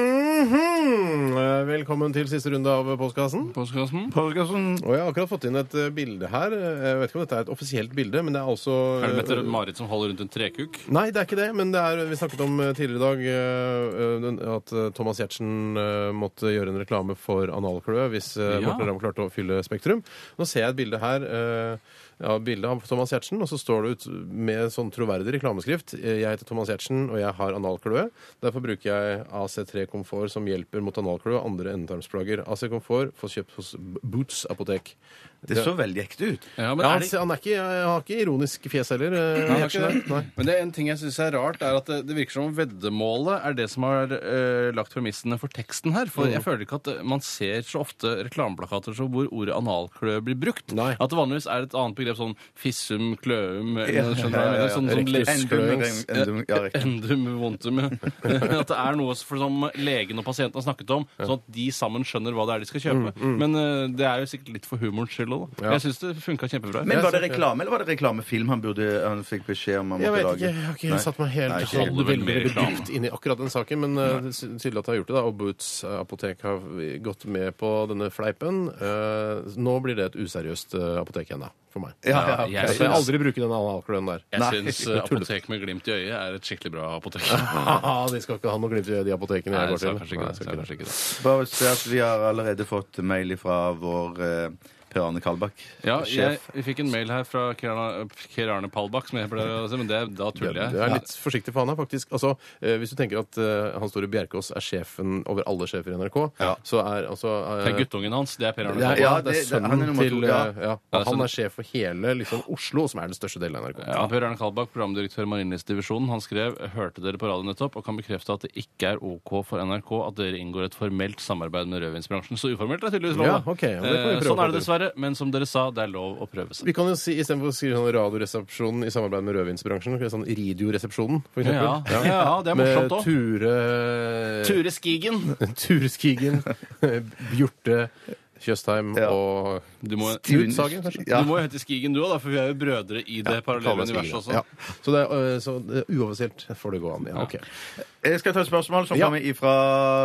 S1: Mhm. Eh, Velkommen til siste runde av Postkassen.
S3: Postkassen?
S1: Og jeg har akkurat fått inn et eh, bilde her. Jeg vet ikke om dette er et offisielt bilde, men det er altså
S3: Er det Mette Marit som holder rundt en trekuk?
S1: Nei, det er ikke det, men det er, vi snakket om eh, tidligere i dag eh, eh, den- at eh, Thomas Giertsen eh, måtte gjøre en reklame for analklø hvis eh,
S3: Ja.
S1: Morten Ramm klarte å fylle Spektrum. Nå ser jeg et bilde her eh, ja, bildet av Thomas Giertsen, og så står det ut med sånn troverdig reklameskrift. eh, Jeg heter Thomas Giertsen, og jeg har analkløe. Derfor bruker jeg AC3 Komfort som hjelper mot analkløe og andre endetarmsplager. AC Komfort får kjøpt hos Boots apotek.
S2: Det så veldig ekte ut.
S3: Ja, men
S1: Ja,
S3: er
S1: han,
S3: det...
S1: han er ikke, han har ikke ironisk fjes heller. eh,
S3: Nei,
S1: han har
S3: det er
S1: ikke
S3: ikke
S1: det. Nei.
S3: Men det er en ting jeg syns er rart, er at det, det virker som om veddemålet er det som har eh, lagt premissene for teksten her. For jeg føler ikke at eh, man ser så ofte reklameplakater så hvor ordet analklø blir brukt.
S1: Nei.
S3: At det vanligvis er et annet begrep sånn fissum, kløum eller skjønner du hva jeg
S2: Ja, ja,
S3: mener?
S2: ja.
S3: Sånn, sånn
S1: Riktig.
S3: le-
S2: Endum, endum, ja, riktig.
S3: Endum vontum. ja. At det er noe for, som legen og pasienten har snakket om, sånn at de sammen skjønner hva det er de skal kjøpe. Men eh, det er jo sikkert litt for humorens skyld òg.
S1: Mm, Ja.
S3: Jeg syns det funka kjempebra.
S2: Men var det reklame, eller var det reklamefilm han, burde, han fikk beskjed om han
S1: Jeg
S2: måtte
S1: vet
S2: lage?
S1: ikke. Jeg har ikke
S2: Nei.
S1: helt satt meg helt
S2: Nei, ikke
S1: halv
S3: heller vel
S1: veldig,
S3: mer
S1: veldig
S3: reklame.
S1: dypt inn i akkurat den saken, men eh, det er tydelig at jeg har gjort det. da, Og Boots eh, apotek har vi gått med på denne fleipen. Eh, Nå blir det et useriøst eh, apotek igjen, da, for meg.
S2: Ja, ja,
S3: Ja,
S1: Jeg
S3: jeg
S2: ok.
S1: skal
S3: synes-
S1: aldri bruke den analkløen der.
S3: Jeg syns
S1: det er tullet.
S3: apotek med glimt i øyet er et skikkelig bra apotek.
S1: Haha, de skal ikke ha noe glimt i de apotekene
S3: Nei,
S1: jeg går
S3: så
S1: til.
S3: kanskje
S1: Nei,
S3: ikke det.
S1: jeg
S3: så
S1: skal ikke
S3: kanskje ikke det.
S2: Bare se at vi har allerede fått mail fra vår eh, Per Arne Kalbakk.
S3: Ja, jeg,
S2: sjef.
S3: vi fikk en mail her fra Kerarne Kerarne Palbakk, som jeg pleier å si, men det, da
S1: det.
S3: tuller jeg.
S1: Du er litt forsiktig, for han er faktisk altså, eh, Hvis du tenker at eh, Hans Store Bjerkås er sjefen over alle sjefer i NRK,
S2: Ja.
S1: så er altså eh,
S3: Det er guttungen hans. Det er Per Arne
S1: det er,
S3: Palbakk.
S1: ja,
S2: Ja,
S1: det er
S2: det- det- han er
S1: sønnen
S2: nummer to,
S1: til eh,
S2: ja.
S1: ja.
S3: Ja, så
S1: Og han
S3: det-
S1: er sjef for hele liksom, Oslo, som er den største delen av NRK.
S3: Ja, per Arne Kalbakk, programdirektør i Marienlystdivisjonen, han skrev hørte dere på radio nettopp og kan bekrefte at det ikke er OK for NRK at dere inngår et formelt samarbeid med rødvinsbransjen. Så uformelt er tydeligvis lov.
S1: Ja,
S3: da.
S1: ok, ja, det kan vi
S3: Eh,
S1: prøve
S3: sånn
S1: på,
S3: er det
S1: du.
S3: dessverre, men som dere sa, det er lov å prøve seg.
S1: Vi kan jo si istedenfor å skrive sånn Radioresepsjonen i samarbeid med rødvinsbransjen, så kan vi sånn Radioresepsjonen, for
S3: Ja,
S1: eksempel.
S3: ja, det er morsomt
S1: Med
S3: òg.
S1: Ture
S3: Ture Skigen.
S1: Ture Skigen, Bjarte Tjøstheim
S2: Ja.
S1: og
S3: Du må,
S1: Knut Sagen, kanskje?
S2: Ja.
S3: du må jo hete Skigen du òg, for vi er jo brødre i det parallelle
S1: Kalle Skigen.
S3: universet også.
S1: Ja. Så, det, er, øh, så det er uoffisielt får det gå an. Ja, ok.
S2: Jeg skal ta et spørsmål som
S1: Ja.
S2: kommer ifra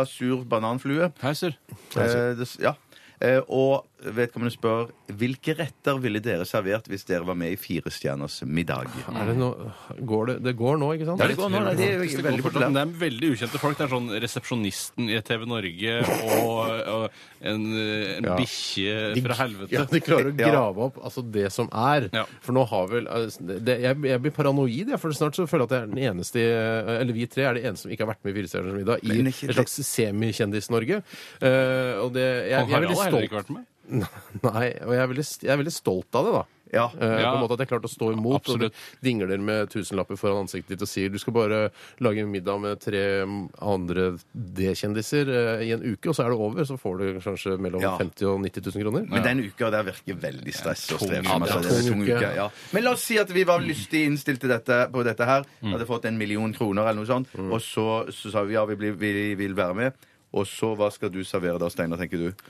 S2: Sur bananflue.
S3: Hei, sir.
S2: Eh, det, ja. Eh, og vedkommende spør hvilke retter ville dere servert hvis dere var med i Fire stjerners middag?
S1: Er det, noe- går det, det går nå, ikke sant?
S2: Ja, det går nå, det er jo veldig
S3: Fortsatt, men
S2: populært.
S3: det er veldig ukjente folk. Det er sånn resepsjonisten i TV Norge og, og en, eh, en
S1: Ja.
S3: bikkje fra helvete.
S1: Ja, de klarer å
S2: Ja.
S1: grave opp altså, det som er.
S3: Ja.
S1: For nå har vel altså, det, jeg, jeg blir paranoid, jeg, for snart så føler jeg at jeg er den eneste i- Eller vi tre er de eneste som ikke har vært med i Firestjerners middag i
S2: Men
S1: et
S2: ikke det-
S1: slags semikjendis-Norge. Eh, og det jeg, jeg
S3: Og
S1: er veldig
S3: Harald har heller ikke
S1: stolt
S3: vært med.
S1: Nei, og jeg er, veldig, jeg er veldig stolt av det, da.
S2: Ja.
S1: Eh,
S3: Ja.
S1: På en måte At jeg klarte å stå imot. Og
S3: Absolutt.
S1: du dingler med tusenlapper foran ansiktet ditt og sier du skal bare lage middag med tre andre D-kjendiser eh, i en uke, og så er det over. Så får du kanskje mellom
S2: Ja.
S1: 50 000 og 90 000 kroner.
S2: Men den uka der virker veldig stress og strev.
S1: Ja, det er
S2: Altså, det er en
S1: tung
S2: tung
S1: uke.
S2: uke, ja. Men la oss si at vi var lystig innstilt til dette, på dette her.
S1: Mm.
S2: Hadde fått en million kroner eller noe sånt. Og så, så sa vi ja, vi, blir, vi vil være med. Og så hva skal du servere da, Steinar, tenker du?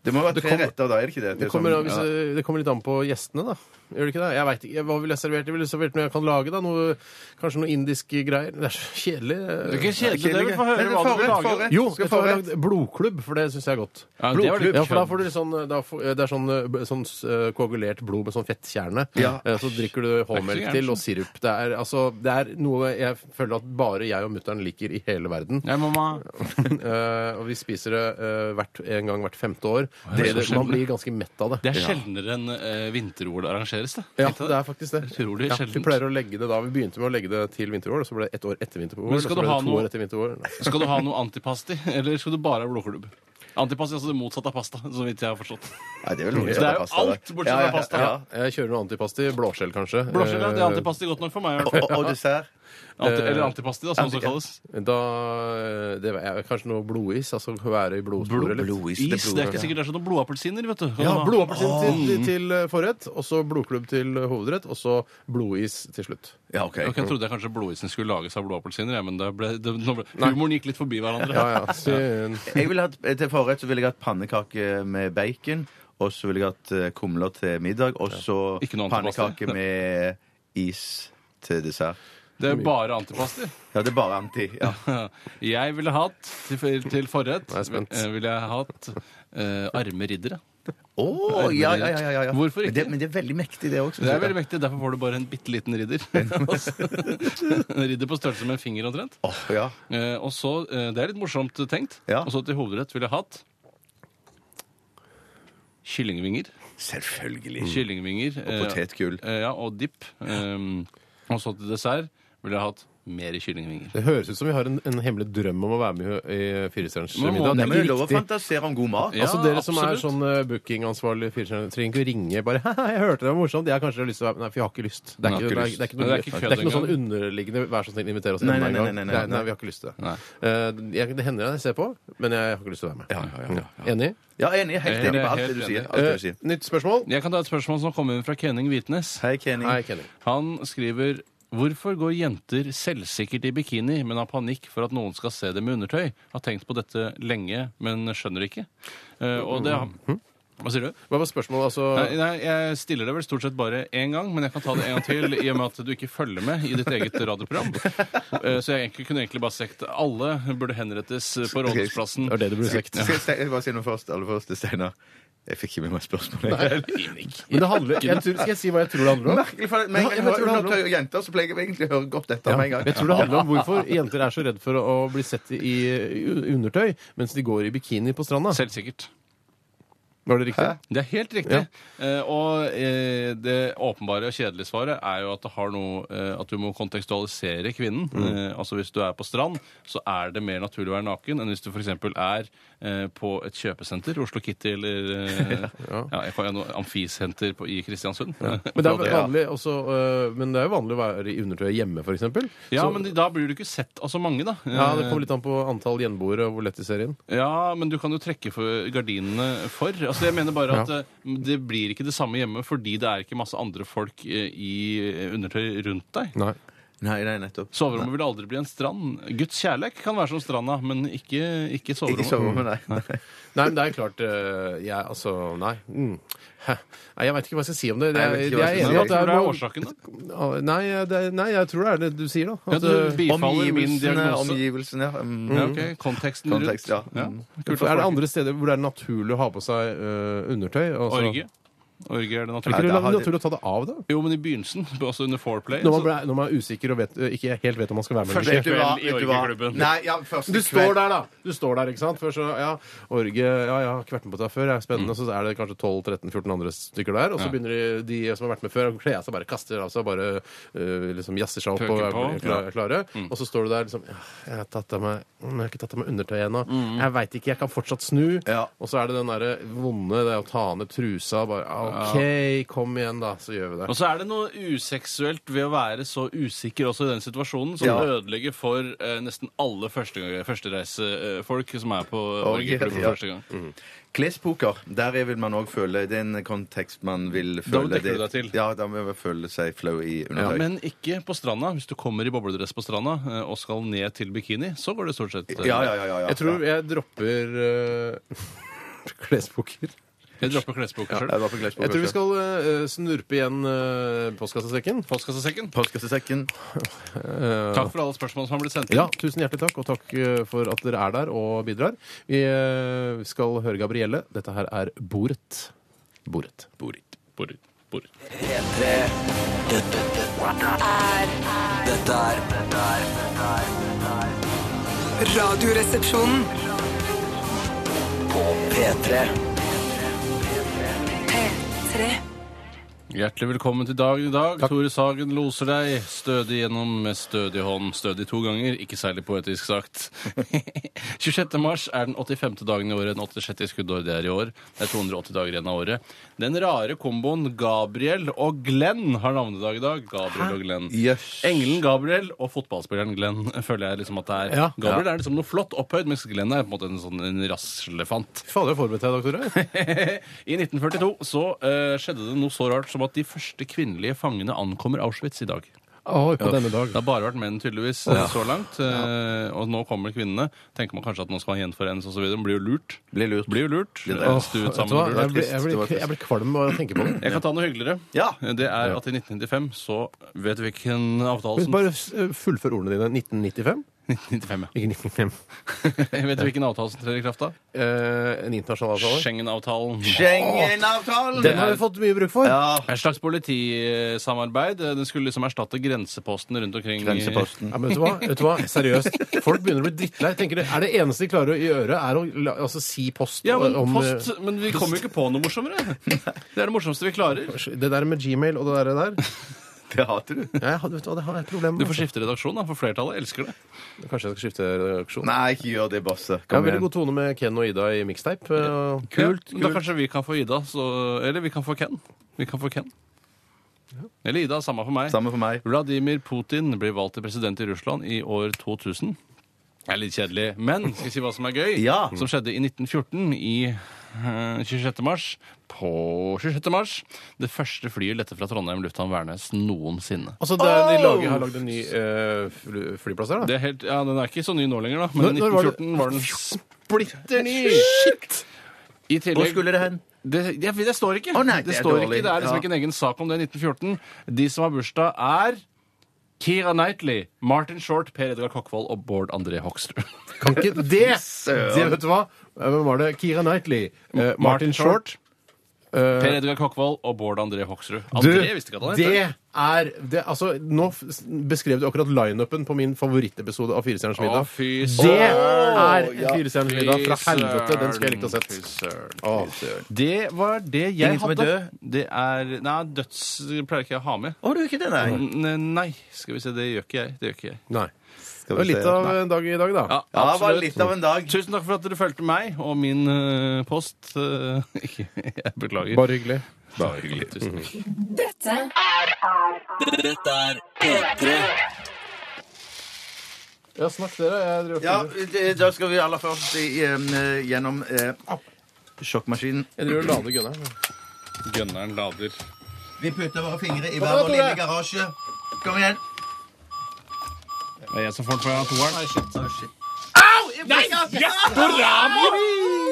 S2: Det må være
S1: Det
S2: tre
S1: kommer-
S2: retter da, er det ikke det?
S1: Det
S2: er
S1: kommer,
S2: sånn-
S1: an- hvis,
S2: ja.
S1: det kommer litt an på gjestene, da. Gjør det ikke det? Jeg vet ikke, Hva ville jeg servert? Jeg ville servert noe jeg kan lage, da. Noe, kanskje noe indiske greier. Det er så kjedelig.
S3: Det er ikke kjedelig, det.
S2: kjedelig.
S3: Vi får
S2: Men
S3: høre hva du
S2: forrett,
S3: lager.
S2: forrett.
S1: Jo,
S2: Skal
S1: vet du hva, jeg har
S2: forrett.
S1: lagd blodklubb, for det syns jeg er godt.
S3: Ja, det var litt
S1: ja, for da
S3: kødd.
S1: får du litt sånn da får, Det er sånn, eh, sånn eh, koagulert blod med sånn fettkjerne.
S2: Ja.
S1: Eh, Så drikker du
S3: Det
S1: håmelk
S3: er ikke så gærent, sånn.
S1: til og sirup. Det er, altså, det er noe jeg føler at bare jeg og mutter'n liker i hele verden.
S3: Ja, mamma.
S1: Eh, og vi spiser det eh, hvert, en gang hvert femte år.
S3: det er
S1: Det,
S3: så
S1: man
S3: sjelden.
S1: blir ganske mett av det.
S3: Det er sjeldnere enn eh, vinter-OL arrangeres, det.
S1: Ja,
S3: Tenk deg
S1: det er faktisk det.
S3: Utrolig
S1: ja,
S3: sjeldent.
S1: vi pleier å legge det da. Vi begynte med å legge det til vinter-OL, og så ble det ett år etter vinter-OL.
S3: Men
S1: og Så
S3: skal du
S1: ble det
S3: ha
S1: to
S3: noe-
S1: år etter vinter-OL. Nei.
S3: Skal du ha noe antipasti, eller skal du bare ha blodklubb? Antipasti er altså det motsatte av pasta, så vidt jeg har forstått.
S2: Ja, det er vel noe
S3: Det er jo
S2: pasta, da.
S3: alt bortsett fra
S2: Ja, ja,
S3: pasta.
S2: ja.
S1: Jeg kjører noe antipasti. Blåskjell, kanskje.
S3: Blåskjell, ja, det er
S1: Eh,
S3: antipasti godt nok for meg. i hvert
S2: Og,
S3: fall.
S2: og dessert.
S3: Anti eller antipasti, da, som det kalles.
S1: Da Eh, det, er Kanskje noe blodis? Altså være i blodsporet litt.
S2: Blodis.
S3: Is, det er ikke
S2: blodis.
S3: sikkert det er sånn noen blodappelsiner, vet du. Kan
S1: Ja,
S3: du ha? Mm.
S1: Blodapelsin
S3: Ah.
S1: til, til eh, forrett, og så blodklubb til eh, hovedrett, og så blodis til slutt.
S2: Ja, ok.
S3: Ok, jeg trodde jeg kanskje blodisen skulle lages av blodappelsiner, ja, men det ble, det, nå ble, humoren gikk litt forbi hverandre.
S1: Ja, ja. Så,
S2: Jeg vil ha, til forrett så vil jeg ha pannekake med bacon, og så vil jeg ha eh, kumler til middag, og så
S3: Ikke noe annet
S2: pannekake med is til dessert.
S3: Det er bare antipasti.
S2: Ja, det er bare anti. Ja.
S3: Jeg ville hatt til, til forrett
S1: er spent.
S3: eh, ville jeg hatt eh, arme riddere.
S2: Å, ja, ja, ja, ja, ja.
S3: Hvorfor
S2: Men
S3: ikke?
S2: det, men det er veldig mektig, det også.
S3: Det er veldig mektig, derfor får du bare en bitte liten ridder. en ridder på størrelse med en finger omtrent.
S2: Åh, ja.
S3: Eh, og så, eh, Det er litt morsomt tenkt.
S2: Ja.
S3: Og så til hovedrett ville jeg hatt kyllingvinger. Mm.
S2: Selvfølgelig.
S3: Kyllingvinger.
S2: Og potetgull.
S3: Eh, ja, og dipp. Um, og så til dessert ville jeg hatt mer kyllingvinger.
S1: det høres ut som vi har en, en hemmelig drøm om å være med i Firestjerners
S3: Men må
S1: middag.
S2: Nei,
S1: Det
S2: men
S1: er
S2: det er lov
S1: ikke
S2: å
S1: riktig.
S2: fantasere om god mat.
S3: Ja,
S1: altså Dere som er
S3: absolutt.
S1: sånn eh, bookingansvarlig, i Firestjerners, trenger ikke å ringe bare «Haha, 'Jeg hørte det var morsomt, jeg har kanskje lyst til å være med.» Nei, for jeg har ikke lyst. Det er
S3: Nei,
S1: ikke, det
S3: har
S1: er,
S3: ikke
S1: det er ikke noe,
S3: lyst. Nei, det er ikke
S1: det er ikke noe
S3: kødd
S1: sånn underliggende 'vær så snill, inviter oss
S2: Nei,
S1: hjem
S2: nei,
S1: en
S2: nei,
S1: gang'.
S2: nei, nei,
S1: Det er-
S2: nei.
S1: nei, vi har ikke lyst til det.
S3: Nei.
S1: Eh, jeg, det hender jeg ser på, men jeg har ikke lyst til å være med. Mm.
S2: Ja, ja, ja, ja.
S1: Enig?
S2: Ja, enig. Helt enig på alt det du sier. Alt det
S1: Eh,
S2: du sier.
S1: nytt spørsmål.
S3: Jeg kan ta et spørsmål som kommer inn fra Kenning Hvitnes.
S2: Hei, Kenny.
S1: Nei, Kenny.
S3: Han skriver Hvorfor går jenter selvsikkert i bikini, men har panikk for at noen skal se det med undertøy? Har tenkt på dette lenge, men skjønner ikke. Eh, og det Hva sier du?
S1: Hva var spørsmålet? Altså,
S3: Nei, nei, jeg stiller det vel stort sett bare én gang, men jeg kan ta det en gang til, i og med at du ikke følger med i ditt eget radioprogram. Eh, Så jeg egentlig, kunne egentlig bare sagt alle burde henrettes på Rådhusplassen.
S1: det var det det ble sagt.
S2: Skal jeg skal jeg bare si noe først? Aller først til Steinar. Jeg fikk ikke med meg spørsmålet.
S1: Men det handler, jeg tror, skal jeg si hva jeg tror det handler om?
S2: Merkelig, for med en gang jeg
S1: Ja, jeg tror det
S2: hører
S1: handler om-
S2: undertøy og jenter, så pleier jeg egentlig å høre godt etter
S1: Ja,
S2: med en gang.
S1: jeg tror det handler om hvorfor jenter er så redd for å bli sett i i undertøy mens de går i bikini på stranda.
S3: Selvsikkert.
S1: Var det riktig?
S3: Det er helt riktig. Eh, og eh, det åpenbare og kjedelige svaret er jo at det har noe eh, At du må kontekstualisere kvinnen.
S1: Mm.
S3: Eh, altså hvis du er på strand, så er det mer naturlig å være naken enn hvis du f.eks. er eh, på et kjøpesenter, Oslo Kitty eller eh, ja. jeg kan jo noe amfisenter på, i Kristiansund.
S1: Men det er vel vanlig også, øh, men det er jo vanlig å være i undertøy hjemme, for eksempel.
S3: Ja,
S1: Så-
S3: men de- da blir du ikke sett av så mange, da.
S1: ja, det kommer litt an på antall gjenboere og hvor lett de ser inn.
S3: Ja, men du kan jo trekke for gardinene for. Altså, jeg mener bare at eh, det blir ikke det samme hjemme fordi det er ikke masse andre folk eh, i undertøy rundt deg.
S1: Nei.
S2: Nei, nei, nettopp.
S3: Soverommet vil aldri bli en strand. Guds kjærlighet kan være som stranda, men ikke, ikke
S2: Ikke
S3: soverommet. Mm.
S2: soverommet, nei.
S1: Nei, men det er klart øh, Jeg altså Nei. Mm. Hæ. nei jeg veit ikke hva jeg skal si om det. det
S2: Nei, jeg
S1: er,
S2: vet
S1: jeg
S2: ikke hva
S1: er
S2: jeg
S1: enig i at
S3: Men hva
S2: skal
S1: det
S3: tror
S1: er
S3: du er
S1: noe
S3: årsaken, da?
S1: nei, det, er- nei, jeg tror det er det du sier, da.
S3: Ja,
S1: At,
S3: du
S1: øh,
S3: bifaller min
S2: Omgivelsene,
S3: diagnose.
S2: omgivelsene, ja. Mm.
S3: Ja, ok, Konteksten rundt.
S2: Kontekst, ja.
S3: Ja.
S2: Mm.
S3: Kult.
S1: er det andre steder hvor det er naturlig å ha på seg øh, undertøy? altså-
S3: Orgie. Orgie er
S1: Er
S3: det naturlig.
S1: ikke det
S2: Nei, det har-
S1: naturlig å ta det av, da?
S3: Jo, men i begynnelsen, også under foreplay
S1: Når man, ble, når man er usikker og vet, ikke helt vet om man skal være med
S3: Første
S1: eller ikke.
S3: kveld i orgieklubben.
S2: Nei, ja, første
S1: Du står
S2: kveld.
S1: der, da! Du står der, ikke sant? Før så, ja, orge, ja, ja, har ikke vært med på deg før, det er
S2: Mm.
S1: spennende. Så er det kanskje 12-13-14 andre stykker der, og så
S3: Ja.
S1: begynner de, de som har vært med før, å kle av seg, bare kaster av seg, bare øh, liksom jazzer seg opp
S3: Pøker
S1: og er
S3: på,
S1: kla- klare.
S2: Mm.
S1: Og så står du der liksom ja, Jeg har tatt av meg mm, Jeg har ikke tatt av meg undertøyet ennå. Jeg veit ikke, jeg kan fortsatt snu.
S2: Mm. Ja.
S1: Og så er det den derre vonde, det å ta ned trusa, bare «Au, OK, kom igjen, da, så gjør vi
S3: Og
S1: det.
S3: så er det noe useksuelt ved å være så usikker også i den situasjonen, som
S2: Ja.
S3: ødelegger for eh, nesten alle første- førstereisefolk som er på
S2: ja,
S3: orgiklubben for
S2: ja. Mm.
S3: første gang.
S2: Klespoker. Der vil man òg føle Det er en kontekst man vil føle
S3: dekker du deg til.
S2: Ja, da må man føle seg flau i
S3: Ja,
S2: undertøy.
S3: men ikke på stranda. Hvis du kommer i bobledress på stranda eh, og skal ned til bikini, så går det stort sett eh,
S2: ja, ja, ja, ja, ja.
S1: Jeg tror jeg dropper uh, klespoker.
S3: Jeg dropper klesboka
S2: Jeg
S3: sjøl.
S2: var på klespoker
S1: Jeg tror vi
S2: selv.
S1: skal eh, snurpe igjen uh, postkassesekken.
S3: Postkassesekken.
S2: Postkassesekken.
S3: Takk for alle spørsmål som har blitt sendt inn.
S1: Ja, tusen hjertelig takk, og takk eh, for at dere er der og bidrar. Vi eh, skal høre Gabrielle. Dette her er Boret. Boret.
S3: Borit, borit, borit.
S5: P3 Dette, dette, dette er Dette er
S6: Radioresepsjonen.
S5: På P3
S6: P3.
S3: Hjertelig velkommen til dagen i dag. Tore Sagen loser deg stødig gjennom med stødig hånd. Stødig to ganger, ikke særlig poetisk sagt. 26. mars er den 85. dagen i året. Den 86. i skuddår det er i år. Det er 280 dager igjen av året. Den rare komboen Gabriel og Glenn har navnedag i dag. Gabriel og Glenn.
S2: Jøss.
S3: Engelen Gabriel og fotballspilleren Glenn føler jeg liksom at det er.
S1: Ja.
S3: Gabriel er liksom noe flott opphøyd, mens Glenn er på en måte en sånn en raslefant.
S1: Fy fader, jeg forberedte deg, doktor.
S3: I 1942 så eh, skjedde det noe så rart som at de første kvinnelige fangene ankommer Auschwitz i dag.
S1: Oi, på denne dag.
S3: Det har bare vært menn tydeligvis eh, så langt, eh, og nå kommer kvinnene. Tenker man kanskje at nå skal man gjenforenes osv. Men blir jo lurt.
S2: Blir lurt.
S3: Blir jo lurt.
S2: Blir det.
S3: Eh,
S1: Åh,
S3: støt
S1: vet
S3: sammen
S1: du hva?
S3: og lurt.
S1: Jeg blir-
S2: trist,
S1: jeg
S2: det
S1: blir
S2: var trist.
S1: jeg blir kvalm av å tenke på det.
S3: Jeg kan ta noe hyggeligere. Eh,
S2: Ja.
S3: Det er at i 1995 så vet du hvilken avtale som
S1: Bare eh, fullfør ordene dine. 1995?
S3: 1995, ja.
S1: Ikke 1995.
S3: Vet du hvilken avtale som trer i kraft da?
S1: Eh, en internasjonal avtale?
S3: Schengen-avtalen.
S2: Schengen-avtalen!
S1: Den har vi fått mye bruk for.
S2: Ja.
S3: Et slags politisamarbeid. Den skulle liksom erstatte grensepostene rundt omkring. i-
S2: Grenseposten.
S1: Ja, men vet du, hva? vet du hva? Seriøst. Folk begynner å bli drittlei. Tenker det, er det eneste de klarer å gjøre, er å la, altså, si post
S3: Ja, men,
S1: om eh,
S3: post, men vi kommer jo ikke på noe morsommere. Det er det morsomste vi klarer.
S1: eh, Det der med Gmail og det der, der.
S2: Det hater du.
S1: Jeg, vet du hva, det har jeg et problem
S3: Du
S1: med.
S3: får skifte redaksjon, da, for flertallet elsker det.
S1: altså. Kanskje jeg skal skifte redaksjon.
S2: Nei, ikke gjør det, Basse.
S1: Jeg har
S2: Kom
S1: veldig
S2: igjen.
S1: god tone med Ken og Ida i mixtape. eh,
S3: Ja, men Da kanskje vi kan få Ida, så, eller vi kan få Ken. Vi kan få Ken. Eller Ida, samme for meg.
S2: Samme for meg.
S3: Vladimir Putin blir valgt til president i Russland i år 2000. Det er litt kjedelig, men skal jeg si hva som er gøy?
S2: Ja.
S3: Som skjedde i 1914 i eh, 26. mars. På 26. mars. Det første flyet lette fra Trondheim lufthavn Værnes noensinne.
S1: Altså, det er, de lager, har lagd en ny eh, fly, flyplass her, da.
S3: Det er helt, ja, Den er ikke så ny nå lenger, da. Men i
S1: Når- når var det-
S3: 1914 var, den
S1: Splitter ny!
S3: I
S2: Hvor
S3: tillegg
S2: skulle det hen?
S3: det, det, det står ikke.
S2: Å, nei,
S3: det,
S2: det er
S3: står
S2: dårlig.
S3: ikke. Det er liksom
S2: Ja.
S3: ikke en egen sak om det i 1914. De som har bursdag, er Keira Knightley, Martin Short, Per Edgar Kokkvold og Bård André Hoksrud.
S1: Kan ikke det! det vet du hva? Eh, Hvem var det? Keira Knightley. eh, Martin Short. eh,
S3: Per Edgar Kokkvold og Bård André Hoksrud.
S1: Du,
S3: André visste ikke at han het
S1: det er det, altså, Nå f- s- beskrev du akkurat lineupen på min favorittepisode av Firestjerners middag.
S3: Å, fy
S1: det
S3: søren.
S1: er Firestjerners middag fra helvete! Den skulle jeg likt å sett. Å,
S3: Det var det jeg
S2: Ingen som er
S3: hadde. Det er Nei, døds pleier ikke jeg å ha med. Mm,
S2: Å, du er ikke det, nei?
S3: N- Nei, skal vi se. Det gjør ikke jeg. Det gjør ikke jeg.
S1: Nei. Det var litt av en dag i dag, da.
S3: Ja,
S2: Ja, det var
S3: absolutt.
S2: litt av en dag.
S3: Tusen takk for at dere fulgte meg og min eh, post. eh, ikke- jeg beklager.
S1: Bare hyggelig.
S3: Bare hyggelig. Tusen takk.
S5: Dette er P3
S1: Ja, snakk dere. Jeg driver og
S2: Ja,
S1: fyller.
S2: det- da skal vi aller først i, eh, gjennom eh, sjokkmaskinen.
S1: Jeg driver og lader gunneren. Mhm.
S3: Gunneren lader.
S2: Vi putter våre fingre i
S1: igjen,
S2: hver vår lille
S1: Tore.
S2: garasje. Kom igjen.
S3: Det er jeg som får den fra toeren.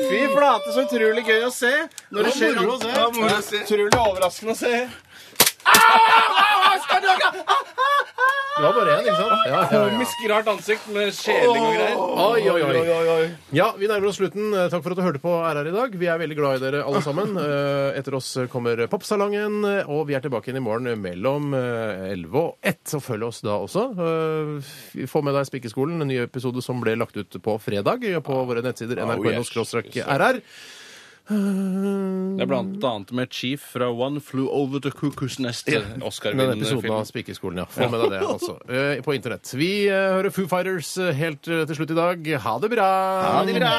S1: Fy flate, så utrolig gøy å se! Når det skjer
S3: Utrolig overraskende å se.
S1: Det var bare én, ikke sant? Ja, ja, ja.
S3: Komisk rart ansikt med skjeling og greier.
S1: Oi, oi, oi. Ja, vi nærmer oss slutten. Eh, Takk for at du hørte på RR i dag. Vi er veldig glad i dere alle sammen. Eh, Etter oss kommer Popsalongen, eh, og vi er tilbake igjen i morgen mellom eh, 11 og 1. Så følg oss da også. Eh, Få med deg Spikkeskolen, en ny episode som ble lagt ut på fredag eh, på våre nettsider nrk.no-rr. Eh,
S3: Det er blant annet med Chief fra One Flew Over the Cuckoo's Nest.
S1: Den episoden av
S3: Oscar-vinnende
S1: Spikkerskolen, ja. Få med deg det, altså. Eh, På internett. Vi eh, hører Foo Fighters eh, helt eh, til slutt i dag. Ha det bra!
S2: Ha det bra.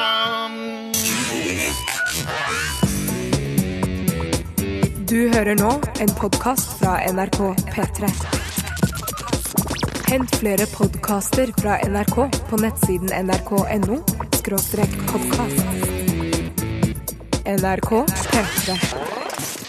S4: Du hører nå en podkast fra NRK P3. Hent flere podkaster fra NRK på nettsiden nrk.no podkast. NRK P3.